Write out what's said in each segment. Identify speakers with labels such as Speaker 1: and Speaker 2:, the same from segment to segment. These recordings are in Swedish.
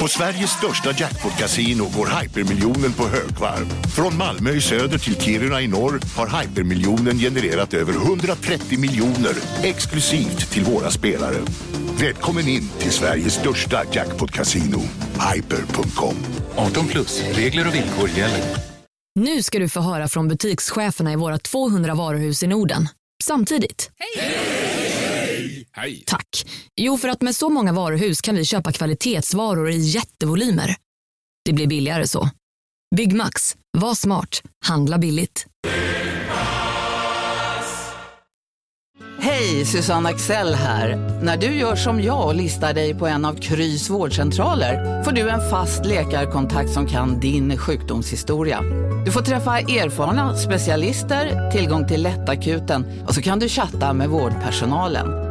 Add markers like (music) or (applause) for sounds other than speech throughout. Speaker 1: På Sveriges största jackpot-kasino går hypermiljonen på högvarv. Från Malmö i söder till Kiruna i norr har hypermiljonen genererat över 130 miljoner exklusivt till våra spelare. Välkommen in till Sveriges största jackpot-kasino, hyper.com.
Speaker 2: 18 plus, regler och villkor gäller.
Speaker 3: Nu ska du få höra från butikscheferna i våra 200 varuhus i Norden. Samtidigt.
Speaker 4: Hej!
Speaker 3: Tack. Jo, för att med så många varuhus kan vi köpa kvalitetsvaror i jättevolymer. Det blir billigare så. Byggmax. Var smart. Handla billigt.
Speaker 5: Hej, Susanne Axel här. När du gör som jag och listar dig på en av Krys vårdcentraler får du en fast läkarkontakt som kan din sjukdomshistoria. Du får träffa erfarna specialister, tillgång till lättakuten och så kan du chatta med vårdpersonalen.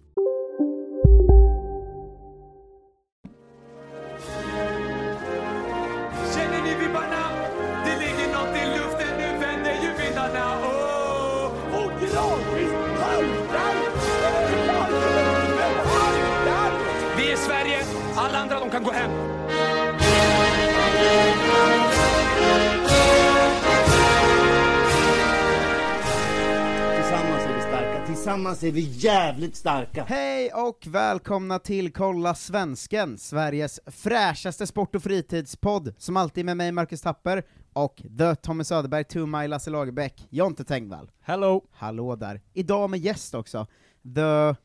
Speaker 6: Känner ni vibbarna? Det ligger något i luften, nu vänder ju vindarna. Åh, oh, gratis haltar! Vi är Sverige, alla andra de kan gå hem.
Speaker 7: Tillsammans är vi starka, tillsammans är vi jävligt starka!
Speaker 8: Hej och välkomna till Kolla Svensken, Sveriges fräschaste sport och fritidspodd, som alltid med mig Marcus Tapper, och The Tommy Söderberg, To My Lasse Lagerbäck, Jonte Tengvall. Hello! Hallå där. Idag med gäst också, The...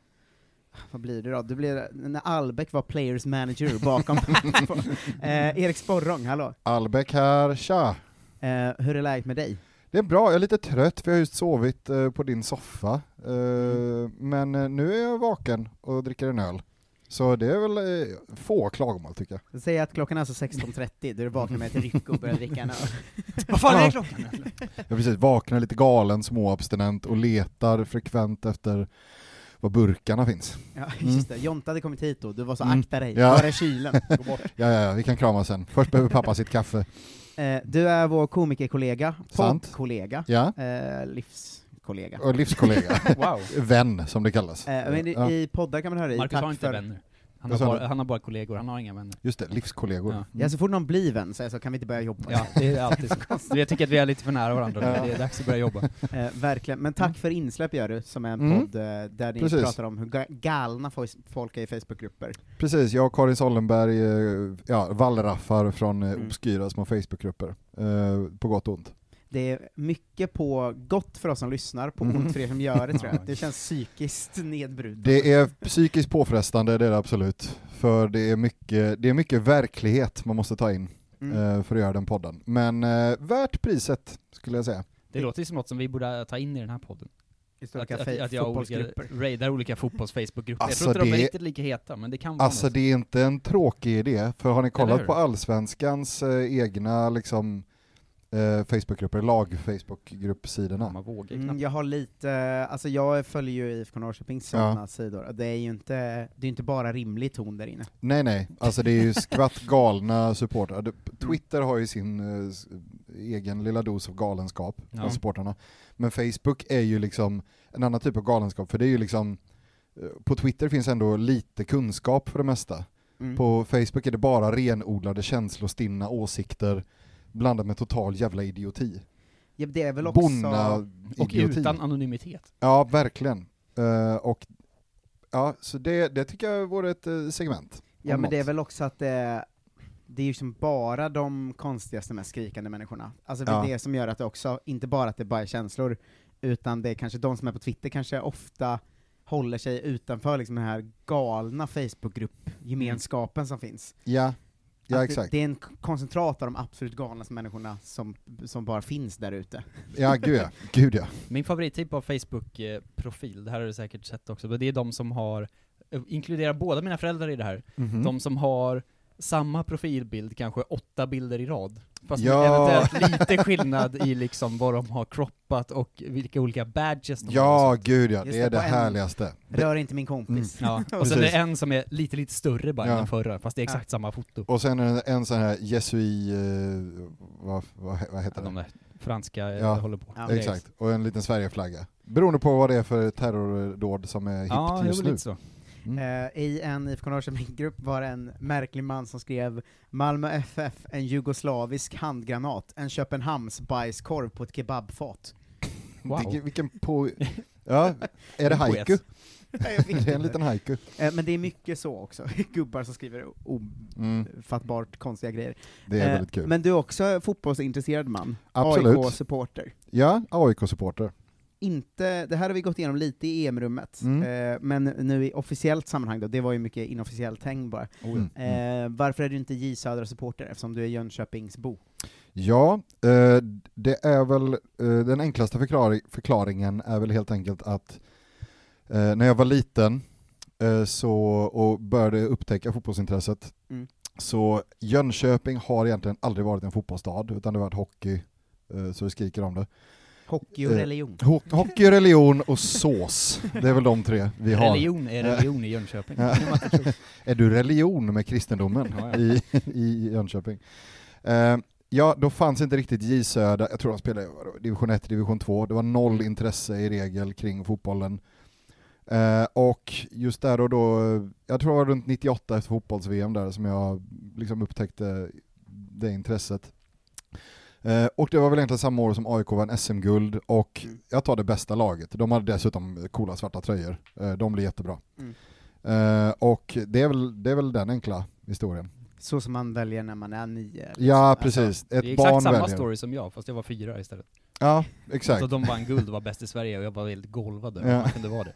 Speaker 8: Vad blir det då? Det blir när Albeck var players manager bakom... (laughs) eh, Erik Sporrong, hallå.
Speaker 9: Albeck här, tja!
Speaker 8: Eh, hur är läget med dig?
Speaker 9: Det är bra, jag är lite trött för jag har just sovit eh, på din soffa, eh, men eh, nu är jag vaken och dricker en öl. Så det är väl eh, få klagomål tycker jag.
Speaker 8: Säg att klockan är alltså 16.30, då du vaknar med ett ryck och börjar dricka en öl.
Speaker 10: (laughs) Vad fan är klockan?
Speaker 9: Jag är precis vaknar lite galen, småabstinent och letar frekvent efter var burkarna finns.
Speaker 8: Ja, just det. Jonte hade kommit hit då, du var så
Speaker 9: Mm.
Speaker 8: akta dig,
Speaker 9: Ja.
Speaker 8: var är kylen?
Speaker 9: (laughs)
Speaker 8: Gå bort.
Speaker 9: Ja, ja, ja, vi kan krama sen. Först behöver pappa sitt kaffe.
Speaker 8: Eh, du är vår komikerkollega,
Speaker 9: Sant.
Speaker 8: poddkollega,
Speaker 9: Ja,
Speaker 8: eh, livskollega.
Speaker 9: och livskollega.
Speaker 10: Wow.
Speaker 9: Vän, som det kallas.
Speaker 8: Eh, men i,
Speaker 9: Ja,
Speaker 8: i poddar kan man höra i
Speaker 10: Marcus
Speaker 8: tack
Speaker 10: har inte
Speaker 8: för...
Speaker 10: vänner. Han har,
Speaker 9: Vad sa
Speaker 10: bara,
Speaker 9: du?
Speaker 10: han har bara kollegor, han har inga vänner.
Speaker 9: just det, livskollegor.
Speaker 10: Ja.
Speaker 8: Ja, så fort någon blir vän så, är jag så kan vi inte börja jobba.
Speaker 10: Ja, det är alltid så. Jag tycker att vi är lite för nära varandra nu.
Speaker 9: Ja.
Speaker 10: Det är dags att börja jobba.
Speaker 8: Eh, verkligen. Men tack för insläpp gör du, som är en
Speaker 9: Mm.
Speaker 8: podd eh, där ni
Speaker 9: Precis.
Speaker 8: pratar om hur ga- galna fo- folk är i Facebookgrupper.
Speaker 9: Precis, jag och Karin Sollenberg, eh, ja, wallraffar från eh,
Speaker 8: Mm.
Speaker 9: obskyra små Facebookgrupper. Eh, på gott och ont.
Speaker 8: Det är mycket på gott för oss som lyssnar, på
Speaker 9: Mm.
Speaker 8: ont för er som gör det
Speaker 9: (laughs)
Speaker 8: tror jag. Det känns psykiskt nedbrutande.
Speaker 9: Det är psykiskt påfrestande, det är det absolut. För det är mycket, det är mycket verklighet man måste ta in
Speaker 8: Mm.
Speaker 9: eh, för att göra den podden. Men eh, värt priset, skulle jag säga.
Speaker 10: Det låter ju som något som vi borde ta in i den här podden. Att,
Speaker 8: Historiska
Speaker 10: att,
Speaker 8: fe-
Speaker 10: att jag olika,
Speaker 8: fotbollsgrupper.
Speaker 10: raidar olika fotbolls-facebookgrupper.
Speaker 9: Alltså,
Speaker 10: jag tror inte de är
Speaker 9: det-
Speaker 10: riktigt lika heta, men det kan vara
Speaker 9: Alltså
Speaker 10: något.
Speaker 9: det är inte en tråkig idé, för har ni
Speaker 10: Eller hur?
Speaker 9: kollat på Allsvenskans eh, egna liksom, eh, Facebookgrupper, lag-Facebookgruppsidorna?
Speaker 10: Man vågar knappt.
Speaker 8: Mm, jag har lite, eh, alltså jag följer ju IFK Norrköpings sådana sidor, det är ju inte, det är inte bara rimlig ton där inne.
Speaker 9: Nej nej, alltså det är ju skvatt galna supportrar. Det- Twitter har ju sin eh, s- egen lilla dos av galenskap
Speaker 10: Ja.
Speaker 9: av supportrarna. Men Facebook är ju liksom en annan typ av galenskap, för det är ju liksom eh, på Twitter finns ändå lite kunskap för det mesta.
Speaker 8: Mm.
Speaker 9: På Facebook är det bara renodlade känslostinna åsikter blandat med total jävla idioti.
Speaker 8: Ja, det är väl också...
Speaker 10: Och
Speaker 9: Bonda-idioti.
Speaker 10: utan anonymitet.
Speaker 9: Ja, verkligen. Eh, och, ja, så det, det tycker jag vore ett eh, segment.
Speaker 8: Ja
Speaker 9: om
Speaker 8: men det är
Speaker 9: något.
Speaker 8: väl också att det, det är ju som bara de konstigaste, mest skrikande människorna. Alltså det är
Speaker 9: Ja.
Speaker 8: det som gör att det också, inte bara att det bara är känslor, utan det är kanske de som är på Twitter kanske ofta håller sig utanför liksom den här galna Facebookgrupp-gemenskapen som finns.
Speaker 9: Ja, ja
Speaker 8: Att
Speaker 9: exakt.
Speaker 8: Det, det är en k- koncentrat av de absolut galnaste människorna som, som bara finns där ute.
Speaker 9: Ja, gud ja. Gud, ja.
Speaker 10: Min favorittyp av Facebook-profil, det här har du säkert sett också, men det är de som har, eh, inkluderar båda mina föräldrar i det här,
Speaker 9: Mhm.
Speaker 10: de som har samma profilbild, kanske åtta bilder i rad. Fast med
Speaker 9: Ja.
Speaker 10: eventuellt lite skillnad i liksom vad de har croppat och vilka olika badges de har.
Speaker 9: ja
Speaker 10: och sånt.
Speaker 9: gud ja.
Speaker 8: Just
Speaker 9: Det är det
Speaker 8: det, på en-
Speaker 9: härligaste. Det,
Speaker 8: Rör inte min kompis.
Speaker 10: Ja, och sen det
Speaker 9: Precis.
Speaker 10: är en som är lite, lite större bara än
Speaker 9: Ja.
Speaker 10: den förra, fast det är exakt samma foto.
Speaker 9: och sen är det en sån här jesui... eh, vad, vad, vad
Speaker 10: Ja,
Speaker 9: heter
Speaker 10: de
Speaker 9: det?
Speaker 10: där
Speaker 6: franska eh,
Speaker 9: Ja,
Speaker 6: håller på.
Speaker 8: ja,
Speaker 6: Grejer.
Speaker 9: Exakt, och en liten Sverigeflagga. Beroende på vad det är för terrordåd som är hippt
Speaker 6: Ja, det
Speaker 9: just
Speaker 6: var
Speaker 9: nu.
Speaker 6: lite så.
Speaker 9: Mm.
Speaker 8: Eh, I en IFK Norrköping-grupp var det en märklig man som skrev Malmö FF, en jugoslavisk handgranat, en Köpenhamns bajskorv på ett kebabfat.
Speaker 6: Wow. (laughs)
Speaker 9: Vilken, vilken po... Ja, är det
Speaker 6: En poet.
Speaker 9: haiku?
Speaker 8: Jag vet
Speaker 9: Det är en
Speaker 8: inte.
Speaker 9: liten haiku.
Speaker 8: Eh, Men det är mycket så också, (laughs) gubbar som skriver
Speaker 9: Mm,
Speaker 8: ofattbart konstiga grejer.
Speaker 9: det är
Speaker 8: Eh,
Speaker 9: väldigt kul.
Speaker 8: Men du är också fotbollsintresserad man,
Speaker 9: Absolut.
Speaker 8: AIK-supporter.
Speaker 9: Ja, AIK-supporter.
Speaker 8: Inte, det här har vi gått igenom lite i EM-rummet,
Speaker 9: Mm.
Speaker 8: eh, men nu i officiellt sammanhang då, det var ju mycket inofficiellt häng bara.
Speaker 9: Mm. Mm.
Speaker 8: Eh, varför är du inte J Södra-supporter, eftersom du är Jönköpingsbo?
Speaker 9: Ja, eh, det är väl eh, den enklaste förklar förklaringen är väl helt enkelt att eh, när jag var liten eh, så, och började upptäcka fotbollsintresset
Speaker 8: Mm.
Speaker 9: så Jönköping har egentligen aldrig varit en fotbollsstad utan det har varit hockey eh, så det skriker om det.
Speaker 8: Hockey och
Speaker 9: Eh,
Speaker 8: religion.
Speaker 9: Ho hockey, religion och sås, det är väl de tre vi har.
Speaker 6: Religion är religion i Jönköping.
Speaker 9: Ja. Är du religion med kristendomen
Speaker 6: Ja, ja.
Speaker 9: i, i Jönköping? Eh, ja, då fanns inte riktigt J Södra, jag tror de spelade vadå, division 1, division 2, det var noll intresse i regel kring fotbollen. Eh, och just där och då, jag tror det var runt 98 efter fotbolls-VM där som jag liksom upptäckte det intresset. Eh, och det var väl egentligen samma år som AIK vann SM-guld och
Speaker 8: Mm.
Speaker 9: jag tar det bästa laget, de hade dessutom coola svarta tröjor, eh, de blir jättebra.
Speaker 8: Mm.
Speaker 9: Eh, och det är, väl, det är väl den enkla historien.
Speaker 8: Så som man väljer när man är nio.
Speaker 9: Ja,
Speaker 8: Alltså,
Speaker 9: precis. Ett
Speaker 6: det är
Speaker 9: barn
Speaker 6: exakt samma
Speaker 9: väljer.
Speaker 6: story som jag, fast jag var fyra istället.
Speaker 9: Ja, exakt.
Speaker 6: Så de vann guld och var bäst i Sverige och jag var helt golvad över
Speaker 9: Ja.
Speaker 6: att man kunde vara det.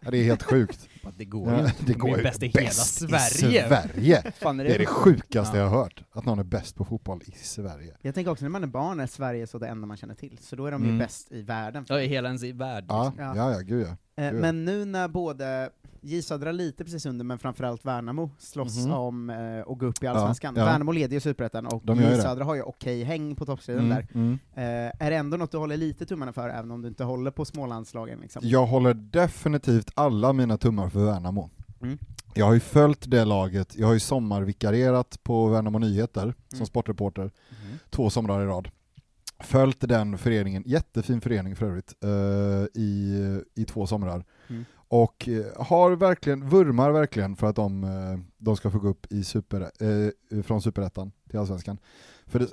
Speaker 9: Ja, det är helt sjukt.
Speaker 6: Bara, Det går
Speaker 9: Ja,
Speaker 6: ju inte.
Speaker 9: det
Speaker 6: de
Speaker 9: går
Speaker 6: är
Speaker 9: ju
Speaker 6: ju bäst i hela
Speaker 9: bäst i
Speaker 6: Sverige.
Speaker 9: Sverige.
Speaker 6: Fan, är
Speaker 9: Det är det sjukaste jag har hört, att någon är bäst på fotboll i Sverige.
Speaker 8: Jag tänker också när man är barn är Sverige så det enda man känner till, så då är de ju
Speaker 9: Mm.
Speaker 8: bäst i världen.
Speaker 6: Ja, i hela ens i värld.
Speaker 9: Ja,
Speaker 8: Ja.
Speaker 9: ja, ja, gud ja.
Speaker 8: Eh,
Speaker 9: gud.
Speaker 8: men nu när både J Södra lite precis under, men framförallt Värnamo slåss
Speaker 9: Mhm.
Speaker 8: om eh, att gå upp i Allsvenskan.
Speaker 9: ja.
Speaker 8: Värnamo leder ju Superettan och
Speaker 9: De gör
Speaker 8: J
Speaker 9: ju det.
Speaker 8: Södra har ju okej häng på toppstriden där.
Speaker 9: mm.
Speaker 8: Eh, är det ändå något du håller lite tummarna för, även om du inte håller på Smålandslagen liksom?
Speaker 9: Jag håller definitivt alla mina tummar för Värnamo.
Speaker 8: Mm.
Speaker 9: Jag har ju följt det laget, jag har ju sommarvikarierat på Värnamo Nyheter
Speaker 8: Mm.
Speaker 9: som sportreporter två somrar i rad. Följt den föreningen, jättefin förening för övrigt, eh, i, i två somrar.
Speaker 8: Mm.
Speaker 9: Och eh, har verkligen, vurmar verkligen för att de, eh, de ska få gå upp i super, eh, från superettan till allsvenskan. För det,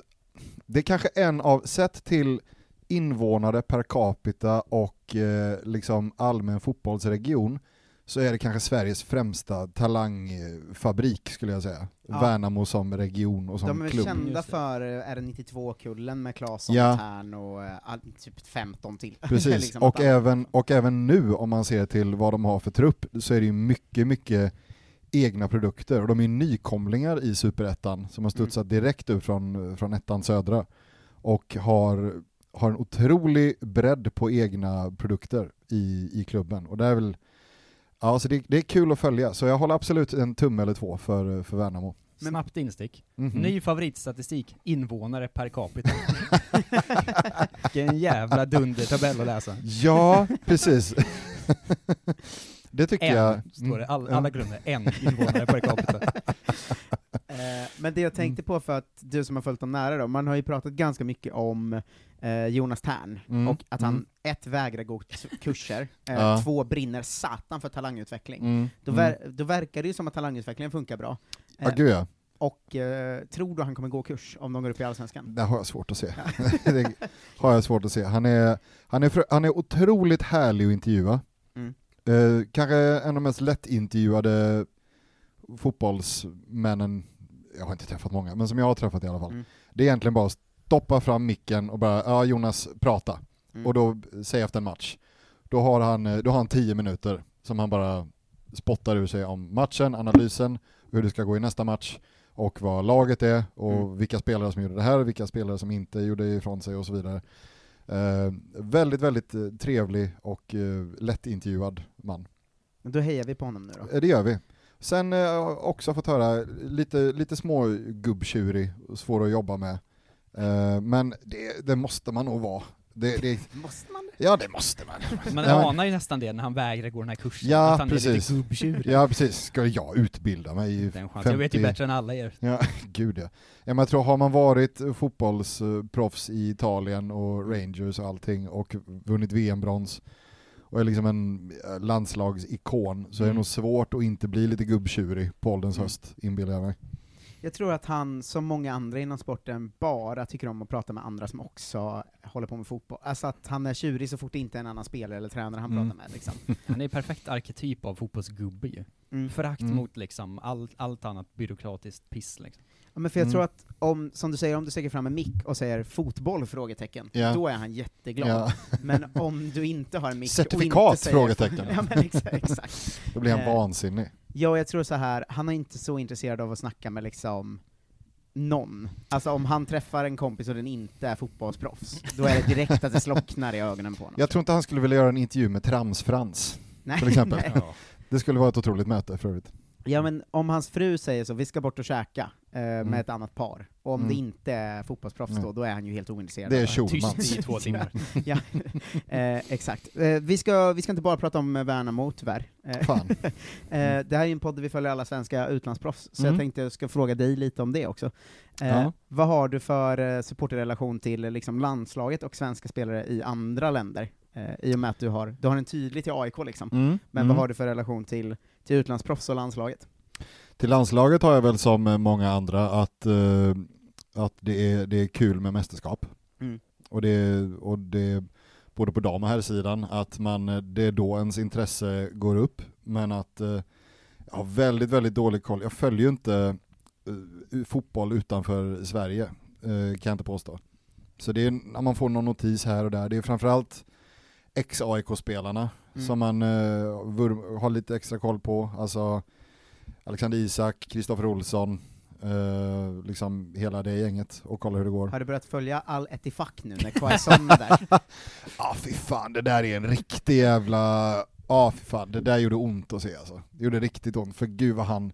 Speaker 9: det är kanske en av, sett till invånare per capita och eh, liksom allmän fotbollsregion, så är det kanske Sveriges främsta talangfabrik skulle jag säga.
Speaker 8: Ja.
Speaker 9: Värnamo som region och som
Speaker 8: De är väl
Speaker 9: klubb.
Speaker 8: kända
Speaker 6: Just det.
Speaker 8: för eh, är det 92-kullen med Claesson,
Speaker 9: Ja.
Speaker 8: Tern och eh, all, typ 15 till. (laughs)
Speaker 9: Precis,
Speaker 8: Liksom
Speaker 9: och,
Speaker 8: att alla-
Speaker 9: även, och även nu om man ser till vad de har för trupp så är det ju mycket, mycket egna produkter och de är ju nykomlingar i superettan som har studsat
Speaker 8: Mm.
Speaker 9: direkt ut från, från ettan södra och har, har en otrolig bredd på egna produkter i, i klubben och det är väl Ja, alltså det, det är kul att följa, så jag håller absolut en tumme eller två för, för Värnamo.
Speaker 6: Snabbt instick.
Speaker 9: Mhm.
Speaker 6: Ny favoritstatistik, invånare per capita. Vilken jävla dundertabell att läsa.
Speaker 9: Ja, precis. det tycker
Speaker 6: En,
Speaker 9: jag.
Speaker 6: står det. All, alla grunder, en invånare per capita.
Speaker 8: Eh, men
Speaker 9: Mm.
Speaker 8: det jag tänkte på för att du som har följt dem nära då, man har ju pratat ganska mycket om eh, Jonas Tern
Speaker 9: Mm.
Speaker 8: och att han,
Speaker 9: Mm.
Speaker 8: ett, vägrar gå t- kurser,
Speaker 9: (laughs)
Speaker 8: eh,
Speaker 9: Ja.
Speaker 8: två, brinner satan för talangutveckling.
Speaker 9: Mm,
Speaker 8: Då,
Speaker 9: mm.
Speaker 8: ver- då verkar det ju som att talangutvecklingen funkar bra.
Speaker 9: Ja, gud ja.
Speaker 8: Och eh, tror du han kommer gå kurs om de går upp i Allsvenskan?
Speaker 9: Det har jag svårt att se. (laughs) det har jag svårt att se. Han är, han är, fr- han är otroligt härlig att intervjua.
Speaker 8: Mm.
Speaker 9: Eh, kanske en av de mest lättintervjuade fotbollsmännen, jag har inte träffat många, men som jag har träffat i alla fall.
Speaker 8: Mm.
Speaker 9: Det är egentligen bara att stoppa fram micken och bara, ja Jonas, prata.
Speaker 8: Mm.
Speaker 9: Och då, säg efter en match. Då har, han, eh, då har han tio minuter som han bara spottar ur sig om matchen, analysen, hur det ska gå i nästa match och vad laget är och
Speaker 8: Mm.
Speaker 9: vilka spelare som gjorde det här, vilka spelare som inte gjorde ifrån sig och så vidare. Eh, väldigt, väldigt eh, trevlig och eh, lättintervjuad man.
Speaker 8: Då hejar vi på honom nu då.
Speaker 9: Eh, Det gör vi. Sen eh, har jag också fått höra lite, lite små gubbtjurig och svår att jobba med. Eh, men det, det måste man nog vara. Det, det,
Speaker 8: Måste man det?
Speaker 2: Ja, det måste man.
Speaker 1: Man
Speaker 2: Ja, men-
Speaker 1: anar ju nästan det när han vägrar gå den här kursen,
Speaker 2: Ja,
Speaker 1: att han är
Speaker 2: precis.
Speaker 1: lite gubbtjur.
Speaker 2: Ja, precis. Ska jag utbilda mig i
Speaker 1: Den
Speaker 2: 50...
Speaker 1: chansen. Jag vet ju bättre än alla er.
Speaker 2: Ja, gud ja. ja men jag tror, har man varit
Speaker 9: eh,
Speaker 2: fotbollsproffs i Italien och Rangers och allting och vunnit VM-brons och är liksom en eh, landslagsikon så är det
Speaker 1: Mm.
Speaker 2: nog svårt att inte bli lite gubbtjurig på ålderns
Speaker 1: Mm.
Speaker 2: höst, inbillar jag mig.
Speaker 8: Jag tror att han, som många andra inom sporten, bara tycker om att prata med andra som också håller på med fotboll. Alltså att han är tjurig så fort det inte är en annan spelare eller tränare han
Speaker 2: Mm.
Speaker 8: pratar med liksom.
Speaker 1: Han är ju perfekt arketyp av fotbollsgubbe ju.
Speaker 8: Mm.
Speaker 1: Förakt
Speaker 2: Mm.
Speaker 1: mot liksom allt, allt annat byråkratiskt piss liksom.
Speaker 8: Ja, men för jag
Speaker 2: Mm.
Speaker 8: tror att, om, som du säger, om du sträcker fram en mick och säger fotboll? frågetecken,
Speaker 2: Ja.
Speaker 8: då är han jätteglad.
Speaker 2: Ja.
Speaker 8: Men om du inte har en mick och
Speaker 2: Certifikat?
Speaker 8: inte säger...
Speaker 2: Frågetecken.
Speaker 8: Ja men exakt, exakt.
Speaker 2: Då blir han
Speaker 8: Eh.
Speaker 2: vansinnig.
Speaker 8: Ja, jag tror så här, han är inte så intresserad av att snacka med liksom någon. Alltså om han träffar en kompis och den inte är fotbollsproffs, då är det direkt att det slocknar i ögonen på honom.
Speaker 2: Jag tror inte han skulle vilja göra en intervju med Tramsfrans.
Speaker 8: Nej,
Speaker 2: till exempel.
Speaker 8: nej.
Speaker 1: Ja.
Speaker 2: Det skulle vara ett otroligt möte för övrigt.
Speaker 8: Ja men om hans fru säger så, vi ska bort och käka eh,
Speaker 2: Mm.
Speaker 8: med ett annat par, och om
Speaker 2: Mm.
Speaker 8: det inte är fotbollsproffs
Speaker 2: Nej.
Speaker 8: då, då är han ju helt ointresserad.
Speaker 2: Det är
Speaker 8: av
Speaker 2: Schulmans.
Speaker 1: Tyst i två timmar.
Speaker 8: (laughs) ja, eh, exakt. Eh, vi, ska, vi ska inte bara prata om eh, Värnamo tyvärr. Eh,
Speaker 2: Fan.
Speaker 8: (laughs) eh, det här är ju en podd där vi följer alla svenska utlandsproffs, så
Speaker 2: Mm.
Speaker 8: jag tänkte jag ska fråga dig lite om det också. Eh,
Speaker 2: Ja.
Speaker 8: Vad har du för eh, supporterrelation till eh, liksom, landslaget och svenska spelare i andra länder? Eh, I och med att du har, du har en tydlig till AIK liksom,
Speaker 2: Mm.
Speaker 8: men
Speaker 2: Mm.
Speaker 8: vad har du för relation till, till utlandsproffs och landslaget?
Speaker 2: Till landslaget har jag väl som eh, många andra att, eh, att det, är, det är kul med mästerskap.
Speaker 8: Mm.
Speaker 2: Och, det, och det både på dam och herrsidan, att man, eh, det är då ens intresse går upp. Men att eh, jag har väldigt, väldigt dålig koll. Jag följer ju inte eh, fotboll utanför Sverige, eh, kan jag inte påstå. Så det är när man får någon notis här och där. Det är framförallt ex-AIK-spelarna
Speaker 8: Mm.
Speaker 2: som man eh, vurm- har lite extra koll på. Alltså Alexander Isak, Kristoffer Olsson, eh, liksom hela det gänget och kolla hur det går.
Speaker 8: Har du börjat följa Al Etifak nu när Quaison
Speaker 2: (laughs)
Speaker 8: är där?
Speaker 2: ah, fy fan, det där är en riktig jävla... ah, fy fan, det där gjorde ont att se alltså. Det gjorde riktigt ont, för gud vad han...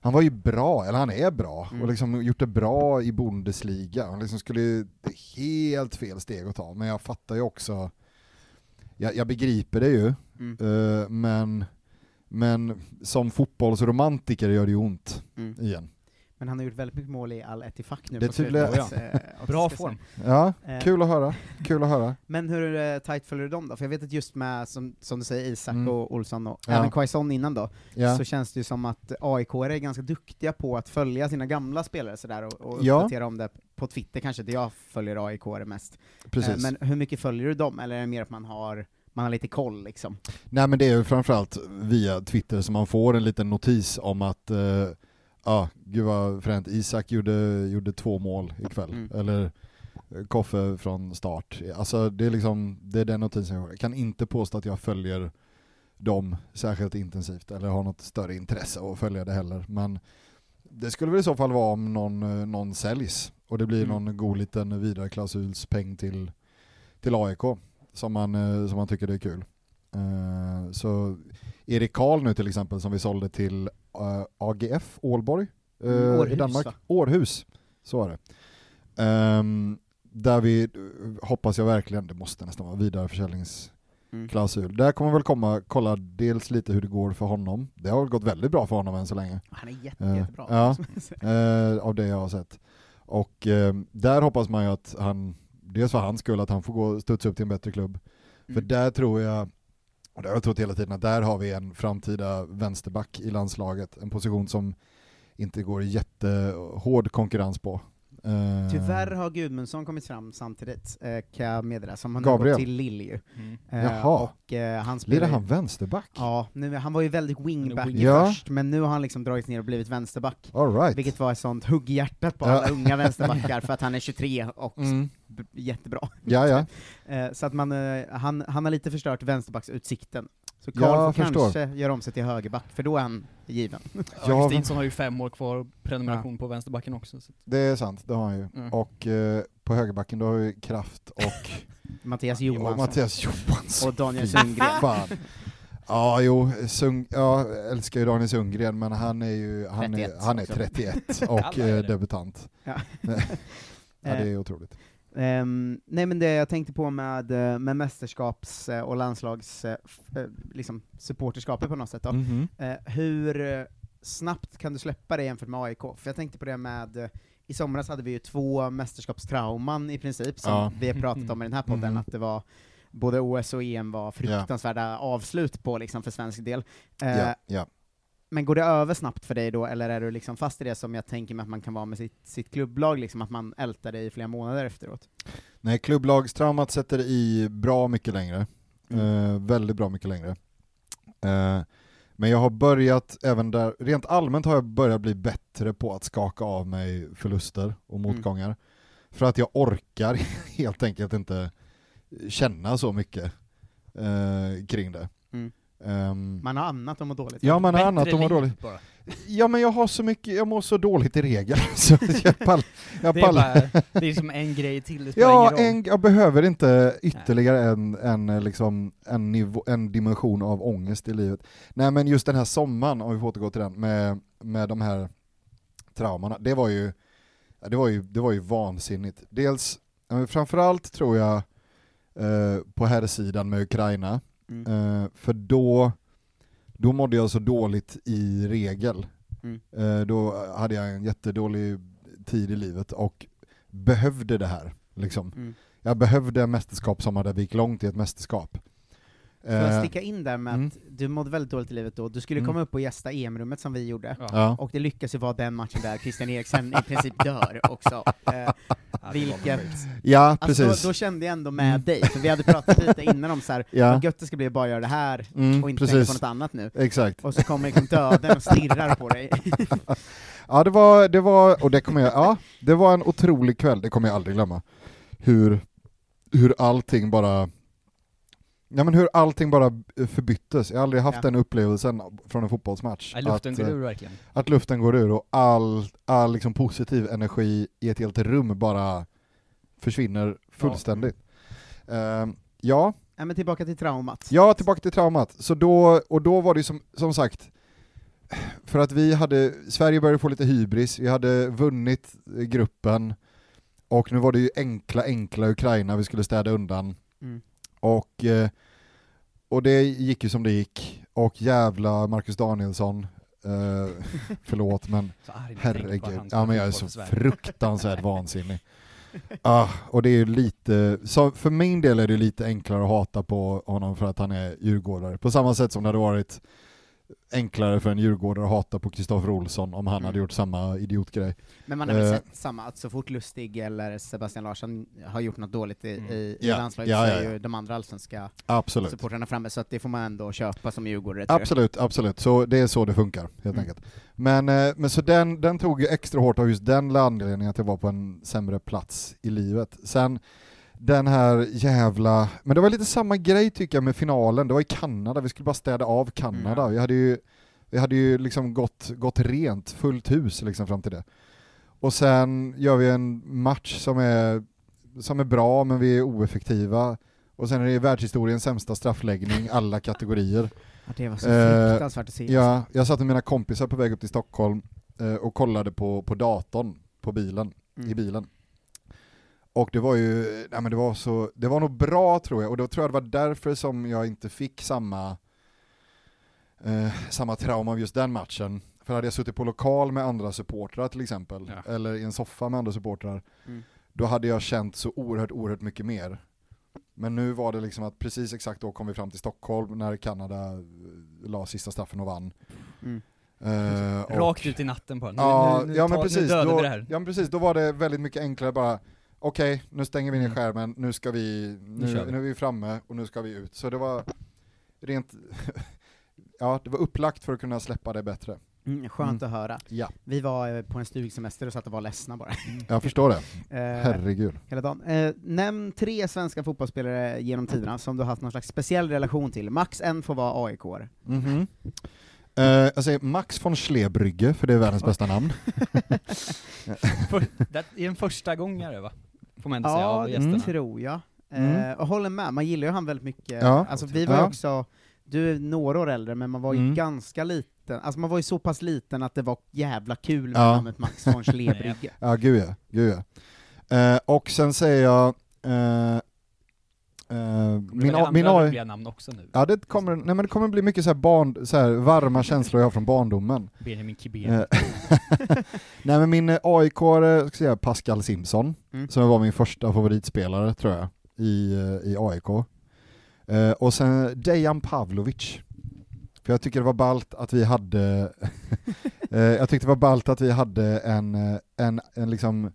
Speaker 2: Han var ju bra, eller han är bra,
Speaker 8: Mm.
Speaker 2: och liksom gjort det bra i Bundesliga. Han liksom skulle... Det är helt fel steg att ta, men jag fattar ju också... Jag, jag begriper det ju,
Speaker 8: Mm.
Speaker 2: eh, men, men som fotbollsromantiker gör det ju ont
Speaker 8: Mm.
Speaker 2: igen.
Speaker 8: Men han har gjort väldigt mycket mål i Al Etifak nu
Speaker 2: Det
Speaker 8: på
Speaker 2: tydliga-
Speaker 8: (laughs) slutet. eh, också,
Speaker 1: Bra
Speaker 8: ska
Speaker 1: form.
Speaker 2: Ja,
Speaker 8: jag säga. Eh,
Speaker 2: kul att höra, kul att höra.
Speaker 8: Men hur eh, tight följer du dem då? För jag vet att just med, som, som du säger, Isak
Speaker 2: Mm.
Speaker 8: och Olsson och
Speaker 2: Ja.
Speaker 8: även Quaison innan då,
Speaker 2: Ja.
Speaker 8: så känns det ju som att AIK är ganska duktiga på att följa sina gamla spelare sådär och, och
Speaker 2: Ja.
Speaker 8: uppdatera om det på Twitter kanske, där jag följer AIK är mest.
Speaker 2: Precis.
Speaker 8: Eh, Men hur mycket följer du dem? Eller är det mer att man har, man har lite koll liksom?
Speaker 2: Nej men det är ju framförallt via Twitter som man får en liten notis om att eh, ja, gud vad fränt, Isak gjorde, gjorde två mål ikväll.
Speaker 8: Mm.
Speaker 2: Eller eh, Koffe från start. Alltså det är liksom, det är den notisen jag får. Jag kan inte påstå att jag följer dem särskilt intensivt eller har något större intresse av att följa det heller. Men det skulle väl i så fall vara om någon, eh, någon säljs och det blir
Speaker 8: Mm.
Speaker 2: någon god liten vidareklausulspeng till, till AIK som man, eh, som man tycker det är kul. Eh, Så Erik Karl nu till exempel som vi sålde till eh, AGF Ålborg eh,
Speaker 8: Mm,
Speaker 2: i
Speaker 8: Århus,
Speaker 2: Danmark.
Speaker 8: va?
Speaker 2: Århus, så är det. Ehm, där vi, eh, hoppas jag verkligen, det måste nästan vara
Speaker 8: Mm.
Speaker 2: vidareförsäljningsklausul. Där kommer väl komma, kolla dels lite hur det går för honom. Det har väl gått väldigt bra för honom än så länge.
Speaker 8: Han är jätte,
Speaker 2: Eh,
Speaker 8: jättebra. (laughs)
Speaker 2: ja. eh, av det jag har sett. Och eh, där hoppas man ju att han, dels för hans skull, att han får gå och studsa upp till en bättre klubb. För
Speaker 8: Mm.
Speaker 2: där tror jag, och det har jag trott hela tiden, att där har vi en framtida vänsterback i landslaget. En position som inte går i jättehård konkurrens på. Eh,
Speaker 8: Tyvärr har Gudmundsson kommit fram samtidigt, eh, kan jag meddela, som han har
Speaker 2: Gabriel.
Speaker 8: gått till Lille ju.
Speaker 1: Mm.
Speaker 8: Eh,
Speaker 2: Jaha.
Speaker 8: Och eh, han spelar
Speaker 2: Lirar
Speaker 8: ju-
Speaker 2: han vänsterback?
Speaker 8: Ja, nu, han var ju väldigt wingback
Speaker 1: Han är
Speaker 2: wing- Ja.
Speaker 8: först, men nu har han liksom dragits ner och blivit vänsterback.
Speaker 2: All right.
Speaker 8: Vilket var ett sånt hugg i hjärtat på
Speaker 2: Ja. (laughs)
Speaker 8: alla unga vänsterbackar, för att han är 23 och
Speaker 2: Mm.
Speaker 8: b- jättebra.
Speaker 2: Ja, ja.
Speaker 8: (laughs) Eh, så att man, eh, han, han har lite förstört vänsterbacksutsikten. Så
Speaker 2: Ja,
Speaker 8: Karl
Speaker 2: jag
Speaker 8: får
Speaker 2: förstår.
Speaker 8: kanske göra om sig till högerback, för då är han given. (laughs)
Speaker 2: Ja,
Speaker 1: Augustinsson har ju fem år kvar och prenumeration på vänsterbacken också. Så. att-
Speaker 2: Det är sant, det har han ju.
Speaker 1: Mm.
Speaker 2: Och eh, på högerbacken då har vi
Speaker 11: (laughs)
Speaker 2: Kraft och
Speaker 8: Mattias
Speaker 2: Och
Speaker 8: Johansson.
Speaker 2: Mattias Johansson.
Speaker 8: Och Daniel
Speaker 2: Fy
Speaker 8: Sundgren.
Speaker 2: Fan. Ja, jo, Sung, jag älskar ju Daniel Sundgren, men han är ju han är,
Speaker 8: 31
Speaker 2: han är
Speaker 8: också.
Speaker 11: (laughs)
Speaker 2: 31
Speaker 1: Alla
Speaker 2: och
Speaker 1: är
Speaker 2: eh,
Speaker 1: det.
Speaker 2: (laughs) debutant.
Speaker 8: Ja.
Speaker 2: Ja, det är otroligt.
Speaker 8: Eh,
Speaker 11: Ehm, nej men det jag tänkte på med, eh, med mästerskaps eh, och landslags eh, f- eh, liksom supporterskapet på något sätt då.
Speaker 12: Mhm.
Speaker 11: Eh, hur eh, snabbt kan du släppa det jämfört med AIK? För jag tänkte på det med, eh, i somras hade vi ju två mästerskapstrauman i princip, som
Speaker 8: Ja.
Speaker 11: vi har pratat om i den här podden,
Speaker 8: Mhm.
Speaker 11: att det var både OS och EM var fruktansvärda avslut på liksom för svensk del. Eh,
Speaker 8: Ja, ja.
Speaker 11: Men går det över snabbt för dig då, eller är du liksom fast i det som jag tänker mig att man kan vara med sitt, sitt klubblag, liksom att man ältar det i flera månader efteråt?
Speaker 8: Nej, klubblagstraumat sätter i bra mycket längre.
Speaker 11: Mm.
Speaker 8: Eh, väldigt bra mycket längre. Eh, men jag har börjat, även där, rent allmänt har jag börjat bli bättre på att skaka av mig förluster och
Speaker 11: Mm.
Speaker 8: motgångar. För att jag orkar (laughs) helt enkelt inte känna så mycket eh, kring det.
Speaker 11: Mm.
Speaker 8: Ehm,
Speaker 11: Man har annat om att må dåligt.
Speaker 8: ja men annat
Speaker 6: Bättre
Speaker 8: om att
Speaker 6: liv
Speaker 8: dåligt.
Speaker 6: bara.
Speaker 8: Ja men jag har så mycket, jag mår så dåligt i regel. (laughs) Så att jag pall, jag
Speaker 6: Det är,
Speaker 8: pallar.
Speaker 6: bara, det är som en grej till, det spelar
Speaker 8: Ja,
Speaker 6: ingen roll.
Speaker 8: en, jag behöver inte ytterligare en, en, eh, liksom, en, nivå, en dimension av ångest i livet. Nej men just den här sommaren, om vi får återgå till den, med, med de här traumorna, det var ju, ja, det var ju, det var ju vansinnigt. Dels, ja, men framförallt tror jag eh, på här sidan med Ukraina,
Speaker 11: Mm.
Speaker 8: eh, för då, då mådde jag så dåligt i regel.
Speaker 11: Mm.
Speaker 8: Eh, då hade jag en jättedålig tid i livet och behövde det här. Liksom.
Speaker 11: Mm.
Speaker 8: Jag behövde en mästerskap som hade gick långt i ett mästerskap.
Speaker 11: Får jag
Speaker 8: Eh,
Speaker 11: sticka in där med
Speaker 8: mm.
Speaker 11: att du mådde väldigt dåligt i livet då, du skulle
Speaker 8: Mm.
Speaker 11: komma upp och gästa EM-rummet som vi gjorde,
Speaker 8: ja.
Speaker 11: och det lyckas ju vara den matchen där Christian Eriksen i princip dör också. Eh, (laughs)
Speaker 6: Ja, det var
Speaker 11: vilket,
Speaker 6: väl möjligt.
Speaker 8: ja,
Speaker 11: alltså
Speaker 8: precis.
Speaker 11: då, då kände jag ändå med
Speaker 8: Mm.
Speaker 11: dig, för vi hade pratat lite innan om så här,
Speaker 8: ja.
Speaker 11: vad gött det ska bli att bara göra det här, och
Speaker 8: Mm,
Speaker 11: inte tänka på
Speaker 8: precis.
Speaker 11: något annat nu.
Speaker 8: Exakt.
Speaker 11: Och så kommer liksom döden och stirrar på dig.
Speaker 8: (laughs) Ja, det var, det var, och det kommer jag, ja, det var en otrolig kväll, det kommer jag aldrig glömma. Hur, hur allting bara, ja men hur allting bara eh, förbyttes. Jag har aldrig haft
Speaker 11: Ja.
Speaker 8: den upplevelsen från en fotbollsmatch.
Speaker 6: Ja, luften
Speaker 8: att,
Speaker 6: går
Speaker 8: eh,
Speaker 6: ur verkligen.
Speaker 8: att luften går ur och all, all liksom positiv energi i ett helt rum bara försvinner fullständigt. Ehm, ja,
Speaker 11: Nej men tillbaka till traumat.
Speaker 8: ja, tillbaka till traumat. Så då, och då var det ju som, som sagt, för att vi hade, Sverige började få lite hybris, vi hade vunnit eh, gruppen och nu var det ju enkla, enkla Ukraina vi skulle städa undan.
Speaker 11: Mm.
Speaker 8: Och, eh, och det gick ju som det gick, och jävla Marcus Danielsson,
Speaker 6: (laughs)
Speaker 8: eh, förlåt men
Speaker 6: Så arg när jag tänker på att
Speaker 8: Herregud,
Speaker 6: han ska
Speaker 8: ja, men jag är
Speaker 6: få
Speaker 8: så
Speaker 6: besvär. (laughs)
Speaker 8: fruktansvärt vansinnig. Ah, och det är ju lite, så för min del är det lite enklare att hata på honom för att han är djurgårdare. På samma sätt som det hade varit enklare för en djurgårdare att hata på Kristoffer Olsson om han
Speaker 11: Mm.
Speaker 8: hade gjort samma idiotgrej.
Speaker 11: Men man har väl
Speaker 8: Eh.
Speaker 11: sett samma, att så fort Lustig eller Sebastian Larsson har gjort något dåligt i,
Speaker 6: Mm.
Speaker 11: i, i
Speaker 8: Ja,
Speaker 11: landslaget
Speaker 8: ja,
Speaker 11: så
Speaker 8: ja,
Speaker 11: är
Speaker 8: ja.
Speaker 11: ju de andra allsvenska
Speaker 8: Absolut.
Speaker 11: supportrarna framme, så att det får man ändå köpa som djurgårdare tror jag.
Speaker 8: Absolut, absolut. Så det är så det funkar helt
Speaker 11: Mm.
Speaker 8: enkelt. Men, eh, men så den, den tog ju extra hårt av just den anledningen att jag var på en sämre plats i livet. Sen den här jävla, men det var lite samma grej tycker jag med finalen, det var i Kanada, vi skulle bara städa av Kanada.
Speaker 11: Mm.
Speaker 8: Vi hade ju, vi hade ju liksom gått, gått rent, fullt hus liksom fram till det. Och sen gör vi en match som är, som är bra men vi är oeffektiva. Och sen är det världshistoriens sämsta straffläggning, alla kategorier.
Speaker 11: Ja, det var så
Speaker 8: Eh,
Speaker 11: fruktansvärt att se. alltså.
Speaker 8: Ja, jag satt med mina kompisar på väg upp till Stockholm eh, och kollade på, på datorn på bilen,
Speaker 11: Mm.
Speaker 8: i bilen. Och det var ju, nej men det var så, det var nog bra tror jag, och då tror jag det var därför som jag inte fick samma, eh, samma trauma av just den matchen. För hade jag suttit på lokal med andra supportrar till exempel,
Speaker 6: Ja.
Speaker 8: eller i en soffa med andra supportrar,
Speaker 11: Mm.
Speaker 8: då hade jag känt så oerhört, oerhört mycket mer. Men nu var det liksom att precis exakt då kom vi fram till Stockholm när Kanada eh, la sista straffen och vann.
Speaker 11: Mm.
Speaker 8: Eh, och-
Speaker 6: Rakt ut i natten på honom.
Speaker 8: Ja,
Speaker 6: nu, nu, nu,
Speaker 8: ja,
Speaker 6: ta-
Speaker 8: men
Speaker 6: nu
Speaker 8: precis,
Speaker 6: dödar
Speaker 8: då,
Speaker 6: vi det här.
Speaker 8: ja men precis, då var det väldigt mycket enklare bara, okej nu stänger vi ner
Speaker 6: Mm.
Speaker 8: skärmen, nu ska vi, nu,
Speaker 6: kör
Speaker 8: nu,
Speaker 6: vi.
Speaker 8: är vi framme och nu ska vi ut. Så det var rent, (laughs) ja det var upplagt för att kunna släppa det bättre.
Speaker 11: Mm, skönt att höra.
Speaker 8: Ja, Mm.
Speaker 11: Vi var eh, på en stugsemester och satt och var ledsna bara.
Speaker 8: jag förstår det,
Speaker 11: (laughs) Eh,
Speaker 8: herregud.
Speaker 11: hela dagen. Eh, nämn tre svenska fotbollsspelare genom tiderna som du har haft någon slags speciell relation till. Max en får vara aik -are.
Speaker 8: Mhm. Eh, jag säger Max von Schlebrygge, för det är världens bästa namn.
Speaker 6: För, det är en första gångare va? Får man ändå säga
Speaker 11: Ja,
Speaker 6: av
Speaker 11: det
Speaker 6: gästerna.
Speaker 11: tror jag.
Speaker 8: Mm.
Speaker 11: Eh, och håller med, man gillar ju han väldigt mycket.
Speaker 8: Ja.
Speaker 11: Alltså vi var ju
Speaker 8: Ja.
Speaker 11: också, du är några år äldre, men man var ju
Speaker 8: Mm.
Speaker 11: ganska liten, alltså man var ju så pass liten att det var jävla kul med
Speaker 8: Ja.
Speaker 9: (laughs)
Speaker 11: namnet Max von Schlebrygge.
Speaker 8: Ja, gud ja. Gud ja.
Speaker 9: Eh, och sen säger jag... Eh, eh, min,
Speaker 6: Väljer
Speaker 9: A- min
Speaker 6: andra
Speaker 9: AI...
Speaker 6: roliga namn också nu.
Speaker 9: Ja, det kommer, nej, men det kommer bli mycket så här barn, så här varma känslor jag har från barndomen.
Speaker 6: Benjamin Kibeli.
Speaker 9: Eh, nej men min aik ska säga Pascal Simpson,
Speaker 8: Mm.
Speaker 9: som var min första favoritspelare tror jag, i, eh, i AIK. Eh, och sen Dejan Pavlovic. För jag tycker det var ballt att vi hade, (laughs) eh, jag tyckte det var ballt att vi hade en, eh, en, en liksom,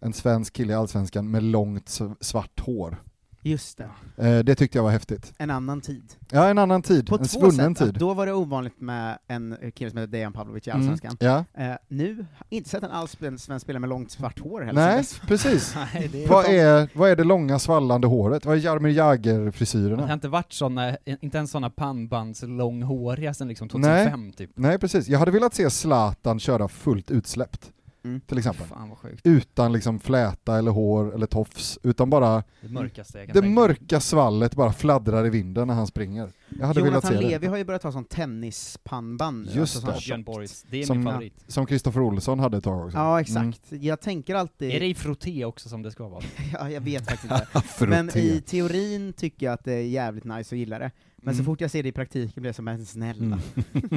Speaker 9: en svensk kille i Allsvenskan med långt s- svart hår.
Speaker 8: Just det.
Speaker 9: Eh, det tyckte jag var häftigt.
Speaker 8: En annan tid.
Speaker 9: Ja, en annan tid,
Speaker 8: På
Speaker 9: en
Speaker 8: två
Speaker 9: svunnen
Speaker 8: sätt.
Speaker 9: tid.
Speaker 8: Att Då var det ovanligt med en kille som heter Dejan Pavlovic i
Speaker 9: Mm.
Speaker 8: Allsvenskan.
Speaker 9: Ja.
Speaker 8: Eh, nu har jag inte sett en allsven- svensk spelare med långt svart hår heller.
Speaker 9: Nej,
Speaker 8: sedan (laughs)
Speaker 9: precis.
Speaker 6: Nej, det
Speaker 9: Vad är, vad är det långa svallande håret? Vad är Jaromir
Speaker 6: Det har
Speaker 9: Jagr-frisyrerna?
Speaker 6: inte varit såna, eh, inte ens sådana pannbandslånghåriga sen liksom 2005 typ.
Speaker 9: Nej precis, jag hade velat se Zlatan köra fullt utsläppt,
Speaker 8: Mm.
Speaker 9: till exempel.
Speaker 6: Fan vad sjukt.
Speaker 9: Utan liksom fläta eller hår eller tofs, utan bara
Speaker 6: Det mörkaste jag kan
Speaker 9: det
Speaker 6: tänka mig.
Speaker 9: mörka svallet bara fladdrar i vinden när han springer. Jag hade velat
Speaker 8: Jonathan
Speaker 9: se
Speaker 8: Levi
Speaker 9: det.
Speaker 8: har ju börjat ha sån tennispannband nu.
Speaker 9: Just
Speaker 8: sån
Speaker 9: det.
Speaker 6: Björn Borgs, det är
Speaker 9: Som-
Speaker 6: min favorit.
Speaker 9: Som Kristoffer Olsson hade ett tag också. Mm.
Speaker 8: Ja, exakt. Jag tänker alltid...
Speaker 6: Är det i frotté också som det
Speaker 2: (laughs)
Speaker 6: ska vara?
Speaker 8: (laughs) ja, jag vet faktiskt
Speaker 9: (laughs)
Speaker 8: inte.
Speaker 9: Mm.
Speaker 8: Men
Speaker 9: Frotté.
Speaker 8: i teorin tycker jag att det är jävligt nice och gillar det. Men så
Speaker 9: Mm.
Speaker 8: fort jag ser det i praktiken blir jag som en snälla.
Speaker 9: Mm.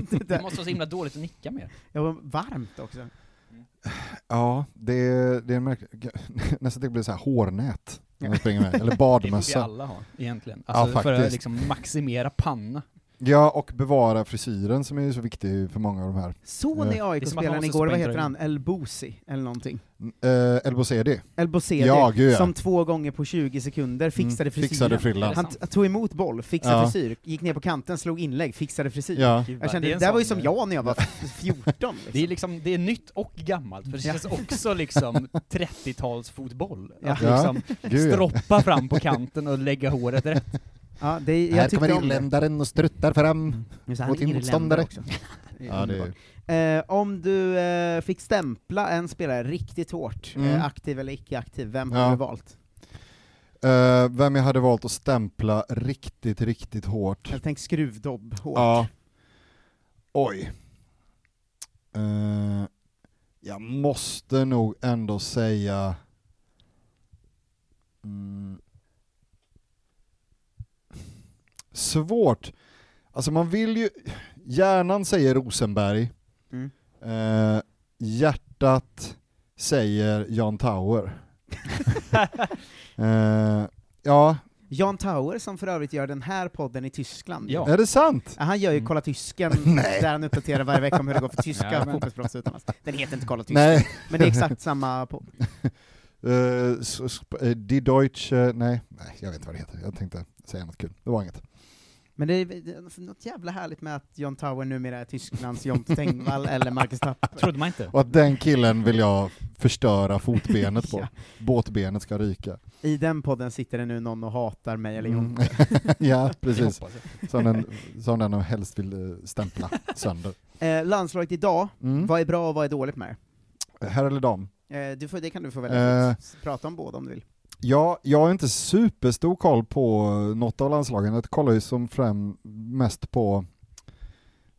Speaker 8: det
Speaker 6: Det
Speaker 8: där.
Speaker 6: måste vara så himla dåligt att nicka med.
Speaker 8: Jag var varmt också.
Speaker 9: Ja, det är, det är en märk... (laughs) nästan det blir så här hårnät när han
Speaker 8: Ja.
Speaker 9: springer med.
Speaker 8: (laughs)
Speaker 9: Eller
Speaker 6: Det borde ju
Speaker 9: badmössa.
Speaker 6: alla ha egentligen. Alltså för att
Speaker 9: faktiskt.
Speaker 6: liksom maximera panna.
Speaker 9: Ja, och bevara frisyren som är ju så viktig för många av de här.
Speaker 8: Såg
Speaker 9: Eh,
Speaker 8: ni
Speaker 6: som att man
Speaker 8: AIK-spelaren
Speaker 6: måste
Speaker 8: igår, vad
Speaker 6: spränga
Speaker 8: heter
Speaker 6: in.
Speaker 8: han? El Bosi, eller någonting?
Speaker 9: Eh, El Bosedi.
Speaker 8: El Bosedi,
Speaker 9: Ja, gud, ja.
Speaker 8: som två gånger på 20 sekunder fixade
Speaker 9: Mm,
Speaker 8: frisyren.
Speaker 9: fixade frillan.
Speaker 8: Han t- tog emot boll, fixade
Speaker 9: Ja.
Speaker 8: frisyr, gick ner på kanten, slog inlägg, fixade frisyr.
Speaker 9: Ja.
Speaker 6: Gud, vad-
Speaker 8: Jag kände,
Speaker 6: är
Speaker 8: det,
Speaker 6: en
Speaker 8: där var ju
Speaker 6: sån- eh,
Speaker 8: som jag när
Speaker 6: (laughs)
Speaker 8: jag var 14. Liksom.
Speaker 6: Det är, liksom, det är nytt och gammalt, för det
Speaker 8: Ja.
Speaker 6: känns
Speaker 9: (laughs)
Speaker 6: också liksom 30-talsfotboll.
Speaker 8: Ja.
Speaker 6: Att
Speaker 9: Ja.
Speaker 6: liksom
Speaker 9: Gud, ja.
Speaker 6: stroppa fram på kanten och lägga håret rätt.
Speaker 8: ja, det, jag tyckte om det. Mm.
Speaker 9: och struttar fram.
Speaker 8: Men så här
Speaker 9: mot
Speaker 8: ligger det
Speaker 9: motståndare.
Speaker 8: länder också. Det är
Speaker 9: (laughs) Ja, det är,
Speaker 8: underbart. Eh, om du eh, fick stämpla en spelare riktigt hårt,
Speaker 9: Mm.
Speaker 8: eh, aktiv eller icke-aktiv, vem
Speaker 9: Ja.
Speaker 8: hade du valt?
Speaker 9: Eh, vem jag hade valt att stämpla riktigt, riktigt hårt.
Speaker 8: Jag tänkte skruvdobb hårt.
Speaker 9: Ja. Oj. Eh, jag måste nog ändå säga... Mm. Svårt. Alltså man vill ju... Hjärnan säger Rosenberg.
Speaker 8: Mm.
Speaker 9: Eh, hjärtat säger Jan Tower. (laughs) Eh, ja,
Speaker 8: Jan Tauer som för övrigt gör den här podden i Tyskland.
Speaker 6: Ja.
Speaker 9: är det sant?
Speaker 8: Ja, Han gör ju Kolla Tysken,
Speaker 9: Mm. (laughs) Nej.
Speaker 8: där han uppdaterar varje vecka om hur det går
Speaker 9: (laughs)
Speaker 8: för tyska
Speaker 6: Jajamän.
Speaker 8: fotbollsproffs utomlands. Den heter inte Kolla Tysken,
Speaker 9: Nej. (laughs)
Speaker 8: men det är exakt samma podd.
Speaker 9: Eh, s- s- eh, Die Deutsche, nej, nej, jag vet inte vad det heter. Jag tänkte säga något kul. Det var inget.
Speaker 8: Men det är det är alltså något jävla härligt med att Jan Tauer numera är Tysklands
Speaker 6: (laughs)
Speaker 8: Jonte Tengvall eller Marcus Tapper.
Speaker 6: Trodde man inte.
Speaker 9: Och att den killen vill jag förstöra fotbenet på.
Speaker 8: (laughs) Ja.
Speaker 9: Båtbenet ska ryka.
Speaker 8: I den podden sitter det nu någon och hatar mig eller Jonte.
Speaker 9: Mm. (laughs) ja, precis.
Speaker 6: Det hoppas
Speaker 9: Som den, som den helst vill eh, stämpla sönder.
Speaker 8: (laughs) Eh, landslaget idag,
Speaker 9: Mm.
Speaker 8: vad är bra och vad är dåligt med
Speaker 9: Herr eller dam?
Speaker 8: det? eh, du får, Det kan du få välja
Speaker 9: Eh.
Speaker 8: fritt. Prata om båda om du vill.
Speaker 9: Ja, jag har inte superstor koll på något av landslagen. Jag kollar ju som främ mest på,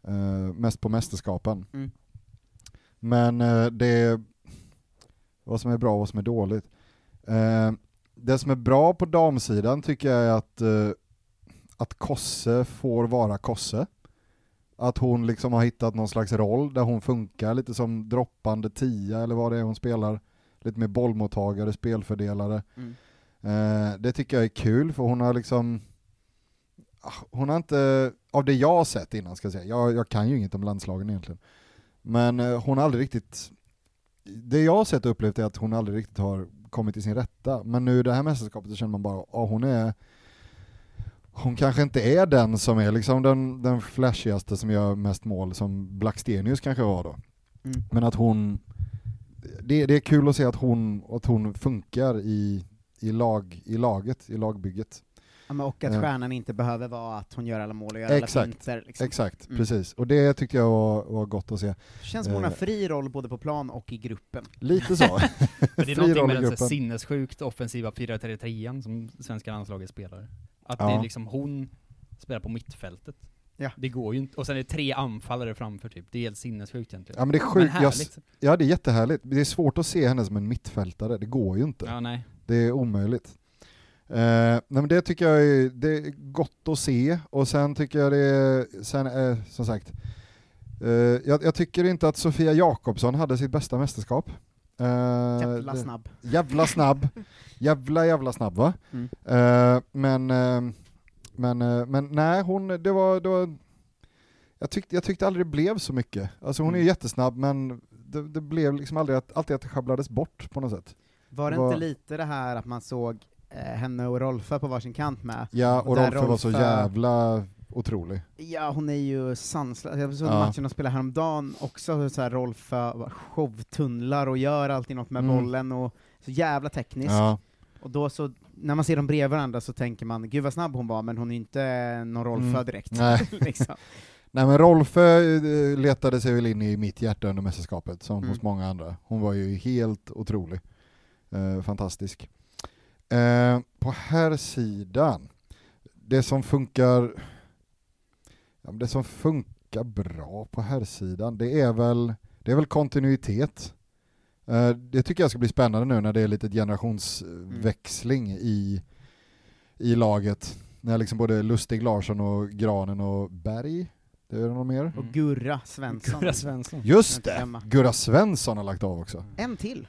Speaker 9: eh, mest på mästerskapen.
Speaker 8: Mm.
Speaker 9: Men eh, det, vad som är bra och vad som är dåligt. Eh, det som är bra på damsidan tycker jag är att, eh, att Kosse får vara Kosse. Att hon liksom har hittat någon slags roll där hon funkar lite som droppande tia eller vad det är hon spelar. Lite mer bollmottagare, spelfördelare. Eh, det tycker jag är kul för hon har liksom ah, hon har inte, av det jag har sett innan ska jag säga, jag, jag kan ju inget om landslagen egentligen, men eh, hon har aldrig riktigt, det jag har sett och upplevt är att hon aldrig riktigt har kommit till sin rätta, men nu i det här mästerskapet så känner man bara, ah, hon är hon kanske inte är den som är liksom den, den flashigaste som gör mest mål, som Blackstenius kanske var då.
Speaker 8: Mm.
Speaker 9: Men att hon, det, det är kul att se att hon, att hon funkar i, i, lag, i laget, i lagbygget.
Speaker 8: Ja, men och att
Speaker 9: Eh.
Speaker 8: stjärnan inte behöver vara att hon gör alla mål och gör alla
Speaker 9: Exakt.
Speaker 8: finter. Liksom.
Speaker 9: Exakt,
Speaker 8: Mm.
Speaker 9: precis. Och det tyckte jag var, var gott att se.
Speaker 8: Känns som hon har
Speaker 9: Eh.
Speaker 8: fri roll både på plan och i gruppen.
Speaker 9: Lite så.
Speaker 6: Men det är
Speaker 9: Fri
Speaker 6: någonting
Speaker 9: roll
Speaker 6: med
Speaker 9: i
Speaker 6: den så här
Speaker 9: gruppen.
Speaker 6: sinnessjukt offensiva 4-3-3 som svenska landslaget spelar. Att det
Speaker 9: Ja.
Speaker 6: är liksom hon spelar på mittfältet.
Speaker 8: Ja.
Speaker 6: Det går ju inte. Och sen är det tre anfallare framför typ. Det är helt sinnessjukt egentligen.
Speaker 9: Ja men det är sjukt, jag,
Speaker 6: härligt.
Speaker 9: ja det är jättehärligt. Det är svårt att se henne som en mittfältare, det går ju inte.
Speaker 6: Ja, nej.
Speaker 9: Det är omöjligt. Eh, nej men det tycker jag är, det är gott att se och sen tycker jag det är, sen, eh, som sagt, eh, jag, jag tycker inte att Sofia Jakobsson hade sitt bästa mästerskap. Eh,
Speaker 8: Jävla
Speaker 9: det-
Speaker 8: snabb.
Speaker 9: Jävla snabb. Jävla jävla snabb va?
Speaker 8: Mm.
Speaker 9: Eh, men, eh, men, eh, men nej, hon, det var, det var jag, tyckte, jag tyckte aldrig det blev så mycket. Alltså hon är
Speaker 8: Mm.
Speaker 9: ju jättesnabb men det, det blev liksom aldrig att, alltid att det sjabblades bort på något sätt.
Speaker 8: Var det
Speaker 9: Var-
Speaker 8: inte lite det här att man såg eh, henne och Rolfö på varsin kant med?
Speaker 9: Ja,
Speaker 8: Och
Speaker 9: och
Speaker 8: där
Speaker 9: Rolfö var så
Speaker 8: Rolfö-
Speaker 9: jävla otrolig.
Speaker 8: Ja, hon är ju sanslös. Jag såg
Speaker 9: Ja.
Speaker 8: matchen de spelade häromdagen också, hur så här Rolfö bara showtunnlar och gör alltid något med
Speaker 9: Mm.
Speaker 8: bollen och så jävla tekniskt.
Speaker 9: Ja.
Speaker 8: Och då så, när man ser dem bredvid varandra så tänker man, gud vad snabb hon var, men hon är ju inte någon Rolfö
Speaker 9: Mm.
Speaker 8: direkt.
Speaker 9: Nej.
Speaker 8: (laughs) liksom.
Speaker 9: Nej men Rolfö eh, letade sig väl in i mitt hjärta under mästerskapet, som
Speaker 8: Mm.
Speaker 9: hos många andra. Hon var ju helt otrolig. Eh, fantastisk. Eh, på här sidan, det som funkar ja, men det som funkar bra på här sidan det är väl, det är väl kontinuitet. Eh, det tycker jag ska bli spännande nu när det är lite generationsväxling i, i laget. När liksom både Lustig Larsson och Granen och Berg, det är det någon mer?
Speaker 8: Och Gurra Svensson.
Speaker 6: Gurra Svensson. Mm.
Speaker 9: Just
Speaker 8: Inte
Speaker 9: det!
Speaker 8: hemma.
Speaker 9: Gurra Svensson har lagt av också.
Speaker 8: En till.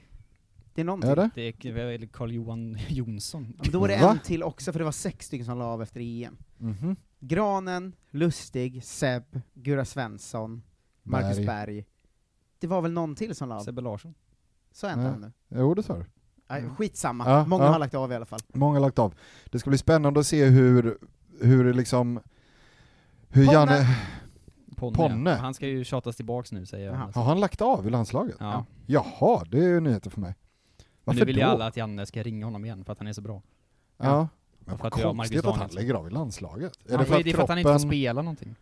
Speaker 8: Det är någon till.
Speaker 9: Är det?
Speaker 6: Det är Carl-Johan Jonsson.
Speaker 8: Ja, men då var det
Speaker 9: Va?
Speaker 8: en till också, för det var sex stycken som la av efter EM.
Speaker 9: Mhm.
Speaker 8: Granen, Lustig, Seb, Gurra Svensson, Marcus
Speaker 9: Berg.
Speaker 8: Berg. Det var väl någon till som la av?
Speaker 6: Sebbe Larsson.
Speaker 8: Så hände
Speaker 9: Ja.
Speaker 8: han nu.
Speaker 9: Jo, det sa du.
Speaker 8: Nej, skitsamma,
Speaker 9: Mm. Ja,
Speaker 8: många
Speaker 9: ja.
Speaker 8: har lagt av i alla fall.
Speaker 9: Många har lagt av. Det ska bli spännande att se hur, hur det liksom, hur
Speaker 8: Ponne.
Speaker 9: Janne,
Speaker 6: Ponne.
Speaker 9: Ponne.
Speaker 6: ja. Han ska ju tjatas tillbaks nu säger
Speaker 8: Jaha.
Speaker 6: jag.
Speaker 9: har han lagt av i landslaget?
Speaker 6: Ja.
Speaker 9: Jaha, det är ju nyheter för mig.
Speaker 6: Men
Speaker 9: Varför
Speaker 6: nu vill
Speaker 9: då?
Speaker 6: ju alla att Janne ska ringa honom igen för att han är så bra.
Speaker 9: Ja. Men
Speaker 6: Och för
Speaker 9: vad
Speaker 6: att vi har Marcus
Speaker 9: konstigt att han
Speaker 6: Danielsson.
Speaker 9: lägger av i landslaget. Är
Speaker 6: han,
Speaker 9: det för att
Speaker 6: det är för att han
Speaker 9: kroppen...
Speaker 6: inte får spela någonting.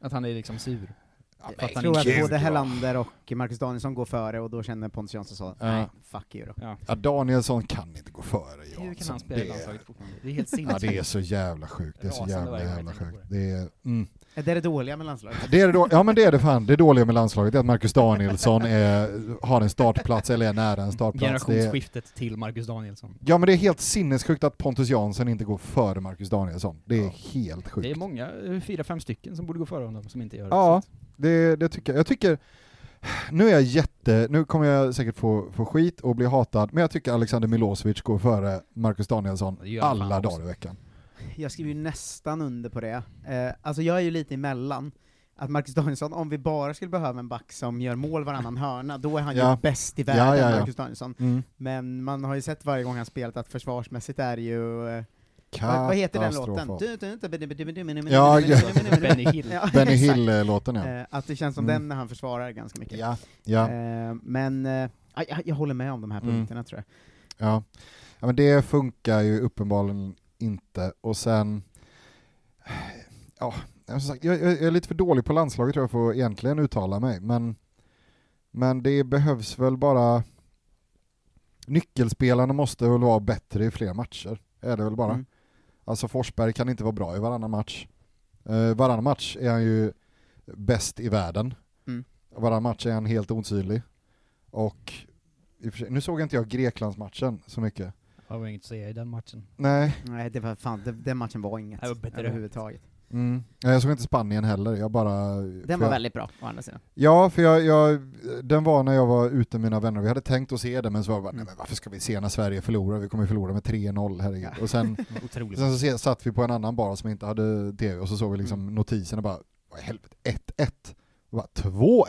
Speaker 6: Att han är liksom sur.
Speaker 9: Ja,
Speaker 6: För att han
Speaker 8: Jag tror
Speaker 6: inte-
Speaker 8: att
Speaker 13: Gud,
Speaker 8: både
Speaker 13: ja.
Speaker 8: Hellander och Marcus Danielsson går före, och då känner Pontus Jansson så, nej, fuck you då.
Speaker 9: ja, Danielsson kan inte gå före Jansson.
Speaker 6: Hur kan han spela i
Speaker 9: det,
Speaker 6: landslaget fortfarande? Det är helt
Speaker 9: Ja, det är
Speaker 6: sinnessjukt.
Speaker 9: så jävla sjukt. Det är så
Speaker 6: Rasande
Speaker 9: jävla,
Speaker 6: varje gång jag
Speaker 9: jävla
Speaker 6: tänker
Speaker 9: sjukt.
Speaker 6: på
Speaker 9: Det är, mm.
Speaker 8: Är det det dåliga med landslaget?
Speaker 9: det är det då, ja men det är det fan. Det dåliga med landslaget är att Marcus Danielsson är, har en startplats eller är nära en startplats. Det är,
Speaker 6: Generationsskiftet till Marcus Danielsson.
Speaker 9: ja men det är helt sinnessjukt att Pontus Jansson inte går före Marcus Danielsson. Det är
Speaker 6: Ja.
Speaker 9: helt sjukt.
Speaker 6: Det är många, eh, fyra, fem stycken som borde gå före honom som inte gör det.
Speaker 9: Ja,
Speaker 6: Så
Speaker 9: det, det tycker jag. Jag tycker, nu är jag jätte, nu kommer jag säkert få, få skit och bli hatad, men jag tycker Alexander Milosevic går före Marcus Danielsson
Speaker 6: Det gör han
Speaker 9: alla
Speaker 6: också.
Speaker 9: dagar i veckan.
Speaker 8: Jag skriver ju nästan under på det. Eh, alltså jag är ju lite emellan, att Marcus Danielsson, om vi bara skulle behöva en back som gör mål varannan hörna, då är han ju
Speaker 9: Ja.
Speaker 8: bäst i
Speaker 9: Ja,
Speaker 8: världen,
Speaker 9: ja, Mm. ja.
Speaker 8: Marcus Danielsson. Men man har ju sett varje gång han spelat att försvarsmässigt är det ju... Eh, vad, vad heter den låten?
Speaker 9: Katastrofal.
Speaker 8: Du- du- du- du- du- du- du- du- du-
Speaker 9: Ja,
Speaker 8: du- du-
Speaker 9: ja.
Speaker 8: du- du- du-
Speaker 6: Benny Hill.
Speaker 8: Ja, (laughs)
Speaker 9: Benny
Speaker 8: exakt.
Speaker 9: Hill-låten ja.
Speaker 8: Eh, Att det känns som
Speaker 9: Mm.
Speaker 8: den när han försvarar ganska mycket.
Speaker 9: Ja, ja,
Speaker 8: Eh, men eh, ja, jag, jag håller med om de här
Speaker 9: Mm.
Speaker 8: punkterna tror jag.
Speaker 9: ja. ja. Men det funkar ju uppenbarligen inte, och sen, eh, ja, som sagt, jag, jag jag är lite för dålig på landslaget tror jag för att egentligen uttala mig, men, men det behövs väl bara, nyckelspelarna måste väl vara bättre i fler matcher, är det väl bara.
Speaker 8: Mm.
Speaker 9: Alltså Forsberg kan inte vara bra i varannan match. Eh, varannan match är han ju bäst i världen.
Speaker 8: Mm.
Speaker 9: Varannan match är han helt osynlig. Och i och för sig, nu såg inte jag Greklandsmatchen så mycket.
Speaker 6: Det var inget att säga i den matchen.
Speaker 9: Nej,
Speaker 8: Nej, det var fan, det, den matchen var inget
Speaker 6: Det var bättre.
Speaker 8: överhuvudtaget.
Speaker 9: mm. Nej, jag såg inte Spanien heller. Jag bara... för
Speaker 8: Den var
Speaker 9: jag,
Speaker 8: väldigt bra, å andra sidan.
Speaker 9: Ja, för jag, jag, den var när jag var ute med mina vänner. Vi hade tänkt att se den, men så var jag bara, nej men varför ska vi se när Sverige förlorar? Vi kommer ju förlora med 3-0, herregud. Och sen,
Speaker 6: Otroligt.
Speaker 9: Sen så se- satt vi på en annan bar som inte hade tv och så såg vi liksom notiserna bara, vad i helvete, 1-1. Och bara 2-1.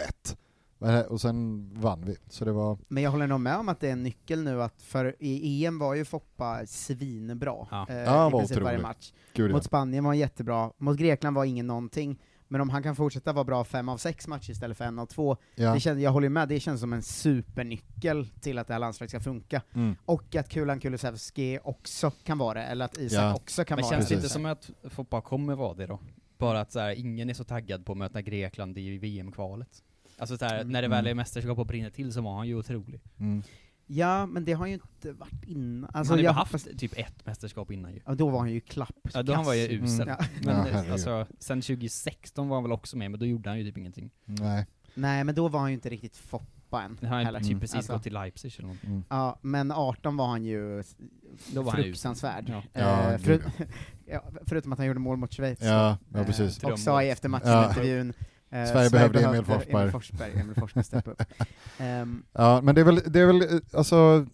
Speaker 9: Vad är det här? Och sen vann vi. Så det var,
Speaker 8: Men jag håller nog med om att det är en nyckel nu, att för i EM var ju Foppa svinbra.
Speaker 6: Ja.
Speaker 8: eh,
Speaker 9: Ja, han
Speaker 8: i
Speaker 9: var
Speaker 8: princip varje
Speaker 9: otrolig.
Speaker 8: match.
Speaker 9: gud ja.
Speaker 8: Mot Spanien var han jättebra, mot Grekland var ingen någonting, men om han kan fortsätta vara bra fem av sex matcher istället för en av två,
Speaker 9: ja.
Speaker 8: det känns, jag håller ju med, det känns som en supernyckel till att det här landslaget ska funka.
Speaker 9: Mm.
Speaker 8: Och att Kulan Kulusevski också kan vara det, eller att Isak
Speaker 9: Ja.
Speaker 8: också kan
Speaker 6: Men
Speaker 8: vara
Speaker 6: känns det
Speaker 8: det.
Speaker 6: inte som att Foppa kommer vara det då? Bara att så här, ingen är så taggad på att möta Grekland Mm. i VM-kvalet. Alltså så här, när det väl är mästerskap och brinner till så var han ju otrolig.
Speaker 9: Mm.
Speaker 8: Ja, men det har ju inte varit innan. Alltså,
Speaker 1: han har ju
Speaker 8: jag
Speaker 1: bara haft
Speaker 8: hoppas-
Speaker 1: typ ett mästerskap innan ju.
Speaker 8: Ja, då var han ju klapp.
Speaker 1: Ja, då han var ju
Speaker 8: kass.
Speaker 1: usel.
Speaker 8: Ja.
Speaker 1: Men
Speaker 2: Mm. Ja,
Speaker 1: eh,
Speaker 2: herregud.
Speaker 1: alltså, sen 2016 var han väl också med, men då gjorde han ju typ ingenting.
Speaker 2: Nej.
Speaker 8: Nej, men då var han ju inte riktigt Foppa än.
Speaker 1: Han hade
Speaker 8: heller.
Speaker 1: typ
Speaker 2: Mm.
Speaker 1: precis
Speaker 8: Alltså.
Speaker 1: gått till Leipzig eller någonting.
Speaker 2: Mm.
Speaker 8: Ja, men 18 var han ju s-
Speaker 1: Då var han ju
Speaker 8: fruktansvärd.
Speaker 1: Ja.
Speaker 2: Ja,
Speaker 8: Eh,
Speaker 2: gud,
Speaker 8: förut- (laughs) ja, förutom att han gjorde mål mot Schweiz.
Speaker 2: Ja,
Speaker 8: Eh,
Speaker 2: ja precis.
Speaker 8: Och sa i
Speaker 2: Ja.
Speaker 8: eftermatchen-intervjun eh,
Speaker 2: behövde Emil Forsberg."
Speaker 8: Emil Forsberg, Emil Forsberg step up. Ehm,
Speaker 2: Ja, men det är väl, det är väl eh, alltså,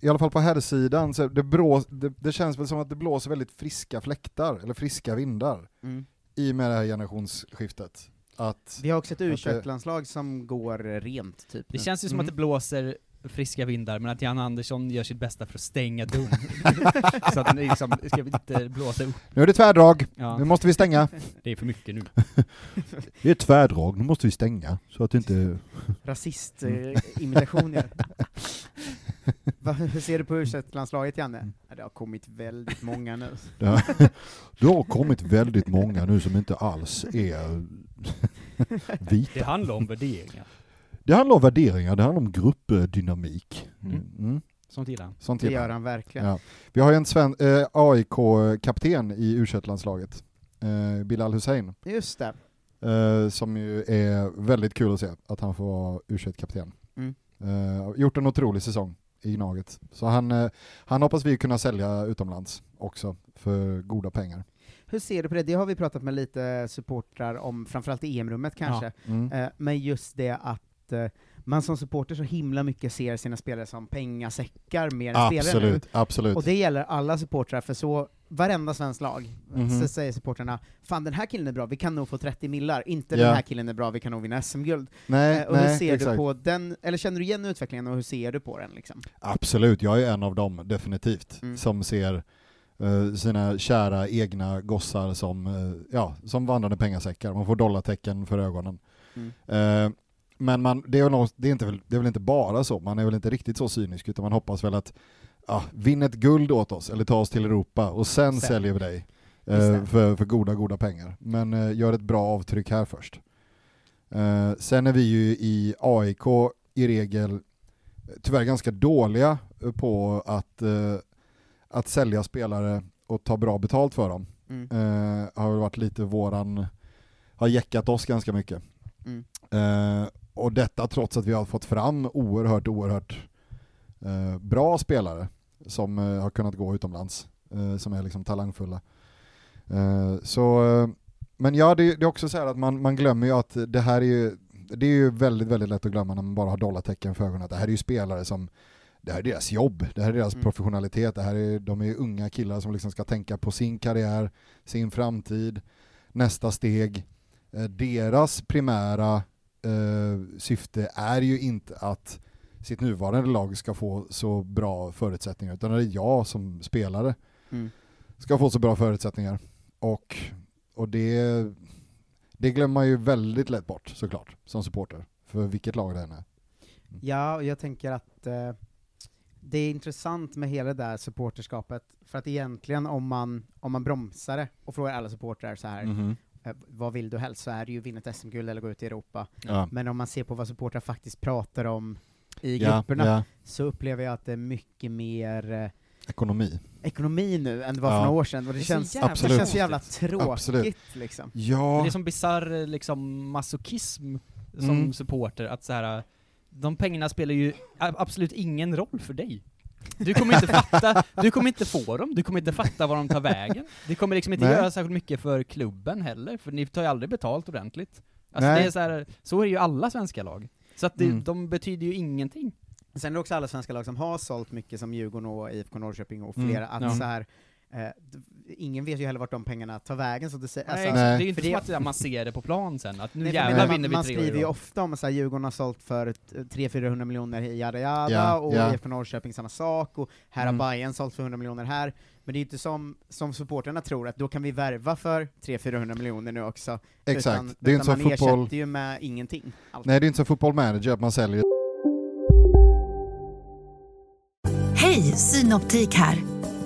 Speaker 2: i alla fall på här sidan så det, brå, det, det känns väl som att det blåser väldigt friska fläktar, eller friska vindar,
Speaker 8: mm.
Speaker 2: i och med det här generationsskiftet. Att,
Speaker 8: Vi har också ett
Speaker 2: det-
Speaker 8: u landslag som går eh, rent, typ.
Speaker 1: Det
Speaker 8: nu.
Speaker 1: känns ju som
Speaker 8: Mm.
Speaker 1: att det blåser friska vindar, men att Jan Andersson gör sitt bästa för att stänga dörren.
Speaker 2: (laughs)
Speaker 1: så att den liksom ska inte blåsa upp.
Speaker 2: nu är det tvärdrag, nu
Speaker 1: Ja,
Speaker 2: måste vi stänga.
Speaker 1: det är för mycket nu.
Speaker 2: Det är tvärdrag, nu måste vi stänga. Så att inte... (laughs)
Speaker 8: rasistimitationer. Va, hur ser du på u landslaget Janne?
Speaker 2: Mm.
Speaker 8: Ja, det har kommit väldigt
Speaker 2: (laughs)
Speaker 8: många nu.
Speaker 2: Det har, det har kommit väldigt många nu som inte alls är
Speaker 1: Det
Speaker 2: vita.
Speaker 1: handlar om värderingar.
Speaker 2: Det handlar om värderingar, det handlar om gruppdynamik.
Speaker 1: Mm.
Speaker 2: Mm.
Speaker 1: Sånt gillar han.
Speaker 2: Sånt
Speaker 8: Det
Speaker 2: gillar
Speaker 8: gör
Speaker 2: jag.
Speaker 8: han verkligen.
Speaker 2: Ja. Vi har ju en sven- eh, AIK-kapten i u landslaget eh, Bilal Hussein,
Speaker 8: Just det.
Speaker 2: eh, som ju är väldigt kul att se, att han får vara u kapten
Speaker 8: Mm.
Speaker 2: eh, Gjort en otrolig säsong i Gnaget. Så han, eh, han hoppas vi kunna sälja utomlands också, för goda pengar.
Speaker 8: Hur ser du på det? Det har vi pratat med lite supportrar om, framförallt i EM-rummet kanske.
Speaker 2: Mm.
Speaker 8: Eh, Men just det att eh, man som supporter så himla mycket ser sina spelare som pengasäckar mer än spelare Eh, nu.
Speaker 2: Absolut, absolut.
Speaker 8: Och det gäller alla supportrar, för så varenda svensk lag
Speaker 2: Mhm.
Speaker 8: så säger supportrarna ”Fan den här killen är bra, vi kan nog få 30 millar”, inte
Speaker 2: Ja.
Speaker 8: ”Den här killen är bra, vi kan nog vinna SM-guld”.
Speaker 2: nej,
Speaker 8: Eh, och hur
Speaker 2: nej,
Speaker 8: ser
Speaker 2: exakt.
Speaker 8: du på den, eller känner du igen utvecklingen och hur ser du på den liksom?
Speaker 2: Absolut, jag är en av dem, definitivt,
Speaker 8: Mm.
Speaker 2: som ser eh, sina kära egna gossar som, eh, ja, som vandrande pengasäckar. Man får dollartecken för ögonen.
Speaker 8: Mm.
Speaker 2: Eh, men man, det, är väl något, det, är inte väl, det är väl inte bara så, man är väl inte riktigt så cynisk, utan man hoppas väl att ja, vinn ett guld åt oss, eller ta oss till Europa, och sen,
Speaker 8: Sen.
Speaker 2: säljer vi dig eh,
Speaker 8: Just det.
Speaker 2: för, för goda, goda pengar. Men eh, gör ett bra avtryck här först. Eh, sen är vi ju i AIK i regel eh, tyvärr ganska dåliga eh, på att, eh, att sälja spelare och ta bra betalt för dem.
Speaker 8: Mm.
Speaker 2: Eh, har väl varit lite våran, har jäckat oss ganska mycket.
Speaker 8: Mm.
Speaker 2: Eh, och detta trots att vi har fått fram oerhört, oerhört eh, bra spelare som eh, har kunnat gå utomlands, eh, som är liksom talangfulla. Eh, så, eh, men ja, det, det är också så här att man, man glömmer ju att det här är ju, det är ju väldigt, väldigt lätt att glömma när man bara har dollartecken för ögonen, att det här är ju spelare som det här är deras jobb, det här är deras
Speaker 8: Mm.
Speaker 2: professionalitet, det här är, de är ju unga killar som liksom ska tänka på sin karriär, sin framtid, nästa steg. Eh, Deras primära eh, syfte är ju inte att sitt nuvarande lag ska få så bra förutsättningar, utan det är jag som spelare
Speaker 8: Mm.
Speaker 2: ska få så bra förutsättningar. Och, och det, det glömmer man ju väldigt lätt bort såklart, som supporter, för vilket lag det än är.
Speaker 8: Ja, och jag tänker att eh, det är intressant med hela det där supporterskapet, för att egentligen om man, om man bromsar det och frågar alla supportrar så här,
Speaker 2: Mm. Mm-hmm.
Speaker 1: Mm-hmm.
Speaker 8: eh, vad vill du helst, så är det ju vinna ett SM-guld eller gå ut i Europa.
Speaker 2: Ja.
Speaker 8: Men om man ser på vad supportrar faktiskt pratar om i
Speaker 2: Ja,
Speaker 8: grupperna,
Speaker 2: ja.
Speaker 8: så upplever jag att det är mycket mer eh,
Speaker 2: Ekonomi.
Speaker 8: ekonomi nu än det var
Speaker 2: Ja.
Speaker 8: för några år sedan, och det,
Speaker 1: Det är så
Speaker 8: känns,
Speaker 1: jävla
Speaker 8: det känns så jävla
Speaker 1: konstigt.
Speaker 8: tråkigt
Speaker 2: Absolut.
Speaker 8: liksom.
Speaker 2: Ja.
Speaker 1: Det är som bisarr eh, liksom masochism som
Speaker 2: Mm.
Speaker 1: supporter, att så här. eh, de pengarna spelar ju a- absolut ingen roll för dig. Du kommer inte fatta, du kommer inte få dem, du kommer inte fatta var de tar vägen. Du kommer liksom inte
Speaker 2: Nej.
Speaker 1: göra särskilt mycket för klubben heller, för ni tar ju aldrig betalt ordentligt. Alltså
Speaker 2: Nej.
Speaker 1: det är så här, så är det ju alla svenska lag. Så att det,
Speaker 2: Mm.
Speaker 1: de betyder ju ingenting.
Speaker 8: Sen är det också alla svenska lag som har sålt mycket, som Djurgården och IFK Norrköping och
Speaker 2: Mm,
Speaker 8: flera, att
Speaker 1: ja.
Speaker 8: så här, eh, d- ingen vet ju heller vart de pengarna tar vägen, så det säger,
Speaker 1: Nej,
Speaker 8: alltså,
Speaker 1: exakt.
Speaker 2: Nej.
Speaker 1: Det är ju inte
Speaker 8: För det-
Speaker 1: som att det- man ser det på plan sen, att nu
Speaker 8: Nej, för jag
Speaker 1: jävlar
Speaker 8: menar,
Speaker 1: vinner
Speaker 8: man,
Speaker 1: vi
Speaker 8: man
Speaker 1: tre år i
Speaker 8: skriver ju
Speaker 1: rad.
Speaker 8: ofta om att Djurgården har sålt för t- 300-400 miljoner i Jada Jada,
Speaker 2: Ja,
Speaker 8: och
Speaker 2: ja.
Speaker 8: IFK Norrköping samma sak, och här
Speaker 2: Mm.
Speaker 8: har Bayern sålt för 100 miljoner här, men det är ju inte som, som supporterna tror, att då kan vi värva för 300-400 miljoner nu också.
Speaker 2: Exakt,
Speaker 8: Utan,
Speaker 2: det är inte
Speaker 8: utan
Speaker 2: som
Speaker 8: man
Speaker 2: fotboll,
Speaker 8: ersätter ju med ingenting. Allt.
Speaker 2: nej det är inte som fotbollmanager att man säljer
Speaker 4: Hej, Synoptik här.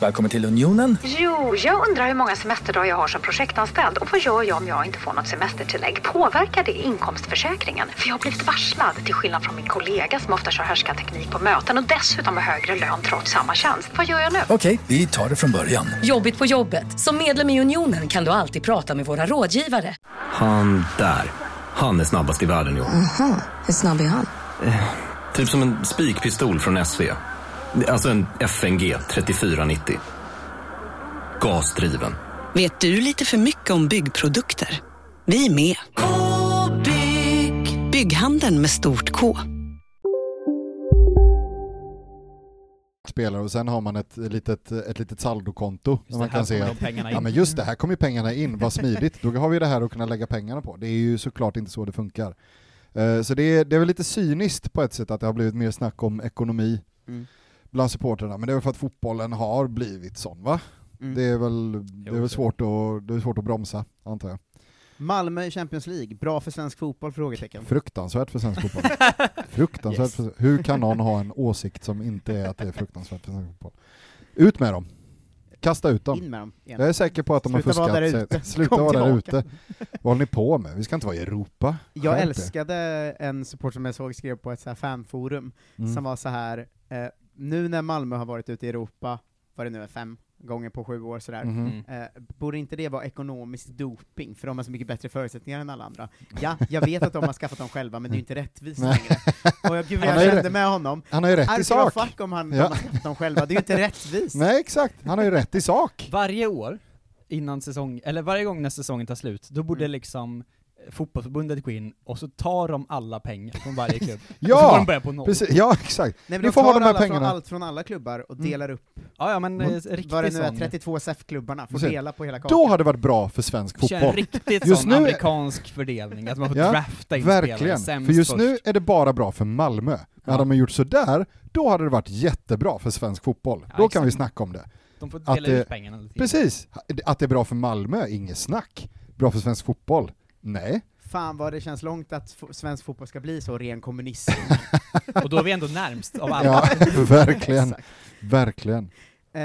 Speaker 14: Välkommen till Unionen.
Speaker 15: Jo, jag undrar hur många semesterdagar jag har som projektanställd och vad gör jag om jag inte får något semestertillägg? Påverkar det inkomstförsäkringen? För jag har blivit varslad, till skillnad från min kollega som ofta kör härskarteknik på möten och dessutom har högre lön trots samma tjänst. Vad gör jag nu?
Speaker 14: Okej, vi tar det från början.
Speaker 16: Jobbigt på jobbet. Som medlem i Unionen kan du alltid prata med våra rådgivare.
Speaker 17: Han där, han är snabbast i världen jo.
Speaker 16: Aha, hur snabb är han?
Speaker 17: Eh, typ som en spikpistol från SV. Alltså en FNG 3490. Gasdriven.
Speaker 3: Vet du lite för mycket om byggprodukter? Vi är med. K-bygg. Bygghandeln med stort K.
Speaker 2: spelare och sen har man ett litet, ett litet saldokonto. Där man
Speaker 1: här
Speaker 2: kan se
Speaker 1: kommer
Speaker 2: att,
Speaker 1: de pengarna
Speaker 2: ja,
Speaker 1: in.
Speaker 2: men just det, här kommer ju pengarna in, vad smidigt. Då har vi det här att kunna lägga pengarna på. Det är ju såklart inte så det funkar. Eh, Så det är, det är väl lite cyniskt på ett sätt att det har blivit mer snack om ekonomi
Speaker 8: Mm.
Speaker 2: bland supporterna, men det är väl för att fotbollen har blivit sån va?
Speaker 8: Mm.
Speaker 2: Det är väl, det är väl svårt, att, det är svårt att bromsa, antar jag.
Speaker 8: Malmö i Champions League, bra för svensk fotboll? Frågetecken.
Speaker 2: Fruktansvärt för svensk fotboll. fruktansvärt
Speaker 8: Yes.
Speaker 2: för, hur kan någon ha en åsikt som inte är att det är fruktansvärt för svensk fotboll? Ut med dem! Kasta ut dem.
Speaker 8: In med dem igen.
Speaker 2: Jag är säker på att de
Speaker 8: Sluta
Speaker 2: har
Speaker 8: vara
Speaker 2: fuskat.
Speaker 8: där ute.
Speaker 2: sig. Sluta
Speaker 8: Kom
Speaker 2: vara där
Speaker 8: tillbaka.
Speaker 2: ute. Vad håller ni på med? Vi ska inte vara i Europa.
Speaker 8: Jag
Speaker 2: Skärp er.
Speaker 8: älskade en support som jag såg skrev på ett så här fanforum,
Speaker 2: Mm.
Speaker 8: som var så här eh, nu när Malmö har varit ute i Europa, vad det nu är, fem gånger på sju år sådär,
Speaker 1: Mm.
Speaker 2: Mhm.
Speaker 8: eh, borde inte det vara ekonomisk doping, för de har så mycket bättre förutsättningar än alla andra? Ja, jag vet att de har skaffat dem själva, men det är ju inte rättvist
Speaker 2: Nej.
Speaker 8: längre. Och jag, gud vad
Speaker 2: Han har
Speaker 8: jag
Speaker 2: ju
Speaker 8: kände
Speaker 2: rätt-
Speaker 8: med honom.
Speaker 2: han har ju rätt i
Speaker 8: Arke,
Speaker 2: sak.
Speaker 8: vad fuck om han,
Speaker 2: Ja.
Speaker 8: de har skaffat dem själva, det är ju inte rättvist.
Speaker 2: Nej exakt, han har ju rätt i
Speaker 8: (laughs)
Speaker 2: sak.
Speaker 1: Varje år, innan säsong, eller varje gång när säsongen tar slut, då
Speaker 2: Mm.
Speaker 1: borde liksom eh, fotbollsförbundet gå in och så tar de alla pengar från varje
Speaker 2: (laughs)
Speaker 1: klubb. och så får de
Speaker 2: Ja!
Speaker 1: börja på noll.
Speaker 2: Precis. Ja exakt.
Speaker 8: Nej, men
Speaker 2: ni
Speaker 8: de
Speaker 2: får
Speaker 8: tar
Speaker 2: hålla de här
Speaker 8: alla från,
Speaker 2: pengarna. Mm.
Speaker 8: allt från alla klubbar och delar upp,
Speaker 1: Ja, ja men eh, riktig
Speaker 8: vad det nu är,
Speaker 1: sån.
Speaker 8: 32 SEF-klubbarna, får
Speaker 2: Precis.
Speaker 8: dela på hela kakan.
Speaker 2: Då hade det varit bra för svensk
Speaker 1: Kör en
Speaker 2: fotboll.
Speaker 1: riktigt
Speaker 2: Just
Speaker 1: sån
Speaker 2: nu-
Speaker 1: amerikansk fördelning, att man får drafta in spelare
Speaker 2: verkligen.
Speaker 1: sämst
Speaker 2: För just
Speaker 1: först.
Speaker 2: nu är det bara bra för Malmö. Men hade man gjort sådär, då hade det varit jättebra för svensk fotboll.
Speaker 1: Ja,
Speaker 2: då
Speaker 1: exakt.
Speaker 2: kan vi snacka om det.
Speaker 1: De får
Speaker 2: Att
Speaker 1: dela
Speaker 2: det-
Speaker 1: ut pengarna lite.
Speaker 2: Precis! Att det är bra för Malmö, inget snack. Bra för svensk fotboll? Nej.
Speaker 8: Fan vad det känns långt att fo- svensk fotboll ska bli så ren kommunism.
Speaker 1: Och då är vi ändå närmst av alla.
Speaker 2: (laughs) Ja,
Speaker 1: (laughs)
Speaker 2: verkligen.
Speaker 8: Exakt.
Speaker 2: Verkligen.
Speaker 8: Eh,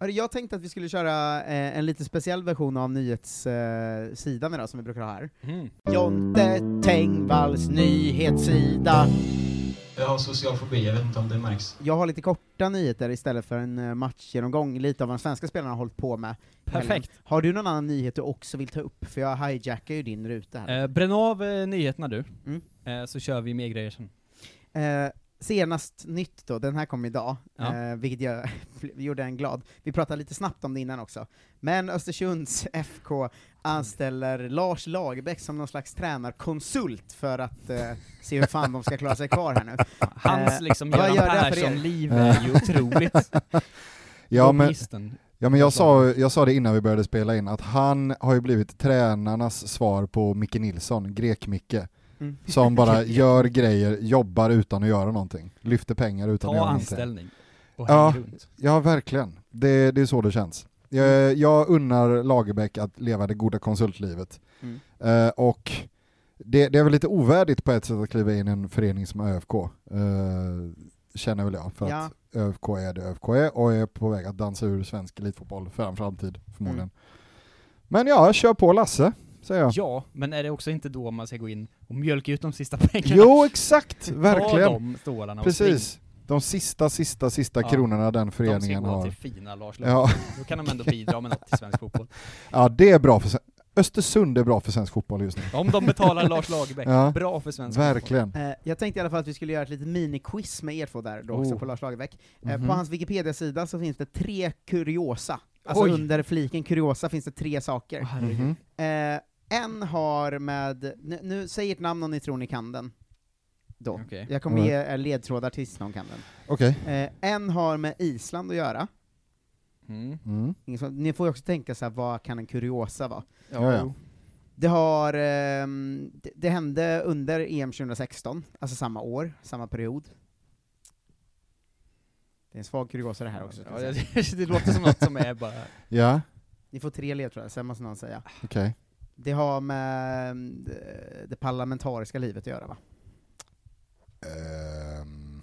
Speaker 8: hörru, jag tänkte att vi skulle köra eh, en lite speciell version av nyhetssidan eh, sidan idag som vi brukar ha här.
Speaker 1: Mm.
Speaker 8: Jonte Tengvalls nyhetssida.
Speaker 18: Jag har social fobi, jag vet inte om det märks.
Speaker 8: Jag har lite korta nyheter istället för en eh, matchgenomgång, lite av vad de svenska spelarna har hållit på med.
Speaker 1: Perfekt.
Speaker 8: Helen, Har du någon annan nyhet du också vill ta upp? För jag hijackar ju din ruta här.
Speaker 1: Eh, bränn av eh, nyheterna du,
Speaker 2: Mm.
Speaker 1: eh, så kör vi mer grejer sen.
Speaker 8: Eh, senast nytt då, den här kom idag,
Speaker 1: Ja.
Speaker 8: eh, vilket jag (laughs) gjorde en glad. Vi pratade lite snabbt om det innan också. Men Östersunds (laughs) FK anställer Lars Lagerbäck som någon slags tränarkonsult för att eh, se hur fan de ska klara sig kvar här nu.
Speaker 1: Hans
Speaker 8: Eh,
Speaker 1: liksom
Speaker 8: vad
Speaker 1: Göran
Speaker 8: gör det här för er?
Speaker 1: Persson-liv är ju otroligt.
Speaker 2: (laughs) Ja men,
Speaker 1: Kommunisten.
Speaker 2: ja, men jag, sa, jag sa det innan vi började spela in, att han har ju blivit tränarnas svar på Micke Nilsson, grek-Micke.
Speaker 8: Mm.
Speaker 2: Som bara gör grejer, jobbar utan att göra någonting. Lyfter pengar utan att
Speaker 1: Ta
Speaker 2: göra någonting.
Speaker 1: anställning. Och
Speaker 2: Ja,
Speaker 1: häng runt.
Speaker 2: ja, verkligen. Det, det är så det känns.
Speaker 1: Mm.
Speaker 2: Jag, jag unnar Lagerbäck att leva det goda konsultlivet.
Speaker 8: Mm.
Speaker 2: Eh, och det, det är väl lite ovärdigt på ett sätt att kliva in i en förening som ÖFK, eh, känner väl jag. För
Speaker 8: Ja.
Speaker 2: att ÖFK är det ÖFK är och är på väg att dansa ur svensk elitfotboll för en framtid förmodligen. Men ja, kör på Lasse, säger jag.
Speaker 1: Mm. Ja, men är det också inte då man ska gå in och mjölka ut de sista pengarna?
Speaker 2: Jo,
Speaker 1: (laughs)
Speaker 2: exakt!
Speaker 1: Ta
Speaker 2: Verkligen.
Speaker 1: de stålarna och
Speaker 2: Precis. De sista, sista, sista
Speaker 1: Ja.
Speaker 2: kronorna den
Speaker 1: spring. De ska
Speaker 2: föreningen
Speaker 1: gå
Speaker 2: har.
Speaker 1: till fina Lars
Speaker 2: Ja.
Speaker 1: ja. Då kan de ändå bidra med något till svensk fotboll.
Speaker 2: Ja, det är bra för se- Östersund är bra för svensk fotboll just nu.
Speaker 1: Om de betalar Lars Lagerbäck, bra för svensk
Speaker 2: Verkligen.
Speaker 8: Eh, jag tänkte i alla fall att vi skulle göra ett litet mini-quiz med er två där då också
Speaker 2: Oh.
Speaker 8: på Lars Lagerbäck. Eh,
Speaker 2: Mhm.
Speaker 8: På hans Wikipedia-sida så finns det tre kuriosa. Alltså
Speaker 2: Oj.
Speaker 8: under fliken kuriosa finns det tre saker.
Speaker 2: herregud.
Speaker 8: eh, en har med, nu, nu säg ert namn om ni tror ni kan den.
Speaker 2: Mhm.
Speaker 8: Då.
Speaker 1: Okej.
Speaker 8: Jag kommer
Speaker 2: All
Speaker 8: ge er ledtrådar tills någon kan den.
Speaker 2: Okej.
Speaker 8: Eh, en har med Island att göra.
Speaker 1: Mm.
Speaker 2: Mm.
Speaker 8: Ingen som- Ni får ju också tänka så här, vad kan en kuriosa vara?
Speaker 2: Ja, ja.
Speaker 8: Det har, ehm, det, det hände under EM 2016, alltså samma år, samma period. Det är en svag kuriosa det här också. ska
Speaker 1: Ja,
Speaker 8: jag säga.
Speaker 1: (laughs) det, det låter som något som är bara...
Speaker 2: Ja,
Speaker 8: (laughs) Ni får tre ledtrådar, sen måste någon säga.
Speaker 2: okej.
Speaker 8: Det har med ehm, det- det parlamentariska livet att göra va?
Speaker 2: Ehm.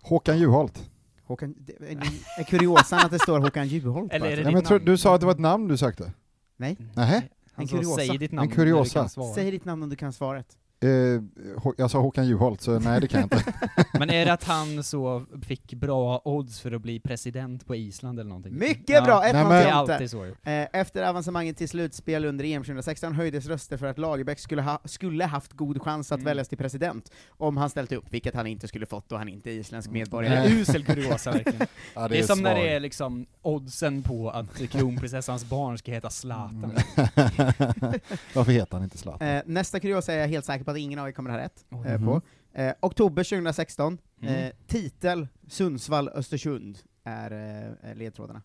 Speaker 2: Håkan Juholt.
Speaker 8: Håkan, det- är ni- är kuriosan att det står Håkan Juholt på
Speaker 1: Eller är det
Speaker 8: artikeln?
Speaker 2: Nej, men jag tror, du sa att det var ett namn du sökte?
Speaker 8: Nej.
Speaker 2: Nej.
Speaker 8: En kuriosa.
Speaker 1: säg ditt namn
Speaker 2: En kuriosa.
Speaker 1: när du kan svara.
Speaker 8: Säg ditt namn om du kan svaret.
Speaker 2: Eh, Hå- jag sa Håkan Juholt, så nej det kan jag (laughs) inte.
Speaker 1: Men är det att han så fick bra odds för att bli president på Island eller någonting?
Speaker 8: Mycket bra!
Speaker 1: Nej,
Speaker 8: Ett Nej,
Speaker 1: men... Det är alltid så.
Speaker 8: Eh, Efter avancemanget till slutspel under EM 2016 höjdes röster för att Lagerbäck skulle, ha, skulle haft god chans
Speaker 1: Mm.
Speaker 8: att väljas till president om han ställt upp, vilket han inte skulle fått då han inte är isländsk
Speaker 1: Mm.
Speaker 8: medborgare.
Speaker 1: Det är usel kuriosa verkligen.
Speaker 2: Ja,
Speaker 1: det,
Speaker 2: det
Speaker 1: är
Speaker 2: är
Speaker 1: som när
Speaker 2: svag.
Speaker 1: det är liksom oddsen på att kronprinsessans barn ska heta Zlatan.
Speaker 8: Mm.
Speaker 2: (laughs) Varför heter han inte Zlatan?
Speaker 8: Eh, nästa kuriosa är jag helt säker på att ingen av er kommer ha rätt
Speaker 2: Oj.
Speaker 8: eh, på.
Speaker 2: Mhm.
Speaker 8: Eh, oktober 2016, eh,
Speaker 2: Mm.
Speaker 8: titel Sundsvall-Östersund är eh, ledtrådarna.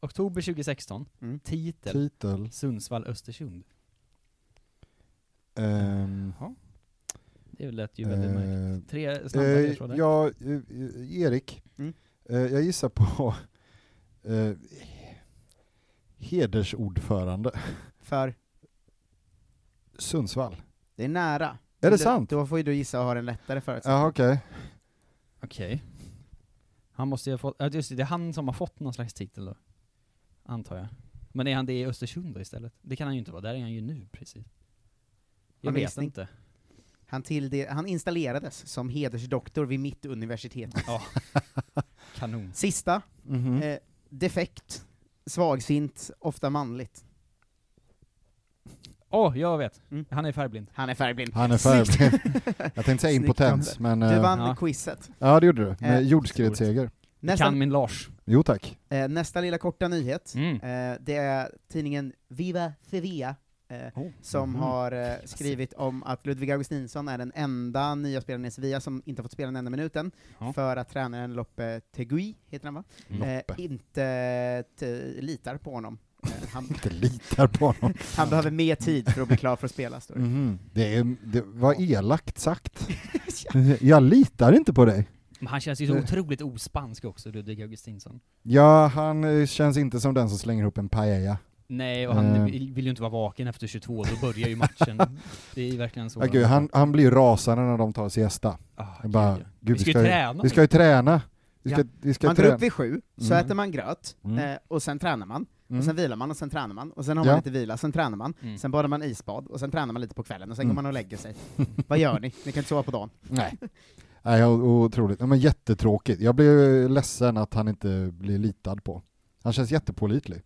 Speaker 1: Oktober 2016,
Speaker 8: Mm.
Speaker 2: typ.
Speaker 1: titel,
Speaker 2: Titel.
Speaker 1: Sundsvall-Östersund.
Speaker 2: Ehm,
Speaker 1: Det lät ju väldigt
Speaker 2: eh,
Speaker 1: märkligt. Tre snabba
Speaker 2: eh,
Speaker 1: ledtrådar.
Speaker 2: Ja, eh, eh, Erik. Eh, jag gissar på (laughs) eh, hedersordförande.
Speaker 8: För?
Speaker 2: Sundsvall.
Speaker 8: Det är nära.
Speaker 2: Är
Speaker 8: Men
Speaker 2: det
Speaker 8: du-
Speaker 2: sant?
Speaker 8: Då får ju du gissa och ha den lättare förutsättningen.
Speaker 2: Ja, okej.
Speaker 1: Okej. Han måste ju ha fått, ja just det, det är han som har fått någon slags titel då. Antar jag. Men är han det i Östersund då istället? Det kan han ju inte vara, där är han ju nu precis. Jag
Speaker 8: Vad
Speaker 1: vet
Speaker 8: minns ni?
Speaker 1: inte.
Speaker 8: Han, tillde- han installerades som hedersdoktor vid Mittuniversitetet.
Speaker 1: Kanon.
Speaker 8: Sista.
Speaker 1: Mhm.
Speaker 8: Eh, defekt, svagsint, ofta manligt.
Speaker 1: Åh, jag vet.
Speaker 8: Mm.
Speaker 1: Han är färgblind.
Speaker 8: Han är färgblind.
Speaker 2: Han är färgblind. (laughs) jag tänkte säga
Speaker 8: Snyggt
Speaker 2: impotens,
Speaker 8: jobbat.
Speaker 2: men...
Speaker 8: Du
Speaker 2: eh,
Speaker 8: vann quizet.
Speaker 2: Ja, det gjorde du. Med
Speaker 8: Eh,
Speaker 2: jordskredsseger.
Speaker 8: Nästan- Kan min
Speaker 1: Lars.
Speaker 2: Jo tack.
Speaker 8: Eh, nästa lilla korta nyhet.
Speaker 2: Mm.
Speaker 8: Eh, det är tidningen Viva Sevilla eh, som
Speaker 2: mhm.
Speaker 8: har eh, skrivit om att Ludvig Augustinsson är den enda nya spelaren i Sevilla som inte fått spela en enda minuten,
Speaker 1: Ja.
Speaker 8: för att tränaren Loppe Tegui, heter han va?
Speaker 2: Mm.
Speaker 8: Eh, inte t- litar på honom. Eh, han,
Speaker 2: (laughs) Inte litar på honom.
Speaker 8: han behöver mer tid för att bli klar för att spela, står det.
Speaker 2: Mhm. Det, är, det var elakt sagt. Jag litar inte på dig.
Speaker 1: Men han känns ju så
Speaker 2: Det-
Speaker 1: otroligt ospansk också, Ludvig Augustinsson.
Speaker 2: Ja, han eh, känns inte som den som slänger upp en paella.
Speaker 1: Nej, och han
Speaker 2: Eh.
Speaker 1: vill vill ju inte vara vaken efter 22, då börjar ju
Speaker 2: (laughs)
Speaker 1: matchen. det är ju verkligen så. Ah,
Speaker 2: Ja, gud, han, han blir ju rasande när de tar siesta. Jag bara, gud,
Speaker 1: Vi ska ju
Speaker 2: ju-
Speaker 1: träna
Speaker 2: Vi ska ju
Speaker 1: nu.
Speaker 2: träna. Vi ska,
Speaker 8: Ja.
Speaker 2: vi ska
Speaker 8: man
Speaker 2: träna.
Speaker 8: går upp vid sju, så
Speaker 2: Mm.
Speaker 8: äter man gröt,
Speaker 2: Mm.
Speaker 8: eh, och sen tränar man, och
Speaker 2: Mm.
Speaker 8: sen vilar man, och sen tränar man, och sen har
Speaker 2: Ja.
Speaker 8: man lite vila, sen tränar man,
Speaker 2: Mm.
Speaker 8: sen badar man isbad, och sen tränar man lite på kvällen, och sen
Speaker 2: Mm.
Speaker 8: går man och lägger sig. Vad gör ni? Ni kan inte sova på dagen.
Speaker 2: Nej. Nej, jag- otroligt. Ja, men jättetråkigt. Jag blev ledsen att han inte blir litad på. Han känns jättepålitlig.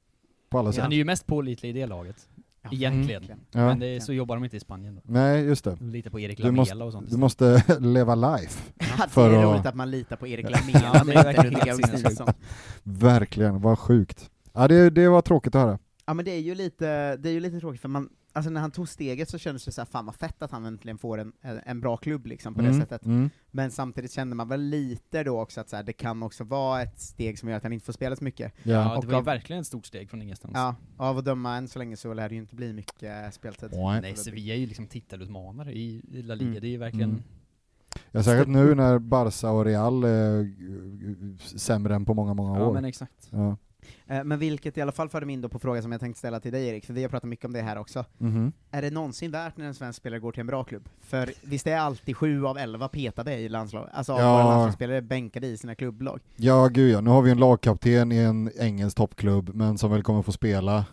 Speaker 2: På alla sätt.
Speaker 1: Han är ju mest pålitlig i det laget. Egentligen.
Speaker 2: Ja.
Speaker 1: Men det, är- så jobbar de inte i Spanien då.
Speaker 2: Nej, just det.
Speaker 1: Lite på Erik
Speaker 2: du måste,
Speaker 1: Lamela och sånt.
Speaker 2: Du måste (laughs) leva life.
Speaker 8: det är roligt att man litar på Erik Lamela,
Speaker 1: Ja, det är
Speaker 8: men inte
Speaker 1: verkligen
Speaker 8: Ludvig
Speaker 1: helt
Speaker 8: Augustinsson.
Speaker 1: sinnessjukt.
Speaker 2: Verkligen, vad sjukt. Ja, det, det var tråkigt att höra.
Speaker 8: Ja men det är ju lite, det är ju lite tråkigt, för man, alltså när han tog steget så kändes det så här, fan vad fett att han äntligen får en, en en bra klubb liksom på det
Speaker 2: Mm,
Speaker 8: sättet.
Speaker 2: mm.
Speaker 8: Men samtidigt kände man väl lite då också att så här, det kan också vara ett steg som gör att han inte får spela så mycket.
Speaker 1: Ja,
Speaker 8: Och
Speaker 1: det var ju
Speaker 8: av-
Speaker 1: verkligen ett stort steg från ingenstans.
Speaker 8: Ja, av att döma än så länge så lär det ju inte bli mycket eh, speltid.
Speaker 1: Nej, Sevilla är ju liksom titelutmanare i i La Liga,
Speaker 8: Mm.
Speaker 1: det är ju verkligen...
Speaker 2: Mm. Jag säger att nu när Barca och Real är eh, sämre än på många, många
Speaker 1: Ja,
Speaker 2: år.
Speaker 1: men exakt.
Speaker 2: Ja.
Speaker 8: Eh, Men vilket i alla fall förde mig in då på frågan som jag tänkte ställa till dig Erik, för vi har pratat mycket om det här också.
Speaker 2: Mhm.
Speaker 8: Är det någonsin värt när en svensk spelare går till en bra klubb? För visst är alltid sju av elva petade i landslag, alltså av
Speaker 2: Ja.
Speaker 8: våra landslagsspelare bänkade i sina klubblag.
Speaker 2: Ja, gud ja. Nu har vi en lagkapten i en engelsk toppklubb, men som väl kommer få spela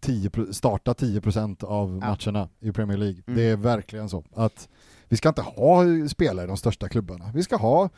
Speaker 2: 10, pro- starta 10% av matcherna i Premier League.
Speaker 9: Mm.
Speaker 2: Det är verkligen så. Att vi ska inte ha spelare i de största klubbarna. Vi ska ha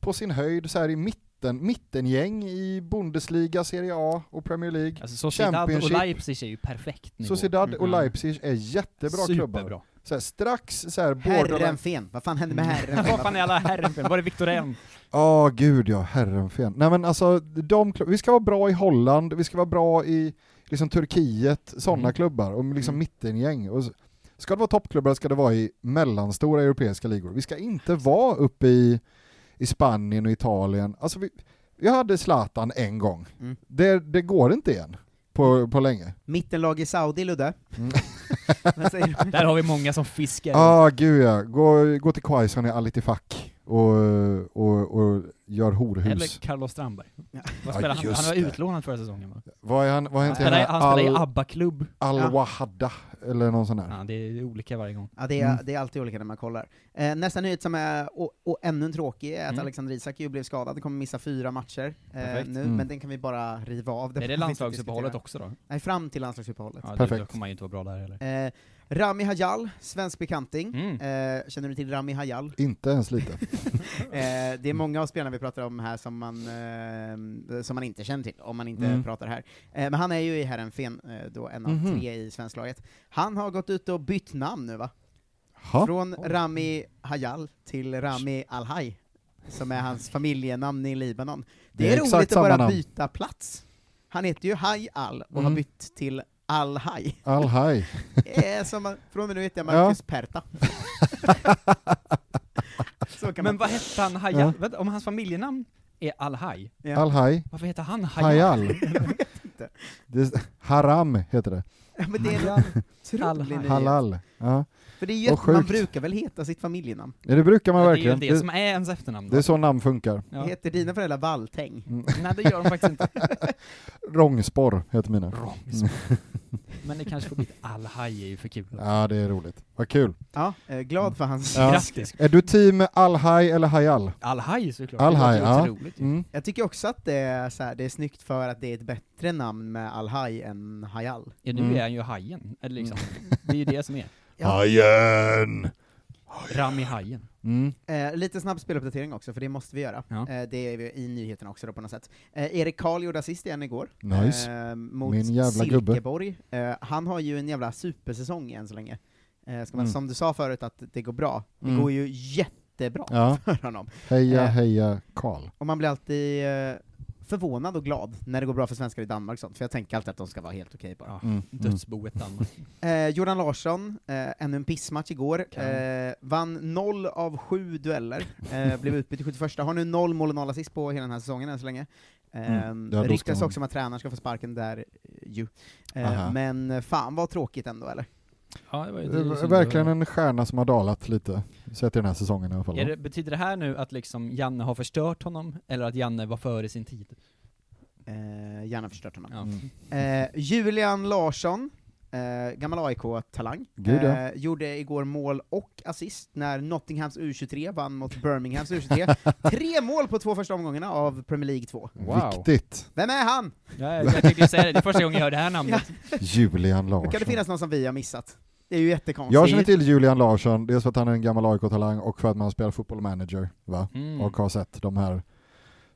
Speaker 2: på sin höjd så här i mitten, mittengäng i Bundesliga, Serie A och Premier League.
Speaker 1: Alltså Sociedad och
Speaker 2: Championship.
Speaker 1: Leipzig är ju perfekt nivå.
Speaker 2: Sociedad och
Speaker 1: Mm.
Speaker 2: Leipzig är jättebra
Speaker 1: Superbra.
Speaker 2: klubbar. Så här, strax så här borderline-
Speaker 8: Herrenfen, vad fan hände med
Speaker 1: Mm. (laughs)
Speaker 8: Herrenfen?
Speaker 1: Vad fan är alla Herrenfen? Var det Viktor Elm?
Speaker 2: Ja, gud ja, Herrenfen. Nej men alltså, de, klubb- vi ska vara bra i Holland, vi ska vara bra i liksom Turkiet, sådana
Speaker 1: Mm.
Speaker 2: klubbar, och liksom mittengäng. Och så, ska det vara toppklubbar ska det vara i mellanstora europeiska ligor. Vi ska inte vara uppe i, i Spanien och Italien. Alltså vi, jag hade Zlatan en gång.
Speaker 1: Mm.
Speaker 2: Det, det går inte igen på, på
Speaker 1: Eh.
Speaker 2: länge.
Speaker 8: Mittenlag i Saudi, Ludde?
Speaker 1: Mm.
Speaker 8: (laughs)
Speaker 1: Där har vi många som fiskar.
Speaker 2: Ja, ah, gud ja. Gå, gå till Quaison i Alitifak och, och, och gör horhus.
Speaker 1: Eller Carlos Strandberg. Vad
Speaker 2: Ja,
Speaker 1: spelar han?
Speaker 2: just
Speaker 1: Han var
Speaker 2: det.
Speaker 1: utlånad förra säsongen va?
Speaker 2: Vad är han, vad
Speaker 1: Han
Speaker 2: heter
Speaker 1: spelar i-
Speaker 2: den här
Speaker 1: han spelar i
Speaker 2: Al-
Speaker 1: ABBA-klubb.
Speaker 2: Al
Speaker 1: Ja.
Speaker 2: Wahada, eller någon sån där.
Speaker 1: Ja, det är olika varje gång.
Speaker 8: Ja, det är,
Speaker 1: Mm.
Speaker 8: det är alltid olika när man kollar. Eh, nästa nyhet som är, och, och ännu en tråkig, är att
Speaker 1: Mm.
Speaker 8: Alexander Isak ju blev skadad, kommer missa fyra matcher eh,
Speaker 1: Perfekt.
Speaker 8: nu,
Speaker 1: Mm.
Speaker 8: men den kan vi bara riva av.
Speaker 1: Är det
Speaker 8: behöver vi inte
Speaker 1: landslagsuppehållet
Speaker 8: diskutera.
Speaker 1: också då?
Speaker 8: Nej, fram till landslagsuppehållet.
Speaker 1: Ja, det- Då kommer man ju inte vara bra där heller.
Speaker 8: Eh, Rami Hayal, svensk bekanting.
Speaker 1: Mm.
Speaker 8: Eh, känner du till Rami Hayal?
Speaker 2: Inte
Speaker 1: (laughs)
Speaker 2: ens lite.
Speaker 8: Eh, det är många av spelarna vi pratar om här som man, eh, som man inte känner till, om man inte
Speaker 2: Mm.
Speaker 8: pratar här. Eh, men han är ju i Heerenveen, eh, då en av
Speaker 2: Mhm.
Speaker 8: tre i svensklaget. Han har gått ut och bytt namn nu va?
Speaker 2: Ha?
Speaker 8: Från Rami Hayal till Rami Alhaj, som är hans familjenamn i Libanon. Det,
Speaker 2: Det är
Speaker 8: är,
Speaker 2: exakt
Speaker 8: roligt att
Speaker 2: samma
Speaker 8: bara
Speaker 2: namn.
Speaker 8: byta plats. Han heter ju Hay Al, och har
Speaker 2: Mm.
Speaker 8: bytt till
Speaker 2: (laughs)
Speaker 8: Al-Haj.
Speaker 2: All high.
Speaker 8: Eh, som man, från och med nu heter jag Marcus
Speaker 2: (laughs)
Speaker 8: Perta. Så
Speaker 1: Men
Speaker 8: kan man-
Speaker 1: vad hette han, Hayal?
Speaker 2: Ja.
Speaker 1: Vänta, Om hans familjenamn är Al-Haj?
Speaker 8: Ja.
Speaker 2: Al-Haj.
Speaker 1: Varför heter han (laughs) Hayal?
Speaker 2: Hayal. Det, haram heter det.
Speaker 8: Ja,
Speaker 1: (laughs)
Speaker 8: men det är
Speaker 1: Halal.
Speaker 8: en otrolig nyhet.
Speaker 2: Halal. Ja.
Speaker 8: För det är ju
Speaker 2: Och
Speaker 8: att man
Speaker 2: sjukt.
Speaker 8: brukar väl heta sitt familjenamn?
Speaker 2: Ja, det brukar man
Speaker 1: Ja, det är ju
Speaker 2: verkligen.
Speaker 1: det som är ens efternamn då.
Speaker 2: Det är så namn funkar.
Speaker 8: Heter dina föräldrar Valtäng?
Speaker 1: Nej, det gör de faktiskt (laughs) inte.
Speaker 2: Rångsporr heter mina.
Speaker 1: Rångsporr. Men det kanske får bli ett Al-Haj är ju för kul.
Speaker 2: ja, det är roligt. Vad kul.
Speaker 8: Ja, eh, glad för hans...
Speaker 2: Ja. Är du team Al-Haj eller Hayal?
Speaker 1: Al-Haj såklart.
Speaker 2: Al-Haj,
Speaker 8: Det låter
Speaker 2: ja.
Speaker 8: otroligt ju.
Speaker 2: Mm.
Speaker 8: Jag tycker också att det är, så här, det är snyggt för att det är ett bättre namn med Al-Haj än Hayal.
Speaker 1: Ja, nu
Speaker 2: Mm.
Speaker 1: är han ju hajen. Eller liksom. (laughs) Det är ju det som är.
Speaker 8: Ja.
Speaker 9: Hajen!
Speaker 1: Rami Hajen.
Speaker 2: Mm.
Speaker 8: Eh, lite snabb speluppdatering också, för det måste vi göra. Eh, det är vi i nyheterna också då på något sätt. Eh, Erik Karl gjorde assist igen igår.
Speaker 2: Nice.
Speaker 8: Eh, mot
Speaker 2: Min jävla gubbe.
Speaker 8: Silkeborg. Eh, han har ju en jävla supersäsong än så länge. Eh, ska man,
Speaker 2: Mm.
Speaker 8: Som du sa förut, att det går bra. Det
Speaker 2: Mm.
Speaker 8: går ju jättebra
Speaker 1: (laughs)
Speaker 2: Ja.
Speaker 8: för honom.
Speaker 2: Heja,
Speaker 8: Eh,
Speaker 2: heja, Karl.
Speaker 8: Och man blir alltid eh, förvånad och glad när det går bra för svenskar i Danmark och sånt, för jag tänker alltid att de ska vara helt okej bara.
Speaker 2: Mm,
Speaker 1: Dödsboet Danmark.
Speaker 8: Eh, Jordan Larsson, eh, ännu en pissmatch igår, eh, vann noll av sju dueller, eh, blev utbytt i 71, har nu noll mål och noll assist på hela den här säsongen än så länge. Eh,
Speaker 2: Mm, ja, då ska
Speaker 8: ryktas
Speaker 2: man-
Speaker 8: också om att tränaren ska få sparken där eh, ju.
Speaker 2: Aha.
Speaker 8: Eh, men eh, fan vad tråkigt ändå eller?
Speaker 1: (laughs) Ja, det var ju det är
Speaker 2: Det
Speaker 1: ju synd
Speaker 2: är
Speaker 1: att
Speaker 2: Eh, verkligen
Speaker 1: höra.
Speaker 2: en stjärna som har dalat lite, sett i den här säsongen i alla fall.
Speaker 1: Är det, betyder det här nu att liksom Janne har förstört honom, eller att Janne var före sin tid?
Speaker 8: Eh, gärna förstört honom.
Speaker 2: Mm.
Speaker 1: Ja.
Speaker 8: Eh, Julian Larsson, eh, gammal AIK-talang,
Speaker 2: Gud, ja.
Speaker 8: eh, gjorde igår mål och assist när Nottinghams U23 vann mot Birminghams
Speaker 2: (laughs)
Speaker 8: U23. Tre mål på två första omgångarna av Premier League 2.
Speaker 2: Viktigt.
Speaker 8: Vem är han?
Speaker 1: Ja, (laughs) jag tänkte säga det, det är första gången jag hör det här namnet.
Speaker 2: Julian
Speaker 8: Hur kan det
Speaker 2: Larsson.
Speaker 8: finnas någon som vi har missat? Det är ju jättekonstigt.
Speaker 2: Jag känner till Julian Larsson, dels för att han är en gammal AIK-talang och för att man spelar fotboll manager, va?
Speaker 1: Mm.
Speaker 2: Och har sett de här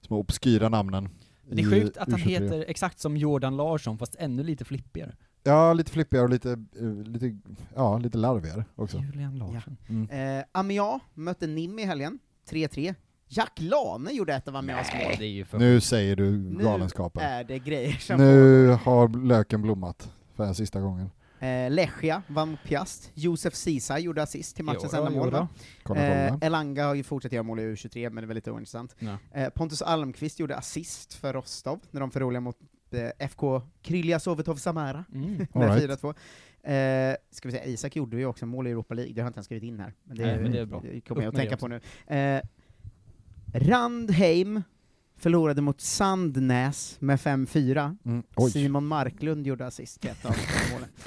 Speaker 2: små obskyra namnen.
Speaker 1: Det är
Speaker 2: i
Speaker 1: sjukt att han
Speaker 2: U23.
Speaker 1: heter exakt som Jordan Larsson, fast ännu lite flippigare.
Speaker 2: Ja, lite flippigare och lite, eh, lite, ja, lite larvigare också.
Speaker 1: Julian Larsson.
Speaker 2: Mm.
Speaker 8: Eh, Amia mötte Nim i helgen, 3-3. Jack Lane gjorde ett av Amias mål.
Speaker 1: Det är ju för...
Speaker 2: Nu säger du
Speaker 8: Nu
Speaker 2: galenskapen.
Speaker 8: är det grejer som
Speaker 2: Nu har löken blommat för den sista gången.
Speaker 8: Eh, Lechia vann mot Piast, Josef Sisa gjorde assist till matchens
Speaker 1: Jo då,
Speaker 8: enda
Speaker 1: jo
Speaker 8: mål. va?
Speaker 2: Kolla,
Speaker 8: Eh,
Speaker 2: kolla.
Speaker 8: Elanga har ju fortsatt göra mål i U23, men det är väldigt ointressant.
Speaker 1: Ja.
Speaker 8: Eh, Pontus Almqvist gjorde assist för Rostov när de förlorade mot eh, FK Krylja Sovetov Samara
Speaker 1: Mm.
Speaker 8: med
Speaker 2: All right.
Speaker 8: 4-2. Eh, ska vi säga, Isak gjorde ju också mål i Europa League, det har jag inte ens skrivit in här. Men det,
Speaker 1: Nej, men det är bra.
Speaker 8: kommer jag
Speaker 1: Upp
Speaker 8: att
Speaker 1: med
Speaker 8: tänka
Speaker 1: det
Speaker 8: på nu. Eh, Randheim förlorade mot Sandnäs med 5-4.
Speaker 2: Mm. Oj.
Speaker 8: Simon Marklund gjorde assist till ett av
Speaker 1: (laughs)
Speaker 8: målen.
Speaker 1: (laughs)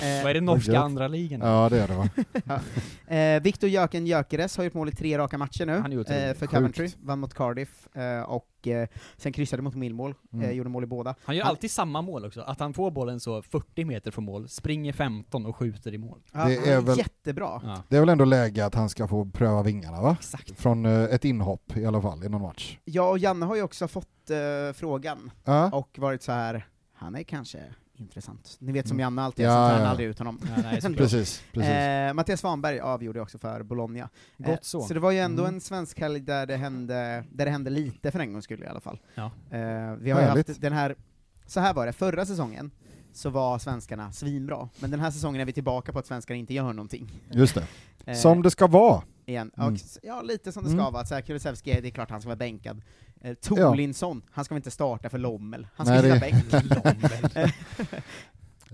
Speaker 1: Vad är det norska
Speaker 2: Oj,
Speaker 1: andra ligan?
Speaker 2: Ja, det är det va?
Speaker 8: Eh, Viktor Jöken Gyökeres har gjort mål i tre raka matcher nu
Speaker 1: Han är otrolig.
Speaker 8: eh, för Coventry, vann mot Cardiff, eh, och eh, sen kryssade mot Millwall, eh,
Speaker 1: Mm.
Speaker 8: gjorde mål i båda.
Speaker 1: Han gör alltid samma mål också, att han får bollen så 40 meter från mål, springer 15 och skjuter i mål.
Speaker 8: Ja,
Speaker 2: Det
Speaker 8: han
Speaker 2: är
Speaker 8: är
Speaker 2: väl-
Speaker 8: jättebra.
Speaker 1: Ja.
Speaker 2: Det är väl ändå läge att han ska få pröva vingarna va?
Speaker 1: Exakt.
Speaker 2: Från eh, ett inhopp i alla fall i någon match.
Speaker 8: Jag och Janne har ju också fått eh, frågan,
Speaker 2: Ja.
Speaker 8: och varit så här han är kanske intressant. Ni vet som
Speaker 2: Mm.
Speaker 8: Janne alltid är,
Speaker 2: Ja,
Speaker 8: så tar han
Speaker 2: ja.
Speaker 8: aldrig ut honom.
Speaker 1: Ja, nej, (laughs) såklart.
Speaker 2: Precis, precis.
Speaker 8: Eh, Mattias Svanberg avgjorde också för Bologna. Eh,
Speaker 1: Gott så.
Speaker 8: Så det var ju ändå
Speaker 2: Mm.
Speaker 8: en svensk helg där det hände, där det hände lite för en gångs skull i alla fall.
Speaker 1: Ja.
Speaker 8: Eh, vi har ju
Speaker 2: Härligt.
Speaker 8: haft den här, så här var det, förra säsongen så var svenskarna svinbra, men den här säsongen är vi tillbaka på att svenskarna inte gör någonting.
Speaker 2: Just det.
Speaker 8: Eh,
Speaker 2: Som det ska vara.
Speaker 8: igen. Och,
Speaker 2: Mm.
Speaker 8: s- Ja, lite som det ska
Speaker 2: Mm.
Speaker 8: vara. Så här, Kulusevski, det är klart han ska vara bänkad. Eh, Torlinsson, han ska väl inte starta för Lommel? Han ska
Speaker 2: Nej,
Speaker 8: sitta
Speaker 2: det-
Speaker 8: bänk.
Speaker 1: Lommel.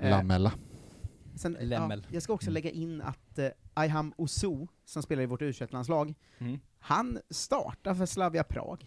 Speaker 8: Eh,
Speaker 2: Lamella.
Speaker 8: Sen, ja,
Speaker 1: Lemmel. Mm.
Speaker 8: jag ska också lägga in att eh, Ayham Ozu, som spelar i vårt u landslag
Speaker 1: Mm.
Speaker 8: han startar för Slavia Prag.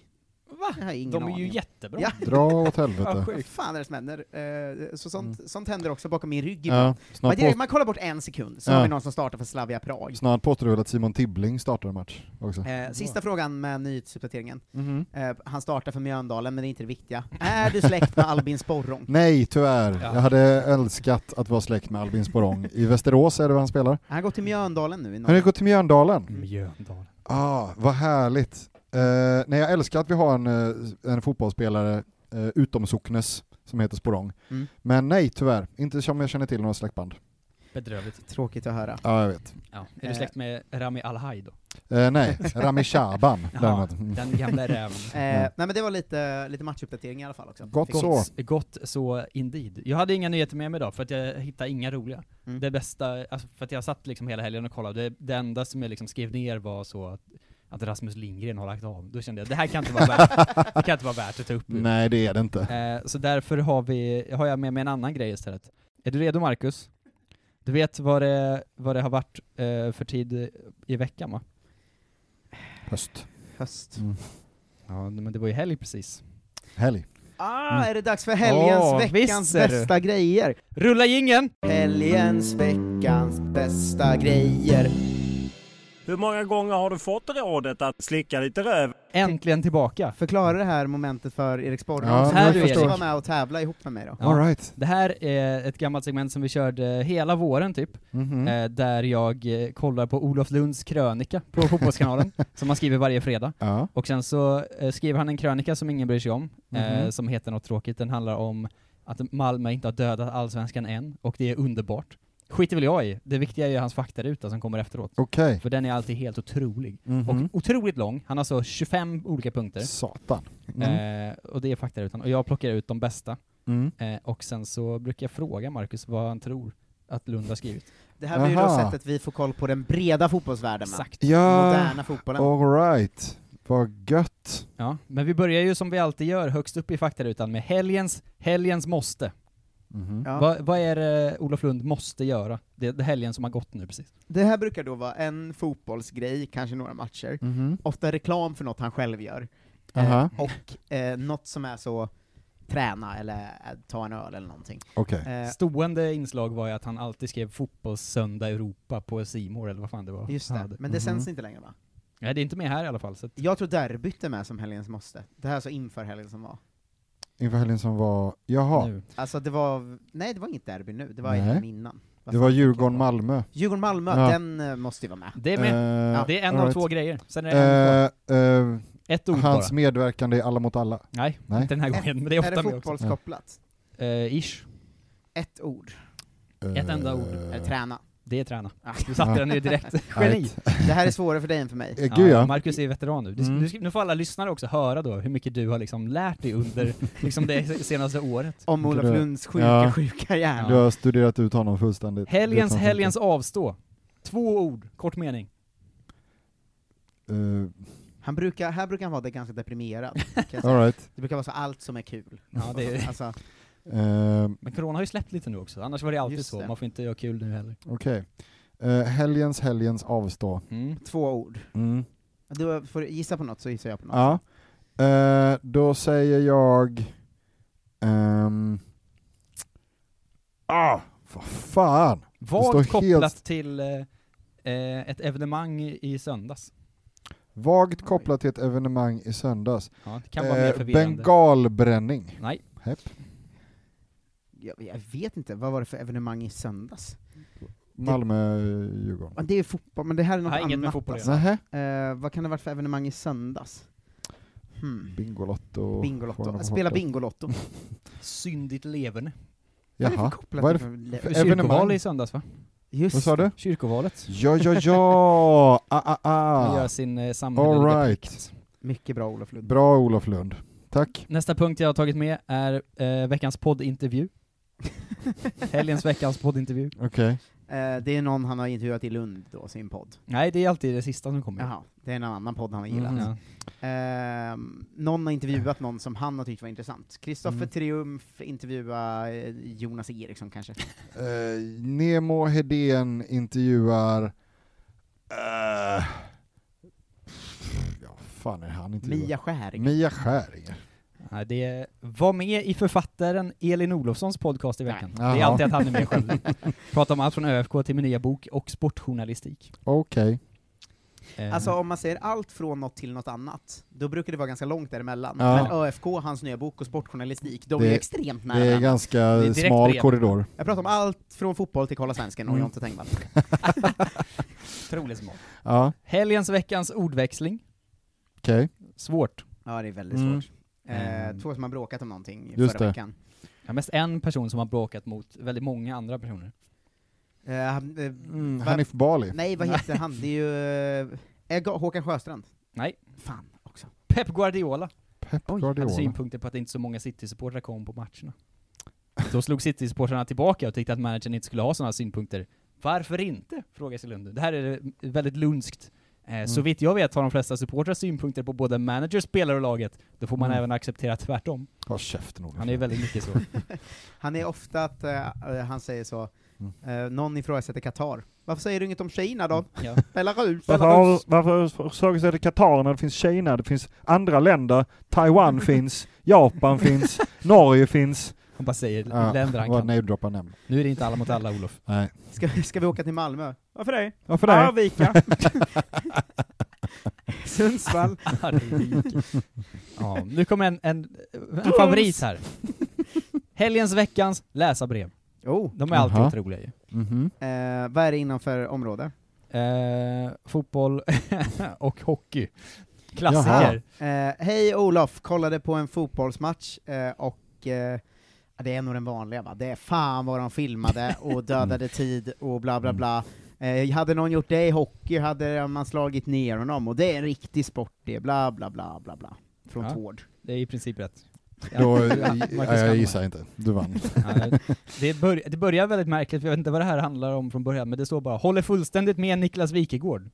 Speaker 1: Va?
Speaker 8: Jag har ingen
Speaker 1: De är ju
Speaker 8: aning.
Speaker 1: jättebra.
Speaker 2: Dra åt helvete.
Speaker 8: Vad fan är det som händer? Eh, Så sånt,
Speaker 1: Mm.
Speaker 8: sånt händer också bakom min rygg
Speaker 2: Ja,
Speaker 8: ibland.
Speaker 2: snart
Speaker 8: man, direkt,
Speaker 2: på-
Speaker 8: man kollar bort en sekund, så
Speaker 2: Ja.
Speaker 8: har vi någon som startar för Slavia Prag.
Speaker 2: Snart påstår du väl att Simon Tibbling startar en match också?
Speaker 8: Eh, sista frågan med nyhetsuppdateringen.
Speaker 2: Mhm.
Speaker 8: Eh, han startar för Mjöndalen, men det är inte det viktiga. Är du släkt med Albin Sporrong?
Speaker 2: Nej, tyvärr.
Speaker 8: Ja.
Speaker 2: Jag hade älskat att vara släkt med Albin Sporrong. I Västerås är det var han spelar.
Speaker 8: Han går till Mjöndalen nu i
Speaker 2: Han har
Speaker 8: Norge.
Speaker 2: gått till Mjöndalen.
Speaker 1: Mm. Mjöndalen.
Speaker 2: Ah, vad härligt. Eh, nej, jag älskar att vi har en, eh, en fotbollsspelare uh, utom Socknes som heter Sporrong.
Speaker 8: Mm.
Speaker 2: Men nej, tyvärr. Inte som jag känner till några släktband.
Speaker 1: Bedrövligt.
Speaker 8: Tråkigt att höra.
Speaker 2: Ja, jag vet.
Speaker 1: Ja. Är du
Speaker 8: Eh.
Speaker 1: släkt med Rami Alhaj då?
Speaker 2: Eh,
Speaker 8: (laughs)
Speaker 2: nej, Rami Shaban
Speaker 1: Ja,
Speaker 2: däremot. Mm.
Speaker 1: den (laughs) gamla räven.
Speaker 8: Eh, nej men det var lite, lite matchuppdatering i alla fall också.
Speaker 2: Gott
Speaker 8: Fick-
Speaker 2: så.
Speaker 1: Gott så indeed. Jag hade inga nyheter med mig idag för att jag hittade inga roliga.
Speaker 8: Mm.
Speaker 1: Det bästa, alltså för att jag satt liksom hela helgen och kollade, det, det enda som jag liksom skrev ner var så att, att Rasmus Lindgren har lagt av. Då kände jag det här kan inte vara värt, det kan inte vara värt att ta upp.
Speaker 2: (laughs) Nej, det är det inte.
Speaker 1: Eh, så därför har, vi, har jag med mig en annan grej istället. Är du redo Marcus? Du vet vad det, vad det har varit eh, för tid i veckan va?
Speaker 2: Höst.
Speaker 8: Höst.
Speaker 1: Ja, men det var ju helg precis.
Speaker 2: Helg.
Speaker 8: Ah, är det dags för helgens,
Speaker 1: Åh,
Speaker 8: veckans
Speaker 1: Mm. visst är du.
Speaker 8: bästa grejer?
Speaker 1: Rulla ingen.
Speaker 8: Helgens, veckans bästa grejer.
Speaker 19: Hur många gånger har du fått rådet att slicka lite röv?
Speaker 1: Äntligen tillbaka.
Speaker 8: Förklara det här momentet för Erik Sporre.
Speaker 1: Ja,
Speaker 8: som
Speaker 1: här du,
Speaker 8: du
Speaker 1: Erik.
Speaker 8: var med och tävla ihop med mig då.
Speaker 1: Ja. Det här är ett gammalt segment som vi körde hela våren typ,
Speaker 8: Mhm.
Speaker 2: Mm.
Speaker 1: eh, där jag eh, kollar på Olof Lunds krönika
Speaker 2: (laughs)
Speaker 1: på Fotbollskanalen, som han skriver varje fredag.
Speaker 2: Ja.
Speaker 1: Och sen så eh, skriver han en krönika som ingen bryr sig om, eh,
Speaker 2: Mhm.
Speaker 1: som heter något tråkigt, den handlar om att Malmö inte har dödat allsvenskan än, och det är underbart. Skiter väl jag i, det viktiga är ju hans faktaruta som kommer efteråt.
Speaker 2: Okej.
Speaker 1: För den är alltid helt otrolig.
Speaker 2: Mhm.
Speaker 1: Och otroligt lång, han har så 25 olika punkter.
Speaker 2: Satan.
Speaker 1: Eh, och det är faktarutan, och jag plockar ut de bästa.
Speaker 2: Mm.
Speaker 1: Eh, och sen så brukar jag fråga Marcus vad han tror att Lund har skrivit.
Speaker 8: Det här blir ju då
Speaker 2: Aha.
Speaker 8: sättet vi får koll på den breda fotbollsvärlden med.
Speaker 1: Exakt.
Speaker 2: Ja,
Speaker 8: Moderna fotbollen.
Speaker 2: all right. Vad gött.
Speaker 1: Ja, men vi börjar ju som vi alltid gör högst upp i faktarutan med helgens, helgens måste.
Speaker 8: Ja.
Speaker 1: Vad, vad är det Olof Lund måste göra? Det, det helgen som har gått nu precis.
Speaker 8: Det här brukar då vara en fotbollsgrej, kanske några matcher,
Speaker 2: Mm-hmm.
Speaker 1: Mhm.
Speaker 8: ofta reklam för något han själv gör,
Speaker 2: Aha.
Speaker 8: eh, och eh, något som är så träna eller eh, ta en öl eller någonting. Eh,
Speaker 1: Stående inslag var ju att han alltid skrev fotbollssöndag Europa på Simor eller vad fan det var.
Speaker 8: Just det,
Speaker 1: han hade.
Speaker 8: men det sänds inte längre va?
Speaker 1: Nej, det är inte med här i alla fall. Så att,
Speaker 8: Jag tror derbyt är med som helgens måste. Det här är så inför helgen som var.
Speaker 1: Eh.
Speaker 2: Inför helgen som var, jaha,
Speaker 8: Alltså det var, nej det var inget derby nu, det var
Speaker 2: Nej.
Speaker 8: helgen innan. Vad
Speaker 2: det
Speaker 8: fan?
Speaker 2: var Djurgården-Malmö.
Speaker 8: Djurgården-Malmö,
Speaker 2: Ja.
Speaker 8: den eh, måste ju vara med.
Speaker 1: Det är med.
Speaker 2: Eh,
Speaker 1: Ja, det är en
Speaker 2: all
Speaker 1: av två grejer. Sen är det en
Speaker 2: Eh, eh,
Speaker 1: Ett ord
Speaker 2: Hans
Speaker 1: bara.
Speaker 2: medverkande i Alla mot alla.
Speaker 1: nej, inte den här gången, men det är ofta
Speaker 8: Är det
Speaker 1: med också.
Speaker 8: fotbollskopplat?
Speaker 1: Eh, ish.
Speaker 8: Ett ord.
Speaker 1: Ett enda ord.
Speaker 2: Eh,
Speaker 8: Är det träna?
Speaker 1: Det är träna.
Speaker 8: Ah.
Speaker 1: Du satte den ju direkt. Geni!
Speaker 8: Det här är svårare för dig än för mig.
Speaker 2: Eh, (laughs) gud, ja.
Speaker 1: Marcus är veteran nu. Du,
Speaker 2: Mm.
Speaker 1: nu, ska- nu får alla lyssnare också höra då hur mycket du har liksom lärt dig
Speaker 2: (laughs)
Speaker 1: under liksom det senaste året.
Speaker 8: Om Olof
Speaker 2: Du-
Speaker 8: Lunds sjuka,
Speaker 2: ja.
Speaker 8: sjuka hjärna.
Speaker 2: Du har studerat ut honom fullständigt. Vet
Speaker 1: Helgens,
Speaker 2: han
Speaker 1: helgens avstå. Två ord, kort mening.
Speaker 2: inte.
Speaker 8: Han brukar, här brukar han vara det ganska deprimerad. kan jag säga.
Speaker 2: All right.
Speaker 8: Det brukar vara så allt som är kul.
Speaker 1: Ja, det är-
Speaker 8: alltså,
Speaker 2: Eh, eh,
Speaker 1: Men corona har ju släppt lite nu också, annars var det alltid
Speaker 8: Just
Speaker 1: så.
Speaker 8: det.
Speaker 1: Man får inte göra kul nu heller.
Speaker 2: Okej. Eh, helgens, helgens avstå.
Speaker 1: Mm.
Speaker 8: två ord.
Speaker 2: Mm.
Speaker 8: Du får gissa på något så gissar jag på något.
Speaker 2: Ja. Eh, då säger jag... ehm, ah, vad fan! Det
Speaker 1: Vagt
Speaker 2: står
Speaker 1: kopplat
Speaker 2: helt-
Speaker 1: till eh, eh, ett evenemang i söndags.
Speaker 2: Vagt kopplat till ett evenemang i söndags.
Speaker 1: Ja, det kan vara
Speaker 2: Eh,
Speaker 1: mer förvirrande.
Speaker 2: bengalbränning.
Speaker 1: Nej.
Speaker 2: Hepp.
Speaker 8: Jag, jag vet inte, vad var det för evenemang i söndags?
Speaker 2: Malmö, Djurgården.
Speaker 8: Ja, Det är ju fotboll, men det här är något
Speaker 1: Nej,
Speaker 8: annat.
Speaker 1: inget med fotboll att
Speaker 8: alltså.
Speaker 1: göra.
Speaker 8: Eh, vad kan det ha varit för evenemang i söndags? Hmm.
Speaker 2: Bingolotto. Får
Speaker 8: Bingolotto.
Speaker 2: de
Speaker 8: Att spela
Speaker 2: hoppa.
Speaker 8: Bingolotto.
Speaker 1: Syndigt leverne.
Speaker 2: Jaha.
Speaker 8: kopplat
Speaker 2: Vad är det
Speaker 8: till
Speaker 2: för,
Speaker 8: något
Speaker 2: för
Speaker 8: le-
Speaker 1: Kyrkoval
Speaker 2: evenemang?
Speaker 1: i söndags va?
Speaker 8: Just
Speaker 2: Vad sa du?
Speaker 1: Kyrkovalet.
Speaker 2: Ja, ja, ja! Ah, ah,
Speaker 1: Han gör
Speaker 2: ah.
Speaker 1: sin eh,
Speaker 2: All
Speaker 1: samhälleliga
Speaker 2: right.
Speaker 8: Mycket bra Olof Lund.
Speaker 2: Bra Olof Lund. Tack.
Speaker 1: Nästa punkt jag har tagit med är eh, veckans poddintervju. Helgens veckans poddintervju.
Speaker 2: Okej.
Speaker 8: Eh, det är någon han har intervjuat i Lund då, sin podd.
Speaker 1: Nej, det är alltid det sista som kommer.
Speaker 8: Jaha, det är en annan podd han har
Speaker 2: Mhm.
Speaker 8: gillat.
Speaker 1: Mm,
Speaker 8: Ehm, någon har intervjuat någon som han har tyckt var intressant. Kristoffer
Speaker 2: Mm.
Speaker 8: Triumf intervjua eh, Jonas Eriksson kanske.
Speaker 2: Eh, Nemo Hedén intervjuar... eh, ja, fan är han inte?
Speaker 1: Mia Skäringer.
Speaker 2: Mia Skäringer.
Speaker 1: Nej, det var med i författaren Elin Olofssons podcast i veckan.
Speaker 2: Nej.
Speaker 1: Det är
Speaker 2: Jaha.
Speaker 1: alltid att han är med själv. Pratar om allt från ÖFK till min nya bok och sportjournalistik.
Speaker 2: Okej.
Speaker 1: Eh,
Speaker 8: Alltså om man säger allt från något till något annat, då brukar det vara ganska långt däremellan.
Speaker 2: Ja.
Speaker 8: Men ÖFK, hans nya bok och sportjournalistik, de är ju
Speaker 2: Det-
Speaker 8: extremt nära.
Speaker 2: det är ganska
Speaker 8: Det är direkt
Speaker 2: smal
Speaker 8: bredvid.
Speaker 2: korridor.
Speaker 8: Jag pratar om allt från fotboll till Kolla Svensken och
Speaker 1: Mm.
Speaker 8: Jonte Tengvall.
Speaker 1: Otroligt smart.
Speaker 2: Ja.
Speaker 1: Helgens veckans ordväxling.
Speaker 2: Okej.
Speaker 1: Svårt.
Speaker 8: Ja, det är väldigt
Speaker 1: Mm.
Speaker 8: svårt. Eh, två som har bråkat om någonting
Speaker 1: Just
Speaker 8: förra
Speaker 1: det.
Speaker 8: veckan.
Speaker 1: Ja, mest en person som har bråkat mot väldigt många andra personer.
Speaker 8: Eh, han- eh,
Speaker 2: Mm,
Speaker 8: va-
Speaker 1: Hanif Bali.
Speaker 8: Nej, vad heter han? Det är ju... eh, är Ga- Håkan Sjöstrand?
Speaker 1: Nej.
Speaker 8: Fan också.
Speaker 1: Pep Guardiola.
Speaker 2: Pep
Speaker 1: Hade
Speaker 2: Guardiola.
Speaker 1: synpunkter på att inte så många City-supportrar kom på
Speaker 2: (laughs)
Speaker 1: matcherna. Då slog City-supportrarna tillbaka och tyckte att managern inte skulle ha sådana synpunkter. Varför inte? Frågar sig Lund. Det här är väldigt lunskt. Eh, Så
Speaker 2: Mm.
Speaker 1: vitt jag vet har de flesta supportrar synpunkter på både manager, spelare och laget. Då får man
Speaker 8: Mm.
Speaker 1: även acceptera tvärtom.
Speaker 2: Håll käften Olof.
Speaker 1: Han är väldigt
Speaker 2: (laughs)
Speaker 1: mycket så.
Speaker 8: Han är ofta att eh, eh, han säger så, eh, någon ifrågasätter Qatar. Varför säger du inget om Kina då? (laughs)
Speaker 1: Ja.
Speaker 8: Belarus,
Speaker 20: Varför, har,
Speaker 8: Belarus.
Speaker 20: varför sågas det Qatar när det finns Kina, det finns andra länder,
Speaker 8: (laughs)
Speaker 20: Taiwan finns, Japan finns, Norge finns.
Speaker 1: Han bara säger
Speaker 2: Ja,
Speaker 1: länder han
Speaker 2: vad
Speaker 1: kan.
Speaker 2: namedroppar nämn.
Speaker 1: Nu är det inte alla mot alla,
Speaker 2: (laughs)
Speaker 1: Olof.
Speaker 2: Nej.
Speaker 8: Ska, ska vi åka till Malmö? Varför det?
Speaker 20: Varför det?
Speaker 8: Arvika. (laughs) Sundsvall.
Speaker 1: Arvika. Ja, nu kommer en, en, en favorit här. Helgens, veckans läsarbrev.
Speaker 8: Oh.
Speaker 1: De är alltid
Speaker 8: Jaha.
Speaker 1: otroliga ju.
Speaker 2: Mhm.
Speaker 8: Eh, vad är det inom för område?
Speaker 1: Eh, fotboll (laughs) och hockey. Klassiker.
Speaker 8: Eh, Hej Olof, kollade på en fotbollsmatch eh, och eh, ja, det är nog den vanliga va? Det är fan vad de filmade
Speaker 2: (laughs)
Speaker 8: och dödade tid och bla
Speaker 2: Mm.
Speaker 8: bla bla. Eh, hade någon gjort det i hockey hade man slagit ner honom och det är en riktig sport det, bla bla bla bla bla. Från
Speaker 1: Ja.
Speaker 8: Tord.
Speaker 1: Det är i princip rätt.
Speaker 2: Då, eh,
Speaker 1: Ja,
Speaker 2: (laughs) ja,
Speaker 1: Marcus
Speaker 2: jag
Speaker 1: Hallberg.
Speaker 2: gissar inte. Du (laughs) vann.
Speaker 1: Ja, det, bör, det börjar väldigt märkligt, för jag vet inte vad det här handlar om från början, men det står bara ”Håller fullständigt med Niklas Wikegård”.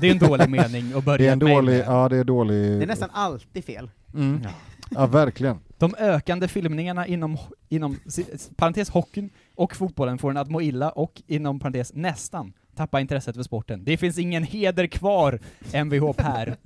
Speaker 1: Det är en
Speaker 2: (laughs)
Speaker 1: dålig mening att börja
Speaker 2: Det är en
Speaker 1: ett mejl
Speaker 2: dålig,
Speaker 1: med.
Speaker 2: ja det är dålig...
Speaker 1: Det är
Speaker 8: Nästan alltid fel.
Speaker 2: Mm. Ja, verkligen.
Speaker 1: De ökande filmningarna inom, inom s- parentes hockeyn och fotbollen får en att må illa och inom parentes nästan tappa intresset för sporten. Det finns ingen heder kvar, Mvh Per.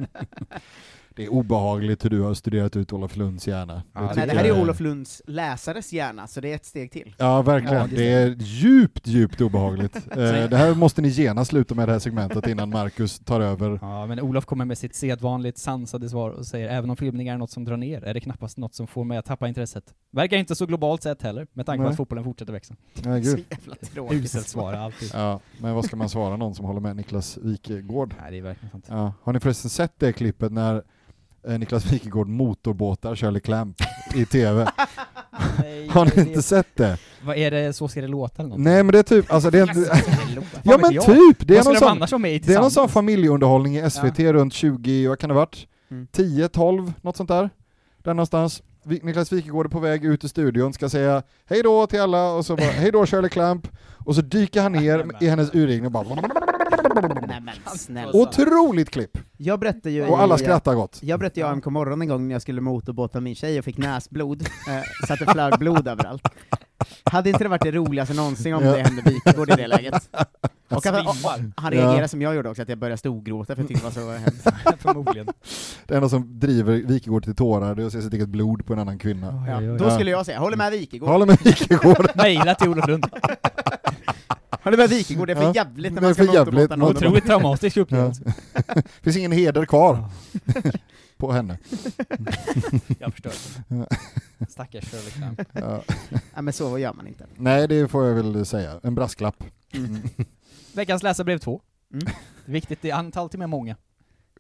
Speaker 2: Det är obehagligt hur du har studerat ut Olof Lunds hjärna.
Speaker 8: Nej,
Speaker 2: tycker
Speaker 8: det här är
Speaker 2: jag
Speaker 8: Olof Lunds läsares hjärna, så det är ett steg till.
Speaker 2: Ja, verkligen.
Speaker 8: Ja, det
Speaker 2: det, är djupt, djupt
Speaker 8: (laughs)
Speaker 2: obehagligt.
Speaker 8: Nej.
Speaker 2: eh, det här måste ni genast sluta med det här segmentet innan Marcus tar över.
Speaker 1: Ja, men Olof kommer med sitt sedvanligt sansade svar och säger även om filmningar är något som drar ner är det knappast något som får mig att tappa intresset. Verkar inte så globalt sett heller, med tanke på
Speaker 2: Nej.
Speaker 1: att fotbollen fortsätter växa.
Speaker 2: Nej, gud.
Speaker 8: (laughs)
Speaker 1: Så jävla tråkigt. Uselt svar, alltid.
Speaker 2: Ja, men vad ska man svara någon som håller med Niklas Wikegård?
Speaker 1: Nej, det är verkligen sant.
Speaker 2: Ja. Har ni förresten sett det klippet när eh, Niklas Wikegård motorbåtar Shirley Clamp i
Speaker 8: (laughs)
Speaker 2: TV? Har ni inte sett det?
Speaker 1: Vad är det Så ska det låta eller något?
Speaker 2: Nej men det är typ, alltså det är
Speaker 1: Yes,
Speaker 2: inte... ja
Speaker 1: Vad vet
Speaker 2: men
Speaker 1: jag?
Speaker 2: typ! Det är,
Speaker 1: Vad ska
Speaker 2: någon
Speaker 1: de
Speaker 2: sån,
Speaker 1: annars vara med i
Speaker 2: det är någon
Speaker 1: tillsammans?
Speaker 2: sån familjeunderhållning i SVT runt 20, vad kan det ha varit?
Speaker 8: Mm.
Speaker 2: 10, 12, något sånt där. Där någonstans. Vi- Niklas Wikegård är på väg ut ur studion, ska säga hej då till alla och så bara hej då Shirley Clamp. Och så dyker han ner i hennes urringning och bara...
Speaker 8: Nej men snälla.
Speaker 2: Otroligt klipp!
Speaker 8: Jag berättade ju
Speaker 2: Och
Speaker 8: i-
Speaker 2: alla skrattar gott.
Speaker 8: Jag berättade ju i AMK morgon en gång när jag skulle motorbåta min tjej och fick näsblod, eh, så att det flög blod överallt. Hade inte det varit det roligaste någonsin om
Speaker 2: Ja.
Speaker 8: det hände Wikegård
Speaker 2: (laughs)
Speaker 8: i det läget?
Speaker 2: Jag
Speaker 8: Och han, och, och,
Speaker 2: svimmar.
Speaker 8: han reagerade
Speaker 2: Ja.
Speaker 8: som jag gjorde också, att jag började storgråta för jag tyckte det var så
Speaker 2: (laughs)
Speaker 8: hemskt.
Speaker 1: (laughs) Förmodligen.
Speaker 2: Det enda som driver Wikegård till tårar det är att se sitt eget blod på en annan kvinna.
Speaker 8: Ja, då skulle jag säga, håller med Wikegård.
Speaker 2: Håller med Wikegård.
Speaker 1: Mejla till Olof Lund.
Speaker 8: Håller med Wikegård, det är för
Speaker 2: Ja.
Speaker 8: jävligt när
Speaker 2: Det är
Speaker 8: man ska
Speaker 2: för jävligt.
Speaker 8: motorbåta någon.
Speaker 1: Otroligt traumatisk upplevelse.
Speaker 2: Ja. (laughs) Finns ingen heder kvar (laughs) på henne.
Speaker 1: Jag förstår. Stackars Shirley Clamp.
Speaker 2: Ja.
Speaker 8: Nej men så gör man inte.
Speaker 2: Nej, det får jag väl säga. En brasklapp. Mm.
Speaker 1: Veckans läsarbrev 2. Det är viktigt, det är antal till med många.